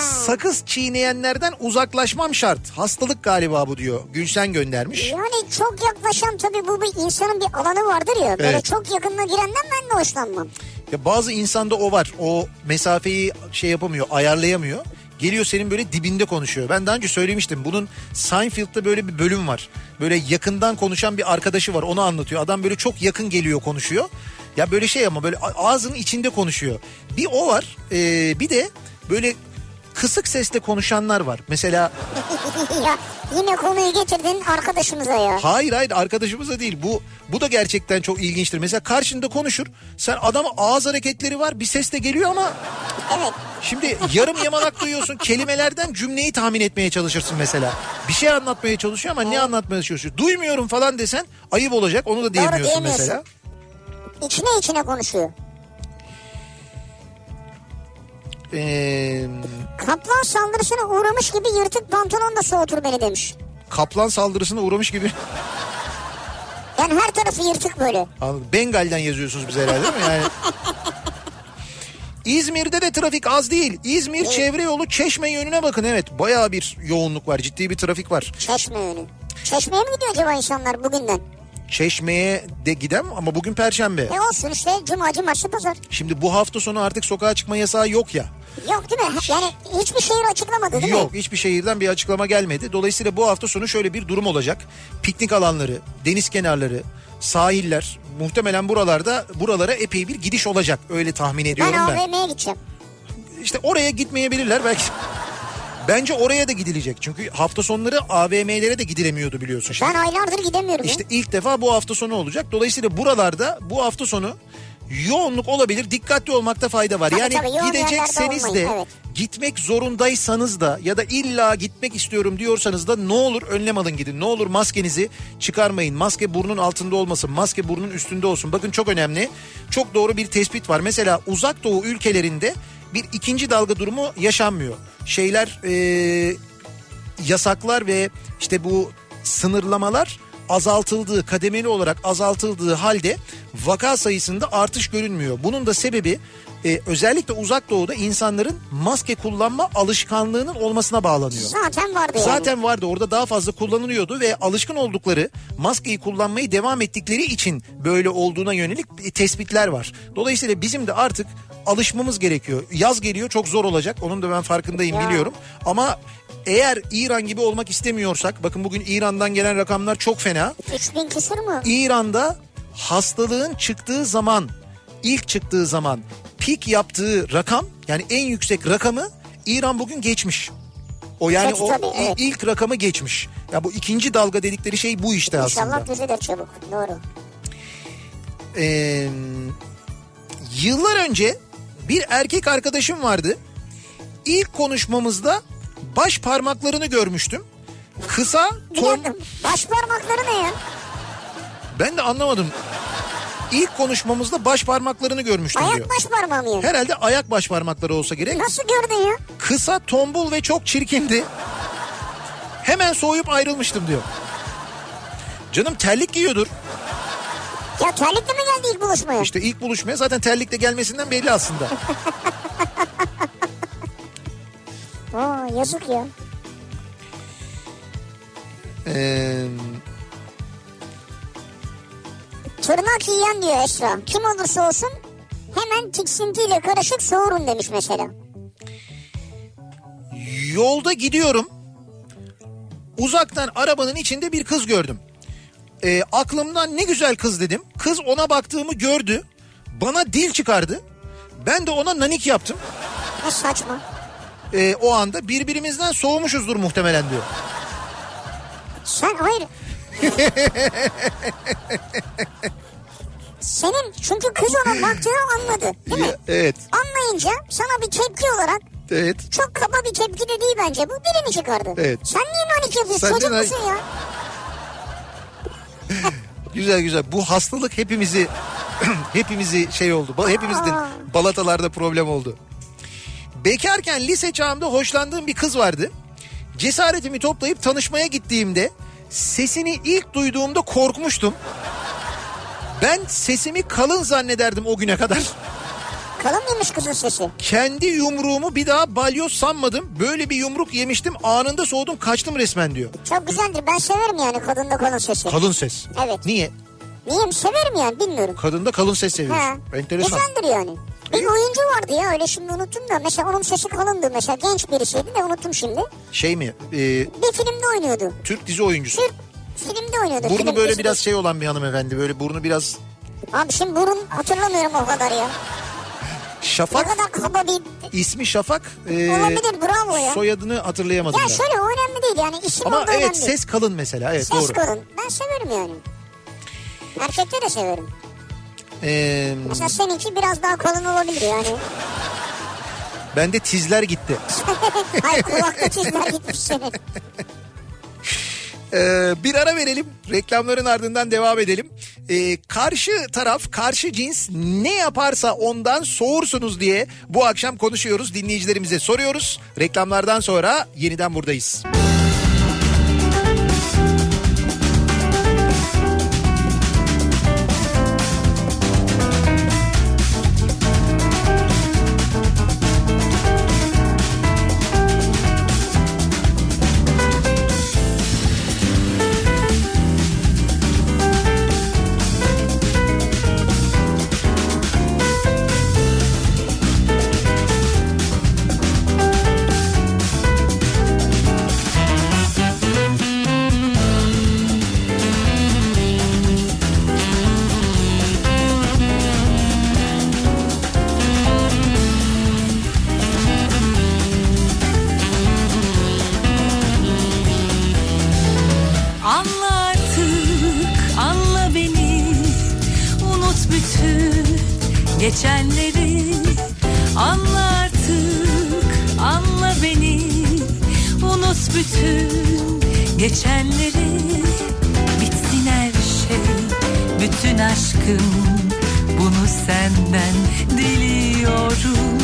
Speaker 1: Sakız çiğneyenlerden uzaklaşmam şart. Hastalık galiba bu diyor. Gülşen göndermiş.
Speaker 2: Yani çok yaklaşan tabii bu bir insanın bir alanı vardır ya. Böyle
Speaker 1: Evet.
Speaker 2: çok yakınına girenden ben de hoşlanmam. [LAUGHS]
Speaker 1: Ya bazı insanda o var. O mesafeyi şey yapamıyor, ayarlayamıyor. Geliyor senin böyle dibinde konuşuyor. Ben daha önce söylemiştim. Bunun Seinfeld'de böyle bir bölüm var. Böyle yakından konuşan bir arkadaşı var. Onu anlatıyor. Adam böyle çok yakın geliyor konuşuyor. Ya böyle şey ama böyle a- ağzının içinde konuşuyor. Bir o var. ee, bir de böyle kısık sesle konuşanlar var. Mesela
Speaker 2: ya yine konuyu getirdin arkadaşımıza ya.
Speaker 1: Hayır hayır arkadaşımıza değil. Bu bu da gerçekten çok ilginçtir. Mesela karşında konuşur. Sen adama ağız hareketleri var. Bir ses de geliyor ama
Speaker 2: Evet.
Speaker 1: Şimdi yarım yamalak duyuyorsun. Kelimelerden cümleyi tahmin etmeye çalışırsın mesela. Bir şey anlatmaya çalışıyor ama ne anlatmaya çalışıyor? Duymuyorum falan desen ayıp olacak. Onu da diyemiyorsun
Speaker 2: diyemiyorsun.
Speaker 1: mesela.
Speaker 2: İçine içine konuşuyor.
Speaker 1: Ee,
Speaker 2: Kaplan saldırısına uğramış gibi yırtık pantolon da soğutur beni demiş.
Speaker 1: kaplan saldırısına uğramış gibi.
Speaker 2: Yani her tarafı yırtık böyle.
Speaker 1: Anladım. Bengal'den yazıyorsunuz bize herhalde değil mi?
Speaker 2: [LAUGHS]
Speaker 1: Yani... İzmir'de de trafik az değil. İzmir çevre yolu Çeşme yönüne bakın. Evet bayağı bir yoğunluk var. Ciddi bir trafik var.
Speaker 2: Çeşme yönü. Çeşmeye mi gidiyor acaba insanlar bugünden?
Speaker 1: Çeşme'ye de gidem ama bugün perşembe.
Speaker 2: E olsun işte cuma cumartesi pazar.
Speaker 1: Şimdi bu hafta sonu artık sokağa çıkma yasağı yok ya.
Speaker 2: Yok değil mi? Yani hiçbir şehir açıklamadı değil
Speaker 1: Yok
Speaker 2: mi?
Speaker 1: hiçbir şehirden bir açıklama gelmedi. Dolayısıyla bu hafta sonu şöyle bir durum olacak. Piknik alanları, deniz kenarları, sahiller muhtemelen buralarda buralara epey bir gidiş olacak. Öyle tahmin ediyorum
Speaker 2: Ben
Speaker 1: ben.
Speaker 2: AVM'ye gideceğim.
Speaker 1: İşte oraya gitmeyebilirler belki. Bence oraya da gidilecek. Çünkü hafta sonları AVM'lere de gidilemiyordu biliyorsun. Şimdi.
Speaker 2: Ben aylardır gidemiyorum. ya.
Speaker 1: İşte ilk defa bu hafta sonu olacak. Dolayısıyla buralarda bu hafta sonu yoğunluk olabilir. Dikkatli olmakta fayda var.
Speaker 2: Tabii
Speaker 1: yani
Speaker 2: tabii, yoğun
Speaker 1: gidecekseniz
Speaker 2: yerlerde
Speaker 1: de
Speaker 2: olmayın, evet.
Speaker 1: gitmek zorundaysanız da ya da illa gitmek istiyorum diyorsanız da ne olur önlem alın gidin. Ne olur maskenizi çıkarmayın. Maske burnun altında olmasın. Maske burnun üstünde olsun. Bakın çok önemli. Çok doğru bir tespit var. Mesela uzak doğu ülkelerinde bir ikinci dalga durumu yaşanmıyor. Şeyler eee yasaklar ve işte bu sınırlamalar azaltıldığı kademeli olarak azaltıldığı halde vaka sayısında artış görünmüyor. Bunun da sebebi e, özellikle uzak doğuda insanların maske kullanma alışkanlığının olmasına bağlanıyor.
Speaker 2: Zaten vardı yani.
Speaker 1: Zaten vardı orada daha fazla kullanılıyordu ve alışkın oldukları maskeyi kullanmayı devam ettikleri için böyle olduğuna yönelik tespitler var. Dolayısıyla bizim de artık alışmamız gerekiyor. Yaz geliyor çok zor olacak onun da ben farkındayım
Speaker 2: Ya.
Speaker 1: biliyorum ama eğer İran gibi olmak istemiyorsak bakın bugün İran'dan gelen rakamlar çok fena.
Speaker 2: 3000 küsür mü?
Speaker 1: İran'da hastalığın çıktığı zaman ilk çıktığı zaman pik yaptığı rakam yani en yüksek rakamı İran bugün geçmiş. O yani
Speaker 2: Geçti
Speaker 1: o
Speaker 2: tabii,
Speaker 1: i-
Speaker 2: evet.
Speaker 1: ilk rakamı geçmiş. Ya bu ikinci dalga dedikleri şey bu işte aslında.
Speaker 2: İnşallah düzelir çabuk. Doğru.
Speaker 1: Ee, yıllar önce bir erkek arkadaşım vardı. İlk konuşmamızda baş parmaklarını görmüştüm. Kısa,
Speaker 2: Bir
Speaker 1: ton,
Speaker 2: dakika. Baş parmakları ne ya?
Speaker 1: ben de anlamadım. İlk konuşmamızda baş parmaklarını görmüştüm diyor.
Speaker 2: Ayak baş parmağı mı yani?
Speaker 1: Herhalde ayak baş parmakları olsa gerek.
Speaker 2: Nasıl gördün ya?
Speaker 1: Kısa, tombul ve çok çirkindi. Hemen soğuyup ayrılmıştım diyor. Canım terlik giyiyordur.
Speaker 2: Ya terlikle mi geldi ilk buluşmaya?
Speaker 1: İşte ilk buluşmaya zaten terlikle gelmesinden belli aslında.
Speaker 2: Aa, yazık ya.
Speaker 1: Ee,
Speaker 2: Tırnak yiyen diyor Esra. Kim olursa olsun hemen tiksintiyle karışık soğurun demiş mesela.
Speaker 1: yolda gidiyorum. Uzaktan arabanın içinde bir kız gördüm. Ee, aklımdan ne güzel kız dedim. Kız ona baktığımı gördü. Bana dil çıkardı. Ben de ona nanik yaptım.
Speaker 2: Ne saçma.
Speaker 1: Ee, o anda birbirimizden soğumuşuzdur muhtemelen diyor.
Speaker 2: Sen
Speaker 1: [LAUGHS]
Speaker 2: hayır. Senin çünkü kız ona baktığını anladı değil mi?
Speaker 1: Ya, evet.
Speaker 2: Anlayınca sana bir tepki olarak
Speaker 1: Evet.
Speaker 2: çok kaba bir tepki de değil bence bu dilini çıkardı.
Speaker 1: Evet.
Speaker 2: Sen niye nanik yapıyorsun
Speaker 1: Sen
Speaker 2: çocuk
Speaker 1: niye
Speaker 2: musun ya?
Speaker 1: Güzel güzel. Bu hastalık hepimizi [CLEARS THROAT] hepimizi şey oldu. ba- Hepimizin
Speaker 2: Aa.
Speaker 1: balatalarda problem oldu. Bekarken lise çağımda hoşlandığım bir kız vardı. Cesaretimi toplayıp tanışmaya gittiğimde sesini ilk duyduğumda korkmuştum. Ben sesimi kalın zannederdim o güne kadar.
Speaker 2: Kalın mıymış kızın sesi?
Speaker 1: Kendi yumruğumu bir daha balyoz sanmadım. Böyle bir yumruk yemiştim. Anında soğudum kaçtım resmen diyor.
Speaker 2: Çok güzeldir. Ben severim yani kadında kalın sesi.
Speaker 1: Kalın ses.
Speaker 2: Evet.
Speaker 1: Niye?
Speaker 2: Niyeyim severim yani bilmiyorum.
Speaker 1: Kadında kalın ses
Speaker 2: Ha. E
Speaker 1: seviyorsun. Enteresan.
Speaker 2: Güzeldir yani. Bir oyuncu vardı ya öyle şimdi unuttum da. Mesela onun sesi kalındı mesela. Genç birisiydi de unuttum şimdi.
Speaker 1: Şey mi? Ee,
Speaker 2: Bir filmde oynuyordu.
Speaker 1: Türk dizi oyuncusu.
Speaker 2: Türk filmde oynuyordu.
Speaker 1: Burnu
Speaker 2: Film
Speaker 1: böyle
Speaker 2: dizisi.
Speaker 1: biraz şey olan bir hanımefendi. Böyle burnu biraz
Speaker 2: Abi şimdi burun hatırlamıyorum o kadar ya. Ne
Speaker 1: şafak.
Speaker 2: kadar kaba bir...
Speaker 1: İsmi Şafak. ee,
Speaker 2: Olabilir, bravo ya.
Speaker 1: Soyadını hatırlayamadım
Speaker 2: Ya
Speaker 1: ben.
Speaker 2: şöyle o önemli değil yani isim
Speaker 1: Ama
Speaker 2: olduğu
Speaker 1: evet
Speaker 2: önemli.
Speaker 1: ses kalın mesela. Evet
Speaker 2: Ses
Speaker 1: doğru.
Speaker 2: kalın. Ben severim yani. Erkekte de severim.
Speaker 1: Ee,
Speaker 2: Mesela seninki biraz daha kalın
Speaker 1: [LAUGHS]
Speaker 2: olabilir yani.
Speaker 1: bende tizler gitti.
Speaker 2: Hayır kulakta çizgiler gitmiş senin.
Speaker 1: Ee, bir ara verelim. Reklamların ardından devam edelim. Ee, karşı taraf, karşı cins ne yaparsa ondan soğursunuz diye bu akşam konuşuyoruz. Dinleyicilerimize soruyoruz. Reklamlardan sonra yeniden buradayız.
Speaker 7: Anla artık, anla beni. Unut bütün geçenleri. Anla artık, anla beni. Unut bütün geçenleri. Bitsin her şey, bütün aşkım. Bunu senden diliyorum.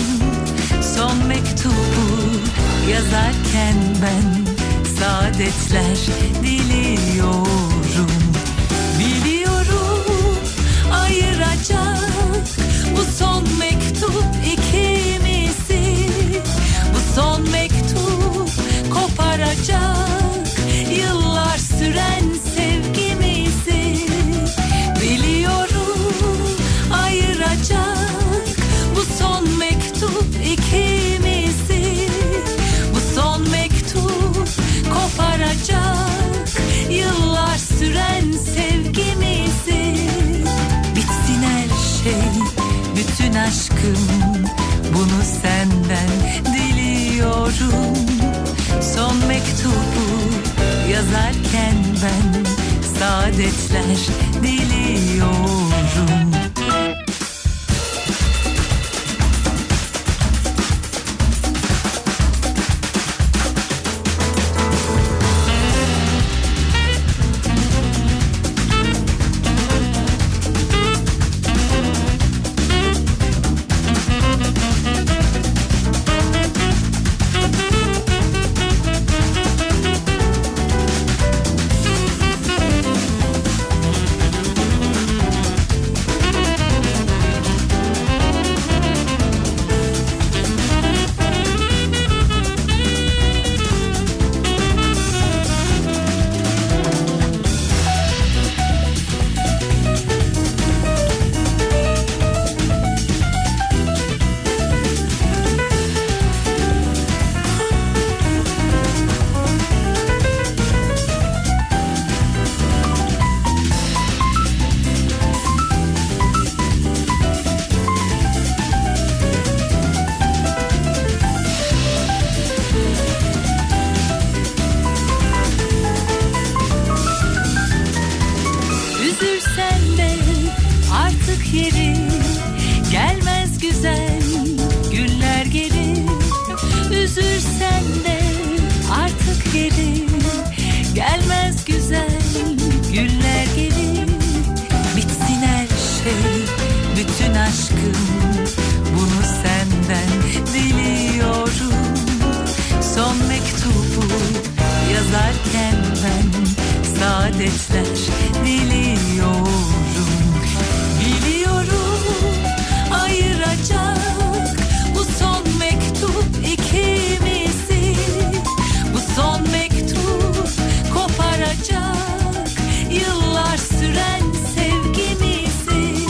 Speaker 7: Son mektubu yazarken ben saadetler diliyorum. Biliyorum ayıracak bu son mektup ikimizi. Bu son mektup koparacak yıllar süren sevgimizi. Biliyorum ayıracak bu son mektup ikimizi Bu son mektup koparacak Yıllar süren sevgimizi Bitsin her şey bütün aşkım Bunu senden diliyorum Son mektubu yazarken ben Saadetler diliyorum Üzülsen de artık yeri gelmez güzel günler geri. Üzülsen de artık yeri gelmez güzel günler geri. Bitsin her şey saadetler diliyorum Biliyorum ayıracak bu son mektup ikimizi Bu son mektup koparacak yıllar süren sevgimizi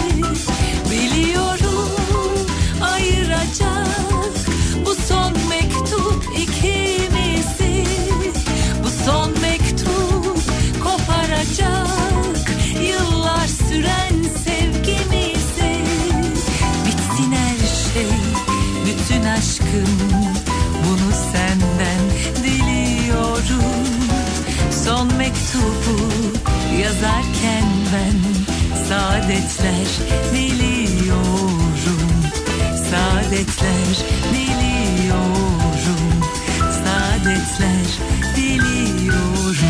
Speaker 7: Biliyorum ayıracak bu son mektup ikimizi Bu son mektup koparacak yıllar süren sevgimizi Bitsin her şey bütün aşkım bunu senden diliyorum Son mektubu yazarken ben saadetler diliyorum Saadetler diliyorum Saadetler diliyorum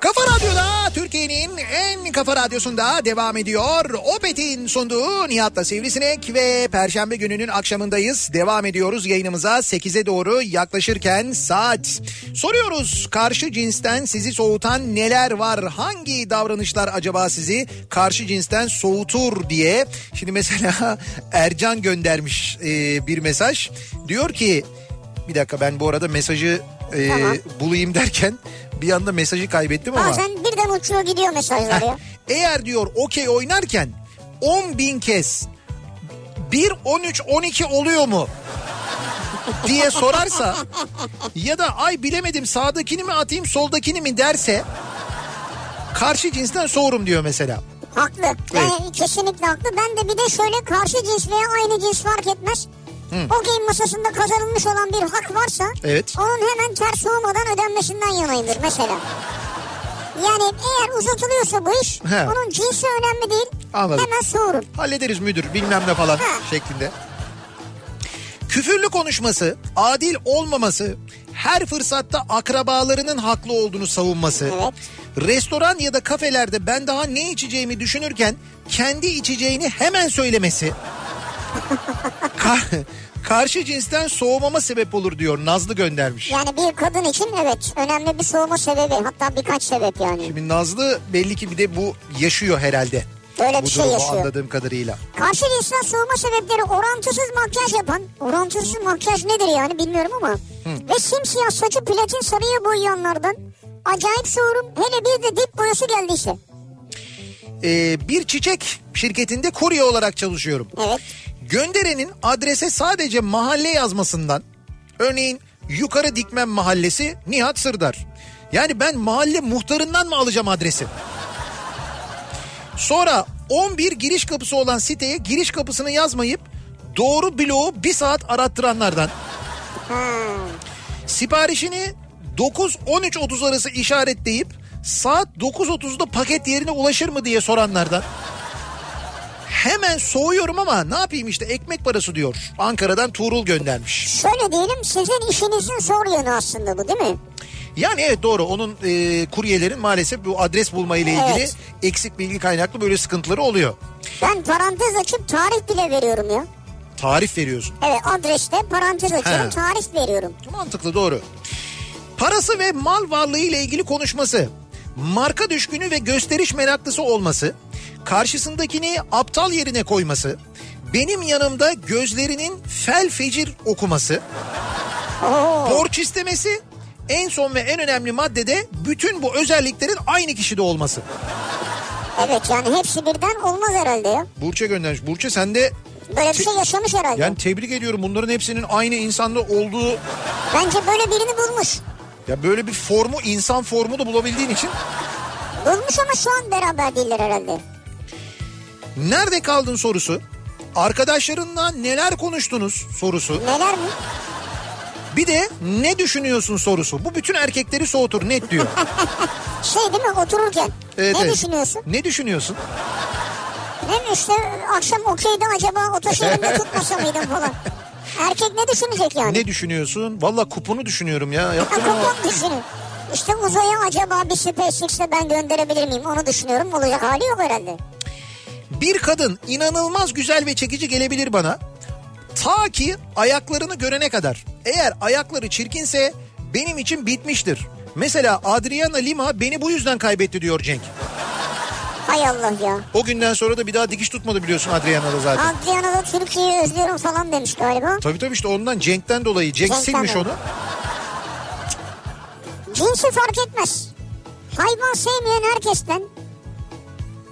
Speaker 1: Kafa Radyo'da Türkiye'nin en kafa radyosunda devam ediyor. Opet'in sunduğu Nihat'la Sivrisinek ve Perşembe gününün akşamındayız. Devam ediyoruz yayınımıza 8'e doğru yaklaşırken saat. Soruyoruz karşı cinsten sizi soğutan neler var? Hangi davranışlar acaba sizi karşı cinsten soğutur diye. Şimdi mesela [LAUGHS] Ercan göndermiş e, bir mesaj. Diyor ki bir dakika ben bu arada mesajı e,
Speaker 2: Tamam.
Speaker 1: bulayım derken bir anda mesajı kaybettim ama.
Speaker 2: Bazen birden uçuyor gidiyor mesajlar ya.
Speaker 1: Eğer diyor okey oynarken 10 bin kez 1, 13, 12 oluyor mu? diye sorarsa ya da ay bilemedim sağdakini mi atayım soldakini mi derse karşı cinsten soğurum diyor mesela.
Speaker 2: Haklı. Ben kesinlikle haklı. Ben de bir de şöyle karşı cins veya aynı cins fark etmez. O game masasında kazanılmış olan bir hak varsa
Speaker 1: Evet.
Speaker 2: onun hemen ters olmadan ödenmesinden yanayımdır mesela. Yani eğer uzatılıyorsa bu iş
Speaker 1: He.
Speaker 2: onun cinsi önemli değil.
Speaker 1: Anladım.
Speaker 2: Hemen soğurur.
Speaker 1: Hallederiz müdür bilmem ne falan şeklinde. Küfürlü konuşması, adil olmaması, her fırsatta akrabalarının haklı olduğunu savunması. Restoran ya da kafelerde ben daha ne içeceğimi düşünürken kendi içeceğini hemen
Speaker 2: [LAUGHS]
Speaker 1: söylemesi. Ka- karşı cinsten soğumama sebep olur diyor Nazlı göndermiş.
Speaker 2: Yani bir kadın için evet önemli bir soğuma sebebi hatta birkaç sebep yani.
Speaker 1: Şimdi Nazlı belli ki bir de bu yaşıyor herhalde.
Speaker 2: Öyle bir
Speaker 1: bu
Speaker 2: şey
Speaker 1: durumu
Speaker 2: yaşıyor.
Speaker 1: anladığım kadarıyla.
Speaker 2: Karşı cinsten soğuma sebepleri orantısız makyaj yapan, orantısız makyaj nedir yani bilmiyorum ama. Ve simsiyah saçı platin sarıya boyayanlardan acayip soğurum. Hele bir de dip boyası geldiyse.
Speaker 1: Ee, bir çiçek şirketinde kurye olarak çalışıyorum. Gönderenin adrese sadece mahalle yazmasından örneğin yukarı dikmem mahallesi Nihat Sırdar. Yani ben mahalle muhtarından mı alacağım adresi? Sonra 11 giriş kapısı olan siteye giriş kapısını yazmayıp doğru bloğu bir saat arattıranlardan. Siparişini 9-13.30 arası işaretleyip saat 9.30'da paket yerine ulaşır mı diye soranlardan. Hemen soğuyorum ama ne yapayım işte ekmek parası diyor. Ankara'dan Tuğrul göndermiş.
Speaker 2: Şöyle diyelim sizin işinizin zor yanı aslında bu değil mi?
Speaker 1: Yani evet doğru onun e, kuryelerin maalesef bu adres bulma ile ilgili
Speaker 2: Evet.
Speaker 1: eksik bilgi kaynaklı böyle sıkıntıları oluyor.
Speaker 2: Ben parantez açıp tarih bile veriyorum ya.
Speaker 1: Tarif veriyorsun.
Speaker 2: Evet adreste parantez açıyorum
Speaker 1: He.
Speaker 2: tarih veriyorum.
Speaker 1: Mantıklı doğru. Parası ve mal varlığı ile ilgili konuşması. Marka düşkünü ve gösteriş meraklısı olması. Karşısındakini aptal yerine koyması. Benim yanımda gözlerinin fel fecir okuması. Borç istemesi. En son ve en önemli maddede bütün bu özelliklerin aynı kişide olması.
Speaker 2: Evet yani hepsi birden olmaz herhalde ya.
Speaker 1: Burç'a göndermiş. Burç'a sen de
Speaker 2: Böyle bir şey yaşamış herhalde.
Speaker 1: yani tebrik ediyorum bunların hepsinin aynı insanda olduğu
Speaker 2: Bence böyle birini bulmuş.
Speaker 1: ya böyle bir formu insan formu da bulabildiğin için
Speaker 2: Bulmuş ama şu an beraber değiller herhalde.
Speaker 1: Nerede kaldın sorusu. Arkadaşlarınla neler konuştunuz sorusu.
Speaker 2: Neler mi?
Speaker 1: Bir de ne düşünüyorsun sorusu. Bu bütün erkekleri soğutur net diyor.
Speaker 2: Şey değil mi otururken
Speaker 1: Evet,
Speaker 2: [LAUGHS] ne
Speaker 1: evet.
Speaker 2: düşünüyorsun?
Speaker 1: Ne düşünüyorsun?
Speaker 2: Ne mi işte akşam okeyde acaba
Speaker 1: [LAUGHS]
Speaker 2: otoşehirde tutmasa mıydım falan. Erkek ne düşünecek yani?
Speaker 1: Ne düşünüyorsun? Valla kuponu düşünüyorum ya. Yaptım ama.
Speaker 2: Kupon düşünün. İşte uzaya acaba bir SpaceX'le ben gönderebilir miyim onu düşünüyorum. Olacak hali yok herhalde.
Speaker 1: Bir kadın inanılmaz güzel ve çekici gelebilir bana. Ta ki ayaklarını görene kadar. Eğer ayakları çirkinse benim için bitmiştir. Mesela Adriana Lima beni bu yüzden kaybetti diyor Cenk.
Speaker 2: Hay Allah ya.
Speaker 1: O günden sonra da bir daha dikiş tutmadı biliyorsun Adriana'da zaten.
Speaker 2: Adriana'da Türkiye'yi özlüyorum falan demiş galiba.
Speaker 1: Tabii tabii işte ondan Cenk'ten dolayı. Cenk
Speaker 2: Cenk'ten
Speaker 1: silmiş
Speaker 2: dolayı.
Speaker 1: onu.
Speaker 2: Cinsi fark etmez. Hayvan sevmeyen herkesten.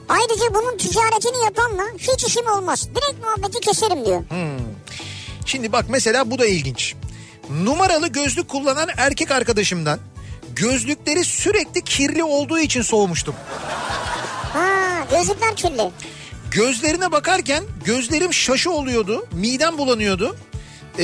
Speaker 2: Ayrıca bunun ticaretini yapanla hiç işim olmaz. Direkt muhabbeti keserim diyor.
Speaker 1: Hmm. Şimdi bak mesela bu da ilginç. Numaralı gözlük kullanan erkek arkadaşımdan gözlükleri sürekli kirli olduğu için soğumuştum.
Speaker 2: Ha gözlükler kirli.
Speaker 1: Gözlerine bakarken gözlerim şaşı oluyordu, midem bulanıyordu. Ee,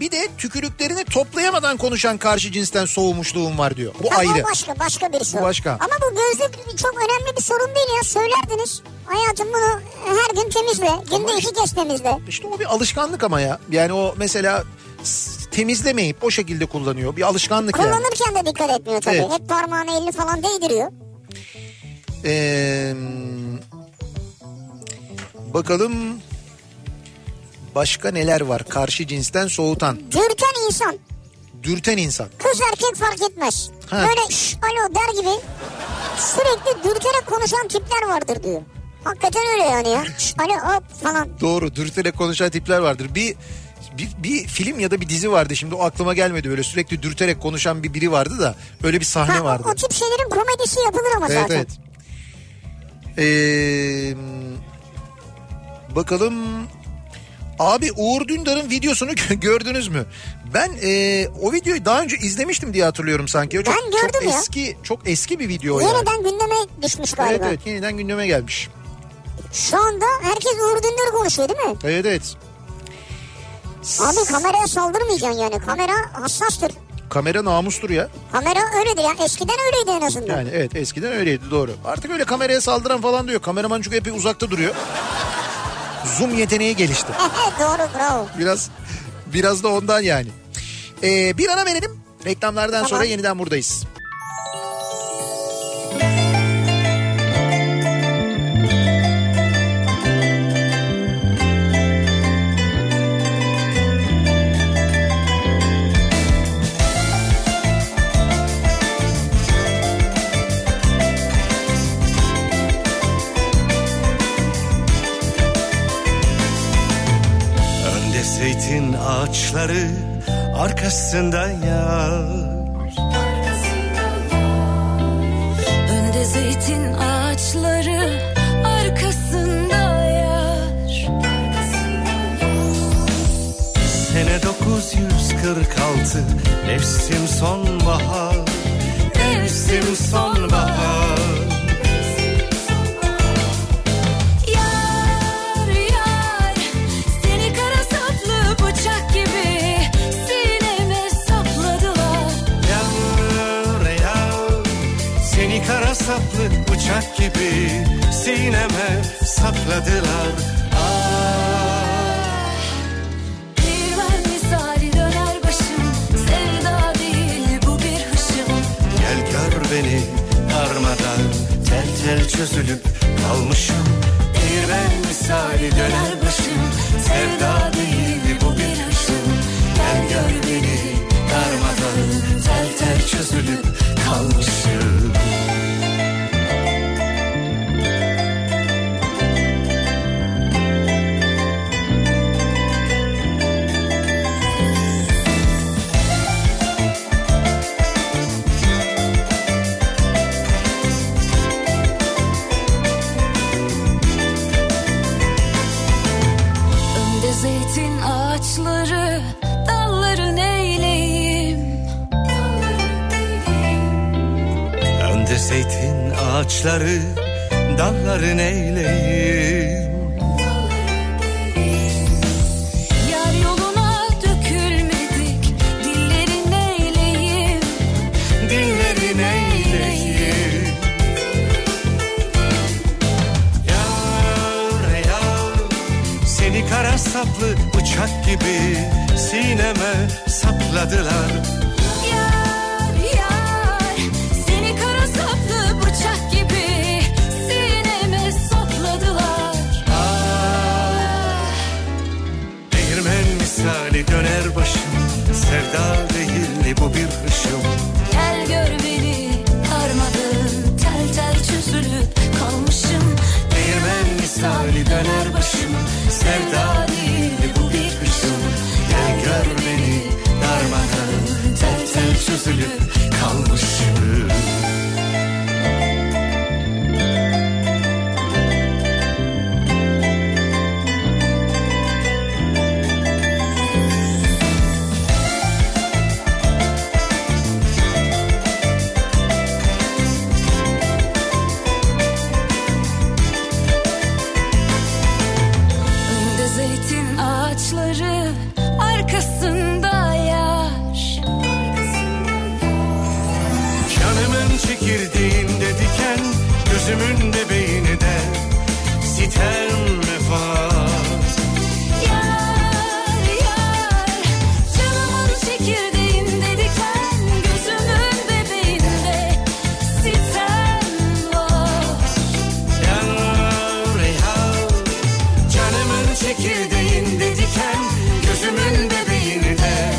Speaker 1: bir de tükürüklerini toplayamadan konuşan karşı cinsten soğumuşluğum var diyor. Bu
Speaker 2: Tamam,
Speaker 1: ayrı.
Speaker 2: başka başka bir sorun.
Speaker 1: başka.
Speaker 2: Ama bu gözlük çok önemli bir sorun değil ya söylerdiniz. Hayatım bunu her gün temizle. Günde iki kez temizle.
Speaker 1: İşte o bir alışkanlık ama ya. Yani o mesela s- temizlemeyip o şekilde kullanıyor. Bir alışkanlık yani.
Speaker 2: Kullanırken de dikkat etmiyor tabii.
Speaker 1: Evet.
Speaker 2: Hep parmağını elini falan değdiriyor.
Speaker 1: Ee, bakalım başka neler var karşı cinsten soğutan,
Speaker 2: Dürten insan.
Speaker 1: dürten insan.
Speaker 2: Kız erkek fark etmez.
Speaker 1: Ha.
Speaker 2: Böyle şş alo der gibi sürekli dürterek konuşan tipler vardır diyor. Hakikaten öyle yani ya. Şş alo hop falan.
Speaker 1: Doğru dürterek konuşan tipler vardır. Bir, bir bir film ya da bir dizi vardı şimdi o aklıma gelmedi böyle sürekli dürterek konuşan bir biri vardı da öyle bir
Speaker 2: Ha,
Speaker 1: sahne
Speaker 2: o-
Speaker 1: vardı.
Speaker 2: O, tip şeylerin komedisi yapılır ama
Speaker 1: Evet
Speaker 2: zaten.
Speaker 1: evet. Ee, bakalım abi Uğur Dündar'ın videosunu gö- [LAUGHS] gördünüz mü? Ben ee, o videoyu daha önce izlemiştim diye hatırlıyorum sanki. O Çok,
Speaker 2: Ben gördüm
Speaker 1: çok
Speaker 2: ya.
Speaker 1: eski çok eski bir video yani.
Speaker 2: Yeniden gündeme düşmüş
Speaker 1: Evet
Speaker 2: galiba.
Speaker 1: evet yeniden gündeme gelmiş.
Speaker 2: Şu anda herkes Uğur Dündar konuşuyor değil mi?
Speaker 1: Evet evet.
Speaker 2: Abi kameraya saldırmayacaksın yani. Kamera hassastır.
Speaker 1: Kamera namustur ya.
Speaker 2: Kamera öyledir ya. Eskiden öyleydi en azından. [LAUGHS]
Speaker 1: Yani evet eskiden öyleydi doğru. Artık öyle kameraya saldıran falan diyor. Kameraman çünkü epey uzakta duruyor. Zoom yeteneği gelişti.
Speaker 2: Doğru bravo.
Speaker 1: Biraz biraz da ondan yani. Ee, bir ara verelim. Reklamlardan sonra yeniden buradayız.
Speaker 5: Önde zeytin ağaçları arkasında yağ
Speaker 7: Önde zeytin ağaçları arkasında yar.
Speaker 5: Sene 946 Mevsim sonbahar Mevsim sonbahar
Speaker 7: Yar yar seni kara saplı bıçak gibi sineme sapladılar.
Speaker 5: Yağmur yağ Seni kara saplı bıçak gibi Sineme sapladılar Ah
Speaker 7: Bir ver misali döner başım sevda değil bu bir hışım.
Speaker 5: Gel gör beni darmadan Tel tel çözülüp kalmışım Değirmen misali döner başım Sevda değil bu bir aşım Gel gör beni darmadan Tel tel çözülüp kalmışım
Speaker 7: Önde zeytin ağaçları dalların eğileyim.
Speaker 5: Önde zeytin ağaçları Dalların eyleyim
Speaker 7: Yar yoluna dökülmedik dillerin eğileyim.
Speaker 5: Dillerin eyleyim Yar yar Seni kara saplı bıçak gibi Sineme sapladılar
Speaker 7: Yar yar seni kara saplı bıçak gibi sineme sapladılar.
Speaker 5: Ah. Değirmen misali döner başım Sevda değil bu bir ışım
Speaker 7: Gel gör beni Karmadı tel tel çözülüp kalmışım
Speaker 5: Değirmen misali döner başım Sevda değil bu bir hışım Gel gör beni darmadan Tel tel çözülüp kalmışım
Speaker 7: Önde zeytin ağaçları Arkasında yar
Speaker 5: Canımın çekirdeğinde diken Gözümün bebeğini de Sitem vefat
Speaker 7: Yar yar Canımın çekirdeğinde diken Gözümün bebeğinde Sitem var
Speaker 5: Yar yar Canımın çekirdeğinde diken Gözümün bebeğini de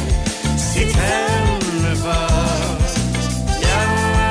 Speaker 5: Sitem vefat Yar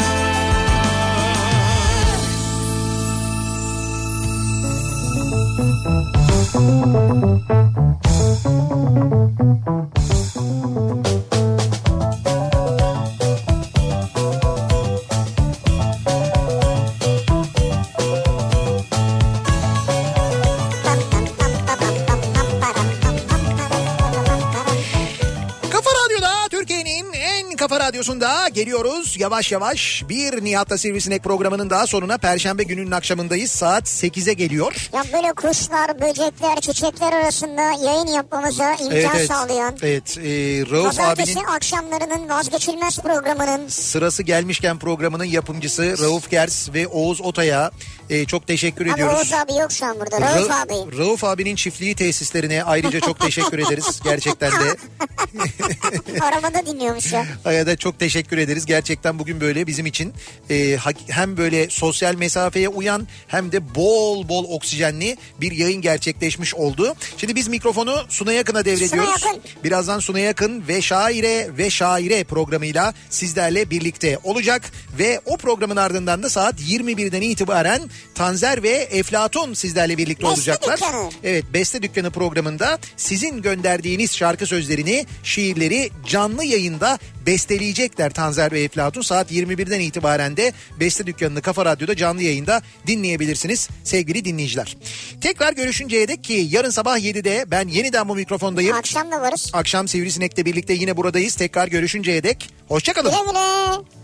Speaker 1: Kafa Radyo'da Türkiye'nin en kafa radyosunda geliyoruz. Yavaş yavaş bir Nihat'la Sivrisinek programının daha sonuna Perşembe gününün akşamındayız. Saat 8'e geliyor.
Speaker 2: Ya böyle kuşlar, böcekler, çiçekler arasında yayın yapmamıza imkan sağlayan.
Speaker 1: Evet, e, Rauf
Speaker 2: Pazartesi
Speaker 1: abinin
Speaker 2: akşamlarının vazgeçilmez programının
Speaker 1: sırası gelmişken programının yapımcısı Rauf Gers ve Oğuz Otay'a e, çok teşekkür
Speaker 2: Ama
Speaker 1: ediyoruz.
Speaker 2: Oğuz abi yok şu an burada. Oğuz
Speaker 1: Ra-
Speaker 2: abi.
Speaker 1: Rauf abinin çiftliği tesislerine ayrıca çok teşekkür
Speaker 2: [LAUGHS]
Speaker 1: ederiz gerçekten de.
Speaker 2: Arabada dinliyormuş ya.
Speaker 1: Aya da çok teşekkür ederiz. Gerçekten bugün böyle bizim için e, hak- hem böyle sosyal mesafeye uyan hem de bol bol oksijenli bir yayın gerçekleşmiş oldu. Şimdi biz mikrofonu Suna Yakın'a devrediyoruz.
Speaker 2: Suna Yakın.
Speaker 1: Birazdan Suna Yakın ve Şaire ve Şaire programıyla sizlerle birlikte olacak. Ve o programın ardından da saat 21'den itibaren Tanzer ve Eflatun sizlerle birlikte
Speaker 2: Beste
Speaker 1: olacaklar.
Speaker 2: Dükkanı.
Speaker 1: Evet Beste Dükkanı programında sizin gönderdiğiniz şarkı sözlerini, şiirleri canlı yayında besteleyecekler Tanzer ve Eflatun. Saat 21'den itibaren de Beste Dükkanı'nı Kafa Radyo'da canlı yayında dinleyebilirsiniz sevgili dinleyiciler. Tekrar görüşünceye dek ki yarın sabah 7'de ben yeniden bu mikrofondayım.
Speaker 2: Akşam da varız.
Speaker 1: Akşam Sivrisinek'le birlikte yine buradayız. Tekrar görüşünceye dek hoşçakalın.
Speaker 2: Güle güle.